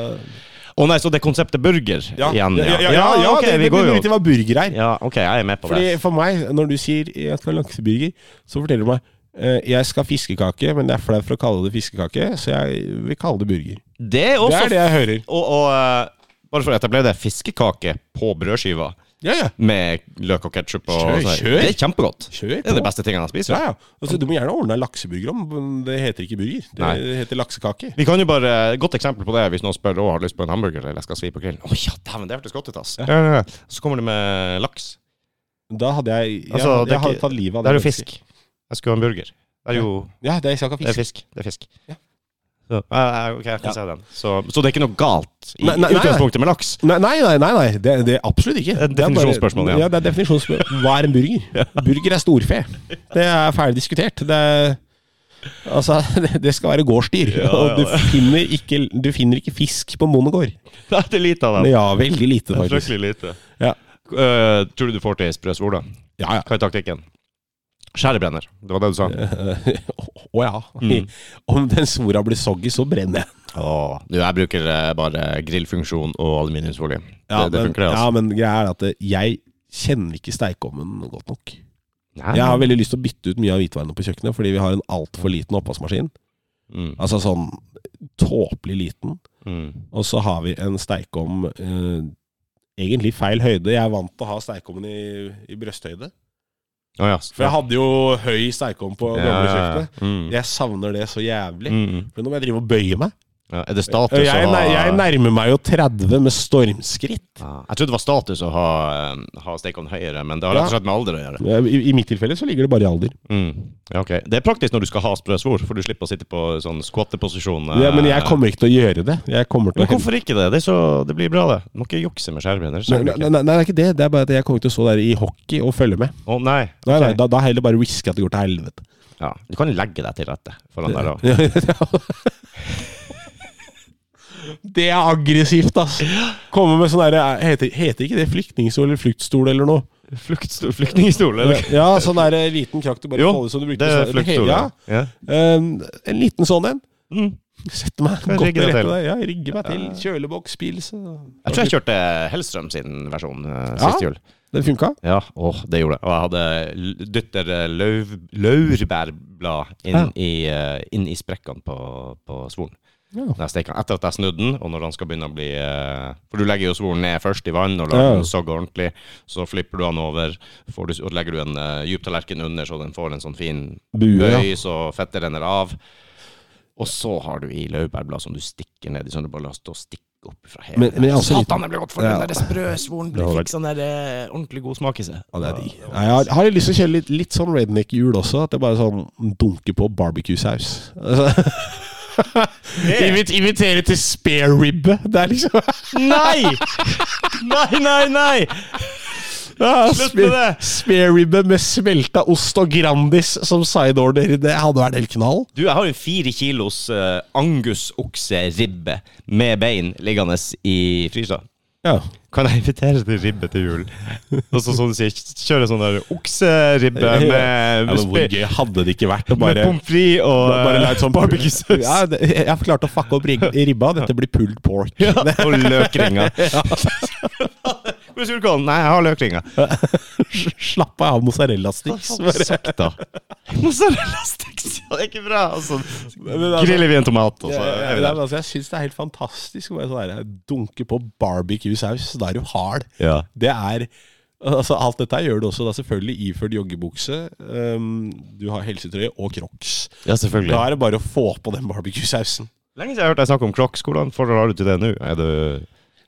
Å nei, så det er konseptet burger igjen? ok,
det,
vi går
det begynner
jo.
ut i hva burger er.
Ja, ok, jeg er med på det.
Fordi For meg, når du sier jeg skal ha lakseburger, så forteller du meg eh, jeg skal ha fiskekake, men det er flaut for å kalle det fiskekake, så jeg vil kalle det burger.
Det er også
det er det jeg hører.
Og, og eh, bare for å etablere det, fiskekake på brødskiva
Ja, ja.
med løk og ketsjup og
Kjør,
sånn.
kjør.
Det er kjempegodt.
Kjør
Det er de
på.
beste tingene jeg spiser.
Ja, ja. Altså, du må gjerne ordne en lakseburger om, men det heter ikke burger. Det
Nei.
heter laksekake.
Vi kan jo bare, eh, Godt eksempel på det hvis noen spør om har du lyst på en hamburger eller jeg skal svi på grillen. Å ja, dæven, det hørtes godt ut, ass. Ja. Ja, ja. Så kommer det med laks.
Da hadde jeg Jeg,
Altså, det er
jeg hadde
ikke-
tatt livet av
Det er jo
mennesket.
fisk. Jeg skulle ha en burger. Det er jo
Ja, det er, jeg skal ikke
det
ha
er
fisk.
fisk. Det er fisk.
Ja.
Så, eh, eh, ok, jeg kan
Ja.
se den. Så, så det er ikke noe galt i
Nei, nei, nei, nei.
utgangspunktet med
[laughs]
laks?
Nei, nei, nei, nei, nei. Det, det er absolutt ikke.
Det er et
bare-
definisjonsspørsmål, ja.
ja. det er et definisjonsspørsmål. Hva er en
[laughs]
burger? Burger er storfe. Det er ferdig diskutert. Det, er, altså, [laughs] det- det skal være gårdsdyr.
Ja,
og
ja,
du
ja.
finner, ikke, du finner ikke fisk på bondegård.
Det er lite av den.
Ja, veldig
Det
lite,
er
faktisk.
Fryktelig lite.
Ja.
Eh, tror du du får til sprø svola?
Ja, [laughs] ja.
Hva er taktikken? Skjærebrenner. Det var det du sa.
Å ja.
Mm.
[laughs] Om den svora blir soggy, så brenner jeg.
Åh, du, jeg bruker eh, bare grillfunksjon og aluminiumsfolie.
Ja,
det, det
men,
funker, det. altså.
ja, men greia er at eh, jeg kjenner ikke steikeovnen godt nok.
altså.
Jeg har veldig lyst til å bytte ut mye av hvitvarene på kjøkkenet, fordi vi har en altfor liten oppvaskmaskin.
Mm,
Altså sånn tåpelig liten.
mm.
Og så har vi en steikom eh, egentlig feil høyde. Jeg er vant til å ha steikommen i, i brøsthøyde.
Å ja.
For jeg hadde jo høy steikom på
Ja,
gamle
ja, ja.
kjøkkenet.
Mm.
Jeg savner det så jævlig.
Mm, mm.
For nå må jeg drive og bøye meg.
Ja, er det status
Jeg,
å ha
jeg, nærmer meg jo 30 med stormskritt.
ja. Jeg trodde det var status å ha, eh, ha stekeovn høyere, men det har rett og slett med alder å gjøre.
I, I mitt tilfelle så ligger det bare i alder.
Mm. Ja, ok. Det er praktisk når du skal ha sprø svor, for du slipper å sitte på sånn squatteposisjon. eh.
Ja, men jeg kommer ikke til å gjøre det. Jeg kommer til
Men
å hente-
hvorfor ikke det? Det, er så, det blir bra, det. Du må ikke jukse med skjærebrenner.
Nei,
skjærer du
nei,
ikke.
nei, nei, det er ikke det. Det er bare at jeg kommer til å stå der i hockey og følge med.
Å nei.
Nei, nei,
Ok.
da, da heller bare riske at det går til helvete.
Ja, du kan legge deg til rette foran
[laughs]
der òg.
Det er aggressivt, ass. Komme med sånn derre heter, heter ikke det flyktningstol eller fluktstol eller noe?
Flyktningstol, eller?
Ja, sånn der eh, liten krakk du bare
Jo,
folder som du brukte.
Det er
sånn-
fluktstol.
Ja.
Ja.
Um, en liten sånn en.
Mm.
Sette meg
Kan jeg
godt
rigge
til
deg
rette
til?
der. Ja, rigge meg til. Kjøleboks, pils
Jeg tror jeg kjørte Hellstrøm sin versjon eh, sist
Ja.
jul.
Det funka?
Ja, åh, det gjorde jeg. Og jeg hadde l- dytter eh, løv, laurbærblad inn,
Ja.
i, eh, inn i sprekkene på, på svoren.
Ja.
Når jeg steker den. Etter at jeg snudde den, og når den skal begynne å bli eh, For du legger jo svoren ned først i vann og lar
Ja.
den sogge ordentlig. Så flipper du den over, får du, og legger du en eh, djup tallerken under, så den får en sånn fin
Bue, ja.
bøy, så fettet renner av. Og så har du i laurbærblad som du stikker ned i, sånn du bare lar stå og stikke opp fra hele
Men- men jeg er også litt-
Satan, det blir godt for
Ja.
den der sprø svoren.
Det
Blir
var
fikk sånn der eh, ordentlig god smak i seg.
Ja, det er digg. Nei, Jeg har, har jeg lyst til å kjøre litt, litt sånn redneck-hjul også. At det bare sånn dunker på barbecue-saus. [laughs] Altså. Invit- Invitere til spare ribbe. Det er liksom
Nei! Nei, nei, nei!
ja,
Slutt med
spe-
det.
Spare ribbe med smelta ost og Grandis som sideorder. Det hadde vært helt knall.
Du, jeg har en fire kilos eh, angusokseribbe med bein liggende i frysa.
Ja.
Kan jeg invitere til ribbe til jul? [laughs] Og så sånn du sier, kjøre sånn der okseribbe
Ja,
med,
men hvor
spe-
gøy hadde det ikke vært å
med
bare
pommes frites og eh,
Bare la et sånt
[laughs] barbecue-saus.
Ja, det- jeg har klart å fucke opp rig- ribba. Dette blir pulled pork.
Ja, og løkringer. Hvor er surkålen? Nei, jeg har løkringer.
[laughs] Slapp av, mozzarella-sticks.
[laughs] Sakta. Mozzarella sticks, ja, det er ikke bra. Og så
men altså-
griller vi en tomat, og så
Ja,
er vi
ja,
der.
men altså, jeg syns det er helt fantastisk å bare sånn der, dunke på barbecue-saus. Da er du hard.
Ja.
Det er Altså, alt dette her gjør du også da selvfølgelig iført joggebukse. Um, du har helsetrøye og crocs.
ja, selvfølgelig.
Da er det bare å få på den barbecue-sausen.
Lenge siden jeg har hørt deg snakke om crocs. Hvordan forhold har du til det nå? Er du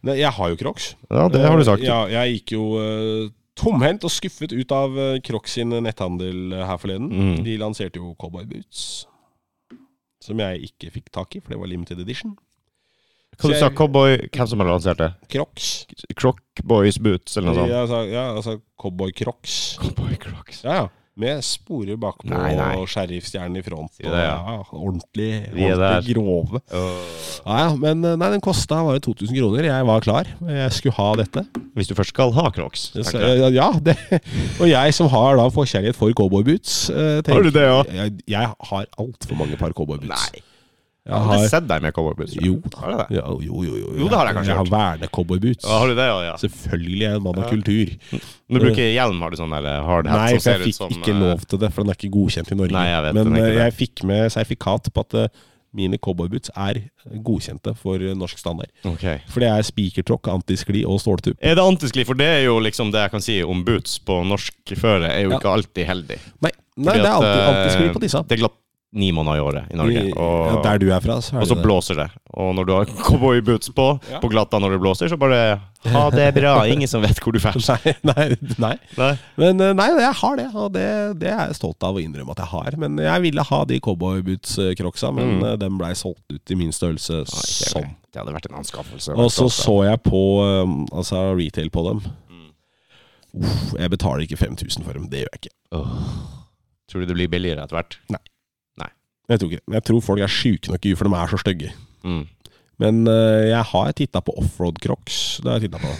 Nei, jeg har jo crocs.
Ja, det har du sagt.
Ja, jeg gikk jo eh, tomhendt og skuffet ut av eh, Crocs sin netthandel eh, her forleden.
Mm.
De lanserte jo cowboy boots. Som jeg ikke fikk tak i, for det var limited edition.
Hva du sa cowboy Hvem som har lansert det?
Crocs.
Croc Boys Boots, eller noe sånt?
Ja, altså, ja, altså cowboy crocs.
Cowboy Crocs.
Ja, ja. Med sporer bakpå
Nei, nei.
og sheriffstjernen i front.
Si
Og,
det, ja.
ja. ordentlig
Vi er
ordentlig grove. Ja, ja, men eh, nei, den kosta var jo 2000 kroner. Jeg var klar. Jeg skulle ha dette.
Hvis du først skal ha crocs.
Så,
tenker jeg.
ja, ja, det. Og jeg som har da forkjærlighet for cowboyboots eh, tenker-
Har du det òg?
Jeg, jeg har altfor mange par cowboyboots.
Nei.
Jeg
Har jeg
har
sett deg med cowboy boots?
Jo.
Har du det?
ja, jo, jo, jo,
Jo, det har jeg kanskje
Jeg har
gjort.
verne-cowboyboots.
Ja, har du det, ja, ja.
Selvfølgelig er jeg en mann av kultur.
Men du bruker hjelm, har du sånn der hard hat
Nei,
som
for
ser
jeg
ut
fikk
som
ikke
eh,
lov til det, for den er ikke godkjent i Norge.
Nei, jeg vet,
Men
den er ikke
eh,
det.
jeg fikk med sertifikat på at eh, mine cowboyboots er godkjente for eh, norsk standard.
Ok.
For det er spikertråkk, antiskli og ståltupp.
Er det antiskli? For det er jo liksom det jeg kan si om boots på norsk føre, er jo
Ja.
ikke alltid heldig.
Nei, nei
Fordi
det er
at,
alltid antiskli
eh,
på disse.
Det er glatt ni måneder i året i Norge.
I- ja,
Og,
der du er fra, så er
og så
det det.
blåser det. Og når du har [laughs] cowboyboots på,
Ja.
på glatta når det blåser, så bare ha det bra. Ingen som vet hvor du drar.
[laughs] Nei, nei, nei.
Nei.
Men eh, nei, jeg har det, og det, det er jeg stolt av å innrømme at jeg har. Men jeg ville ha de cowboyboots-crocsa, men
Mm.
eh, den blei solgt ut i min størrelse sånn.
Det hadde vært en anskaffelse. altså.
Og så så jeg på um, altså retail på dem.
Mm.
Uff, jeg betaler ikke 5000 for dem. Det gjør jeg ikke.
Tror du det blir billigere etter hvert?
Jeg tror, ikke. det. Jeg tror folk er sjuke nok i huet, for de er så stygge.
Mm.
Men øh, jeg har titta på offroad crocs. Det har jeg tittet på.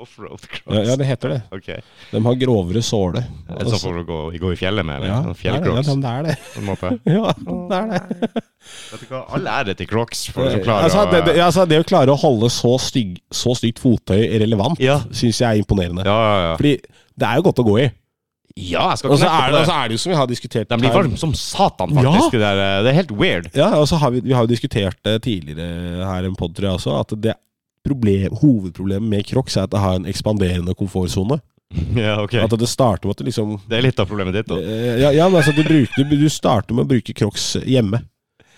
Offroad
Ja,
cross.
ja, det heter det.
Ok.
De har grovere såle. Altså,
Det er sånn for å gå, gå i fjellet med.
ja,
eller?
det er det. Ja,
Fjellcrocs.
sånn- de- det er det. [laughs]
på en måte.
Ja, det er det.
Vet du hva? All ære til Crocs for å klare
Altså, det, det,
å
altså, det å klare å holde så, stygg, så stygt fottøy relevant,
Ja.
synes syns jeg er imponerende.
Ja, ja, ja.
Fordi det er jo godt å gå i.
ja, jeg skal
Og så
knekke
er,
på
det-
det.
så er det jo som vi har diskutert
De blir
her-
varme som satan,
Ja.
faktisk. Det, der, eh, det er helt weird. [laughs]
Ja, og så har vi, vi har jo diskutert det tidligere her i en podd, tror jeg også, at det problem, hovedproblemet med Crocs er at det har en ekspanderende komfortsone.
Ja, ok.
At det starter med at du liksom
Det er litt av problemet ditt, da.
eh, Ja, ja men altså, du, bruker, du, du starter med å bruke Crocs hjemme.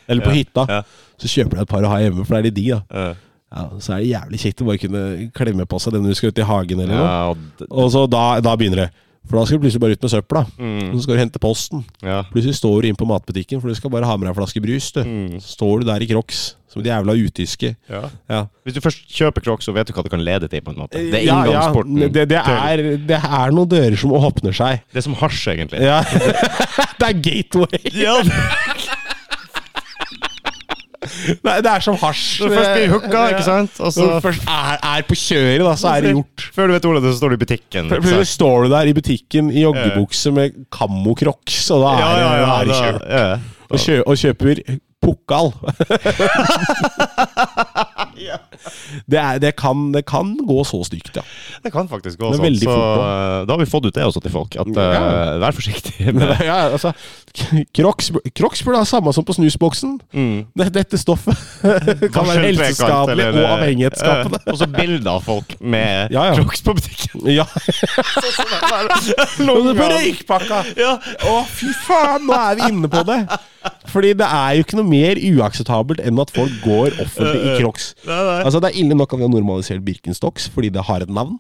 Eller på
Ja,
hytta.
ja.
Så kjøper du et par å ha hjemme, for det er de digg, da.
Eh,
Ja, så er det jævlig kjekt å bare kunne klemme på seg den du skal ut i hagen eller noe.
Ja, og d-
Og så da, da begynner det. For da skal du plutselig bare ut med søpla.
mm,
Så skal du hente posten.
ja.
Plutselig står du inne på matbutikken, for du skal bare ha med deg en flaske brus, du.
Mm,
Står du der i Crocs, som et jævla utyske.
ja.
Ja.
Hvis du først kjøper Crocs, så vet du hva det kan lede til. på en måte Det er
Ja, ja,
inngangsporten.
det, det,
til-
er, det er noen dører som åpner seg.
det er som hasj, egentlig.
Ja. [laughs] det er gateway!
Ja,
[laughs] Nei, det er som hasj.
Når du først blir hooka,
Ja.
ikke sant? Og
Når
så,
du først er, er på kjøret, da, så er
[laughs]
det gjort.
Før du vet ordet av det, så står du i butikken. ikke
Plutselig
sant?
står du der i butikken i joggebukse med kamokroks, og da
Ja,
er
ja,
det- da
ja.
er det
da-
kjørt.
ja.
Og, kjø, og kjøper pokal. det, er, det, kan, det kan gå så stygt, ja.
Det kan faktisk gå
Men
sånn.
veldig
Så
fort
eh, da har vi fått ut det også til folk. At
Ja.
eh, vær forsiktig. [laughs]
Men,
Med,
[laughs] ja altså, Crocs, Crocs burde ha samme som på snusboksen.
mm.
Det- Dette stoffet kan være
Forskjell, trekant,
helseskadelig
eller-
og avhengighetsskapende.
Eh, og så bilder av folk med
Ja, ja.
Crocs på
[laughs]
butikken.
Ja,
Long
På
run.
røykpakka!
Ja.
Å, fy faen, nå er vi inne på det! Fordi det er jo ikke noe mer uakseptabelt enn at folk går offentlig i crocs.
Eh, Nei, nei.
Altså, det er ille nok at vi har normalisert Birkenstocks fordi det har et navn.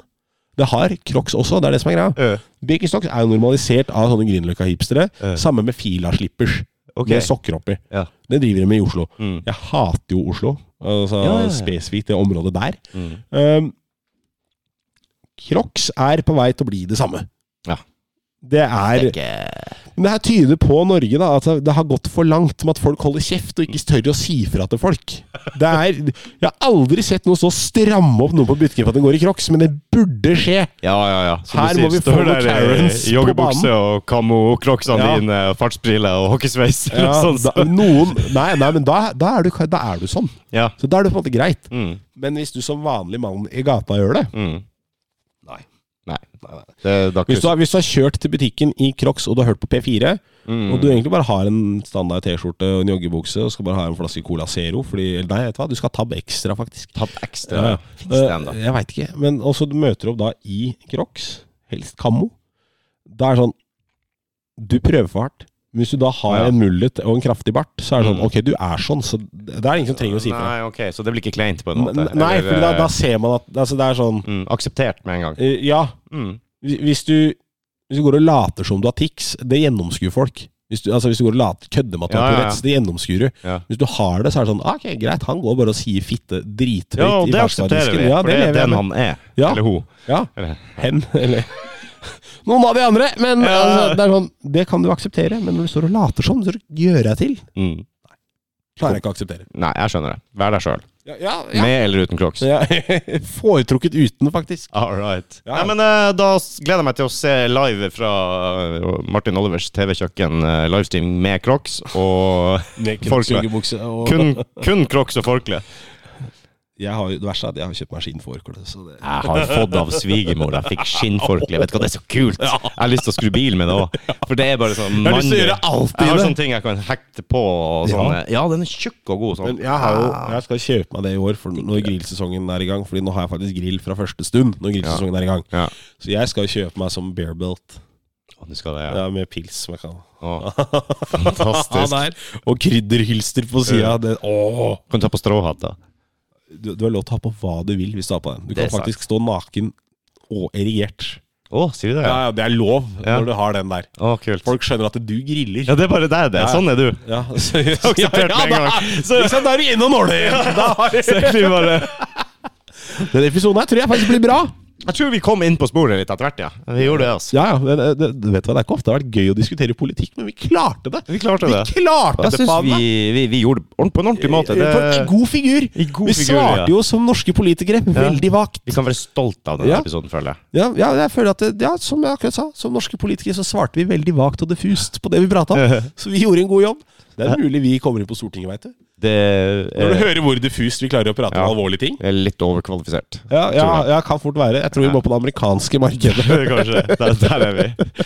Det har Crocs også, det er det som er greia.
Eh,
Birkenstocks er jo normalisert av sånne Grünerløkka-hipstere.
Eh.
Samme med Fila-slippers.
Ok.
Med sokker oppi.
Ja.
Det driver de med i Oslo.
Mm.
Jeg hater jo Oslo. Altså
Ja, ja, ja.
spesifikt det området der.
Mm.
Um, Crocs er på vei til å bli det samme.
Ja.
Det er
Ikke-
Men det her tyder på Norge, da. At det har gått for langt med at folk holder kjeft og ikke tør å si fra til folk. Det er, jeg har aldri sett noen så stramme opp noen på butikken for at den går i crocs, men det burde skje!
Ja, ja, ja. Som
Her
du sier,
må vi få
står
noen
der i
Karens på
Joggebukse og kamo, crocsene
Ja.
dine, og fartsbriller og hockeysveis.
Ja,
sånn,
da, noen, nei, nei, men da, da, er du, da er du sånn.
ja.
Så da er det på en måte greit.
Mm.
Men hvis du som vanlig mann i gata gjør det
Mm.
Nei.
Nei. Det, da
Hvis du, har, hvis du har kjørt til butikken i Crocs og du har hørt på P4,
Mm.
og du egentlig bare har en standard T-skjorte og en joggebukse og skal bare ha en flaske Cola Zero fordi, eller Nei, vet du hva, du skal ha tab ekstra, faktisk.
tatt ekstra.
Ja, ja.
Finnes det ennå?
Eh, Jeg veit ikke. Men også du møter opp da i Crocs, helst kammo. Da er det sånn Du prøver for hardt. Men hvis du da har
Ja.
en mullet og en kraftig bart, så er det sånn
Mm.
Ok, du er sånn, så det det er ingen som trenger å si fra.
Nei, ok, så det blir ikke kleint på en måte?
Nei,
Eller, eh,
for da, da ser man at altså, det er sånn
mm, Akseptert med en gang.
eh, Ja,
Mm.
Hvis- Hvis du, hvis du går og later som du har tics, det gjennomskuer folk. Hvis du, altså hvis du går og later, kødder med at du
Ja,
har
ja, ja.
Tourettes, det gjennomskuer du.
Ja.
Hvis du har det, så er det sånn ah, Ok, greit, han går bare og sier fitte drithøyt.
Ja, og
i
det aksepterer vi,
ferskvaredisken. Ja,
for det er
lever jeg
den
med.
han er.
Ja.
Eller hun.
Ja,
Eller-
hen, eller [laughs] Noen av de andre, men
Ja.
altså, det, er sånn, det kan du akseptere. Men når du står og later som, så gjør jeg til.
Mm.
Klarer jeg ikke å akseptere.
Nei, jeg skjønner det. Vær deg sjøl.
Ja, ja,
Med eller uten crocs.
ja. [laughs] Foretrukket uten, faktisk.
All right.
Ja, ja.
Nei, men eh, da s- gleder jeg meg til å se live fra eh, Martin Olivers TV-kjøkken eh, livestreaming med crocs og [laughs]
Med
Folk-
kroppsjoggebukse og
kun, kun crocs og forkle.
jeg har, jo- Det verste er at jeg har kjøpt maskin for hårkle, så det
Jeg har fått av svigermor. Jeg fikk skinnforkle. Vet du hva, det er så kult! Jeg har lyst til å skru bil med det [laughs] òg. For det er bare sånn
Jeg har sånn- lyst til å
mannlig-
gjøre alt i
Jeg har
det.
sånne ting jeg kan hekte på. Og sånn. ja. den er tjukk og god. Sånn.
Men jeg, har jo, jeg skal kjøpe meg det i år for når grillsesongen er i gang. Fordi nå har jeg faktisk grill fra første stund. Når grillsesongen er i gang
Ja.
Så jeg skal kjøpe meg som bearbelt
Å, du skal det, ja.
ja, med pils. Som jeg kan.
[laughs] Å, fantastisk.
Ja, der. Og krydderhylster på sida. Det- Åh.
Kan du ta på stråhatt, da?
Du, du har lov til å ha på hva du vil hvis du har på den. Du
Det er
kan faktisk stå naken og erigert.
Å, sier du det? Ja.
Ja, ja, Det er lov
Ja.
når du har den der.
Å, kult.
Folk skjønner at du griller.
Ja, det er bare deg, det. Sånn [laughs] er du.
Ja, [laughs] så, ja, ja,
Akseptert med en
da,
gang. [laughs] Så-
liksom, da er du inne og nåler igjen. Da har
Så
du-
egentlig bare
Den episoden her tror jeg faktisk blir bra.
Jeg tror vi kom inn på sporet litt etter hvert, ja. Vi gjorde det, altså.
Ja, ja, men eh, det, du vet hva, det er ikke ofte det har vært gøy å diskutere politikk, men vi klarte det!
Vi klarte det.
Vi klarte
Jeg
det,
syns
faen
vi,
meg!
vi, vi gjorde det ordent- på en ordentlig måte. Det,
På en god figur!
I god
vi
figur,
svarte
ja.
jo som norske politikere, veldig vagt.
vi kan være stolt av denne
Ja.
episoden, føler jeg.
Ja, ja, jeg føler at det, ja, som jeg akkurat sa, som norske politikere så svarte vi veldig vagt og diffust på det vi prata [laughs] om. Så vi gjorde en god jobb. Det er mulig vi kommer inn på Stortinget, veit du.
Det
Når du
eh,
hører hvor diffust vi klarer å prate
Ja.
om alvorlige ting.
er litt [laughs] overkvalifisert.
Ja, ja,
Tror
ja, kan fort være. Jeg tror vi må på det amerikanske markedet. [laughs]
Kanskje. Der, der er vi.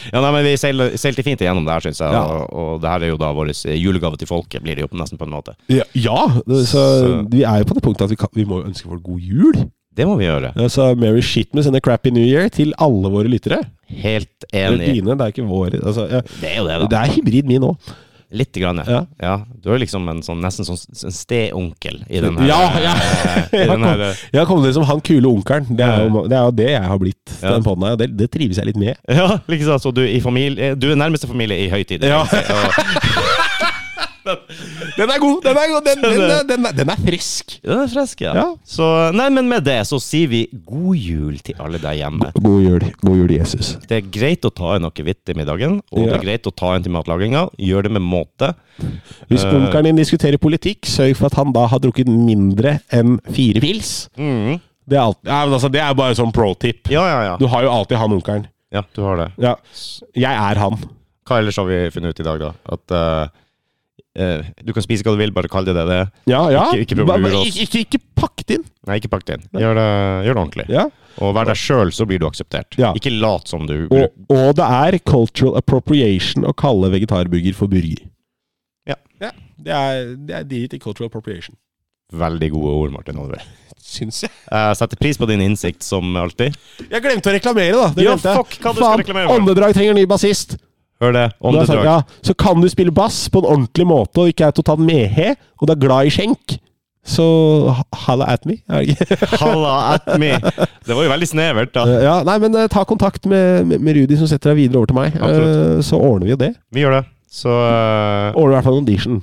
Ja, nei, men vi seil- seilte fint igjennom det her, syns jeg.
Ja.
Og, og det her er jo da vår eh, julegave til folket, blir det jo på- nesten på en måte.
Ja, ja det, så,
Så-
vi er jo på det punktet at vi, kan, vi må jo ønske folk god jul.
Det må vi gjøre.
Ja, Så Merry Shitmas and a Crappy New Year til alle våre lyttere.
Helt
Det er
enig.
dine, det er ikke våre. Altså, ja.
Det er jo det, da.
Det er hybrid min òg.
Litt grann, ja.
Ja.
ja. Du er liksom en sånn, nesten sånn s- en steonkel i den her.
Ja, [laughs] ja.
I
Jeg
den
kom,
her eh,
jeg har kommet inn som han kule onkelen. Det, er
Ja.
jo- det er jo det jeg har blitt.
Ja.
Den podden her, og det, det trives jeg litt med.
[laughs] Ja, liksom så du, i familie, du er nærmeste familie i høytid.
Ja.
Og-
Den er god! Den er, god, den, den, er- den, er- den er frisk!
[laughs] Ja, den er frisk, ja.
Ja.
Så, nei, men med det så sier vi god jul til alle der hjemme.
God jul. God jul, Jesus.
Det er greit å ta inn noe hvitt i middagen, og det
Ja.
er greit å ta inn til matlaginga. Gjør det med måte.
Hvis
Eh.
onkelen din diskuterer politikk, sørg for at han da har drukket mindre enn fire pils.
Mhm.
Det er, alt, ja, men altså, det er bare sånn pro tip.
Ja, ja, ja.
Du har jo alltid han onkelen.
Ja, du har det.
Ja. Jeg er han.
Hva ellers har vi funnet ut i dag, da? At eh, eh, du kan spise hva du vil, bare kall det det det. er.
Ja, ja.
Ikke- ikke prøv å
Bare-
lure
bare
oss.
ikke, ikke, ikke pakk det inn.
Nei, ikke pakk det inn. Gjør det, gjør det ordentlig.
Ja.
Og vær deg sjøl, så blir du akseptert.
Ja.
Ikke lat som du
Og, og det er cultural appropriation å kalle vegetarburger for burger.
Ja.
det er, det er dit i cultural appropriation.
Veldig gode ord, Martin Oliver.
Syns jeg.
Jeg setter pris på din innsikt, som alltid.
Jeg glemte å reklamere, da. Det
Ja,
glemte jeg.
fuck, hva du skal reklamere for?
Åndedrag trenger ny bassist.
Hør det. On
Du
the
har sagt,
drug.
ja, så kan du spille bass på en ordentlig måte og ikke er totalt mehe, og du er glad i skjenk. Så ha- halla at me. er det [laughs] ikke?
[laughs] Halla at me. Det var jo veldig snevert, da.
ja, nei, men eh, ta kontakt med, med, med Rudi, som setter deg videre over til meg.
Absolutt.
Eh, så ordner vi jo det.
Vi gjør det. Så eh,
Ordner i hvert fall en audition.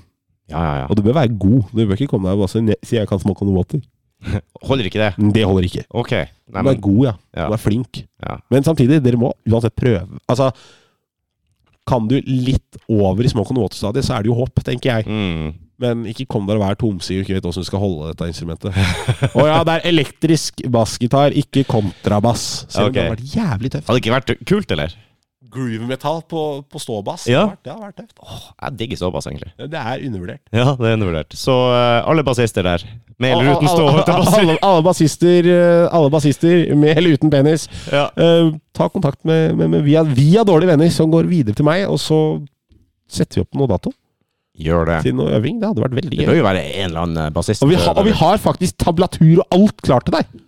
Ja, ja, ja.
Og du bør være god. Du bør ikke komme deg og bare si, «Ne- si jeg kan smoke on the water.
Holder ikke det?
Det holder ikke.
Ok. Nei,
Du
men,
er god, ja.
Ja.
Du er flink.
Ja.
Men samtidig, dere må uansett prøve. Altså, Kan du litt over i smoke and water-stadiet, så er det jo håp, tenker jeg.
Mm.
Men ikke kom der og vær tomsig og ikke vet åssen du skal holde dette
[laughs]
instrumentet. Å ja, det er elektrisk bassgitar, ikke kontrabass. Selv om det har
Ok.
vært jævlig tøft.
Hadde det ikke vært kult, eller?
Groove-metall på, på ståbass,
Ja.
det, har vært, det har vært tøft.
Åh, jeg digger såpass, egentlig.
Det er undervurdert.
Ja, det er undervurdert. Så eh, alle bassister der, med eller uten stå, holdt jeg på å si.
alle, alle bassister, eh, alle bassister med eller uten penis,
[laughs] Ja.
eh, ta kontakt med, med, med via, via dårlige venner, som går videre til meg, og så setter vi opp noe dato
Gjør det.
til noe øving. Det hadde vært veldig
Det
gøy.
bør jo være en eller annen bassist. eh,
Og vi, har, og vi har faktisk tablatur og alt klart til deg.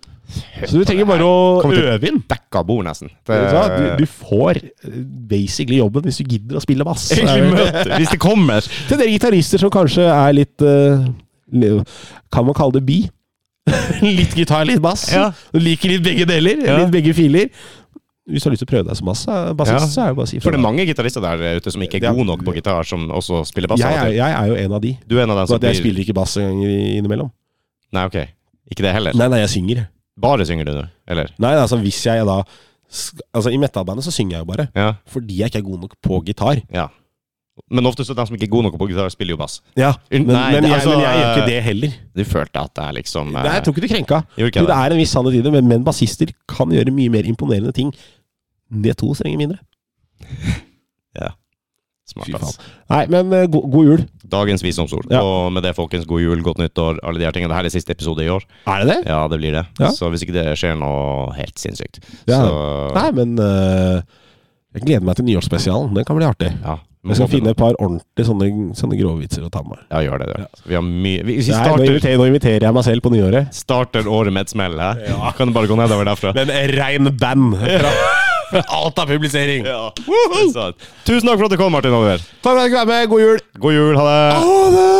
Så du trenger bare å
Kommer til- Eh,
øve inn.
dekka bord, nesten. Det,
Vet du, hva? du, du får eh, basically jobben hvis du gidder å spille
[laughs]
bass. Eh,
Egentlig møter, hvis det kommer.
Til dere gitarister som kanskje er litt eh, li- Kan man kalle det
[laughs]
bi? litt gitar, litt bass.
Ja.
Du liker litt begge deler.
Ja.
Litt begge filer. Hvis du har lyst til å prøve deg som bass, eh,
Ja.
bassist, så er det bare å si
For
ifra.
det er mange gitarister der ute som ikke er
Det er-
gode nok på gitar, som også spiller bass.
Jeg,
av og
er-
til.
jeg er jo en av de.
Du er en av dem
Så
som
at jeg
blir
spiller ikke bass en gang i- innimellom.
Nei, ok. Ikke det heller.
Nei, nei, jeg synger.
Bare synger du nå, eller?
Nei, altså hvis jeg da sk- Altså I metalbandet så synger jeg jo bare.
Ja.
Fordi jeg ikke er god nok på gitar.
ja. Men ofte så de som ikke er gode nok på gitar, spiller jo bass.
Ja,
Unn-
Men,
nei,
men,
det-
jeg,
altså,
men jeg gjør ikke
eh,
det heller.
Du følte at det er liksom eh,
Nei, jeg tok ikke du krenka.
Gjorde
Jo,
ikke
det
det?
er en viss sannhet i det, men, men bassister kan gjøre mye mer imponerende ting. Det to strenger mindre.
Smart,
Fy faen.
ass.
Nei, men eh, god, god jul.
Dagens visdomsord.
Ja.
Og med det, folkens, god jul, godt nyttår, alle de her tingene. Dette er siste episode i år.
Er det det?
Ja, det blir det.
Ja.
Så hvis ikke det skjer noe helt sinnssykt,
Ja.
så
Nei, men eh, jeg gleder meg til nyårsspesialen. Den kan bli artig.
ja.
Jeg skal finne et par ordentlige sånne, sånne grovvitser å ta med meg.
Ja, gjør det. det. Vi har mye Vi, vi
Nei, nå,
starter,
inviterer, nå inviterer jeg meg selv på nyåret.
starter året med et smell, hæ?
Ja.
Kan bare gå nedover derfra.
Men rein band fra, [laughs] alt av publisering.
Ja, det er sant. Tusen takk for at du kom, Martin Oliver.
Takk for at du kunne være med. God jul.
God jul, ha det!
Ha det!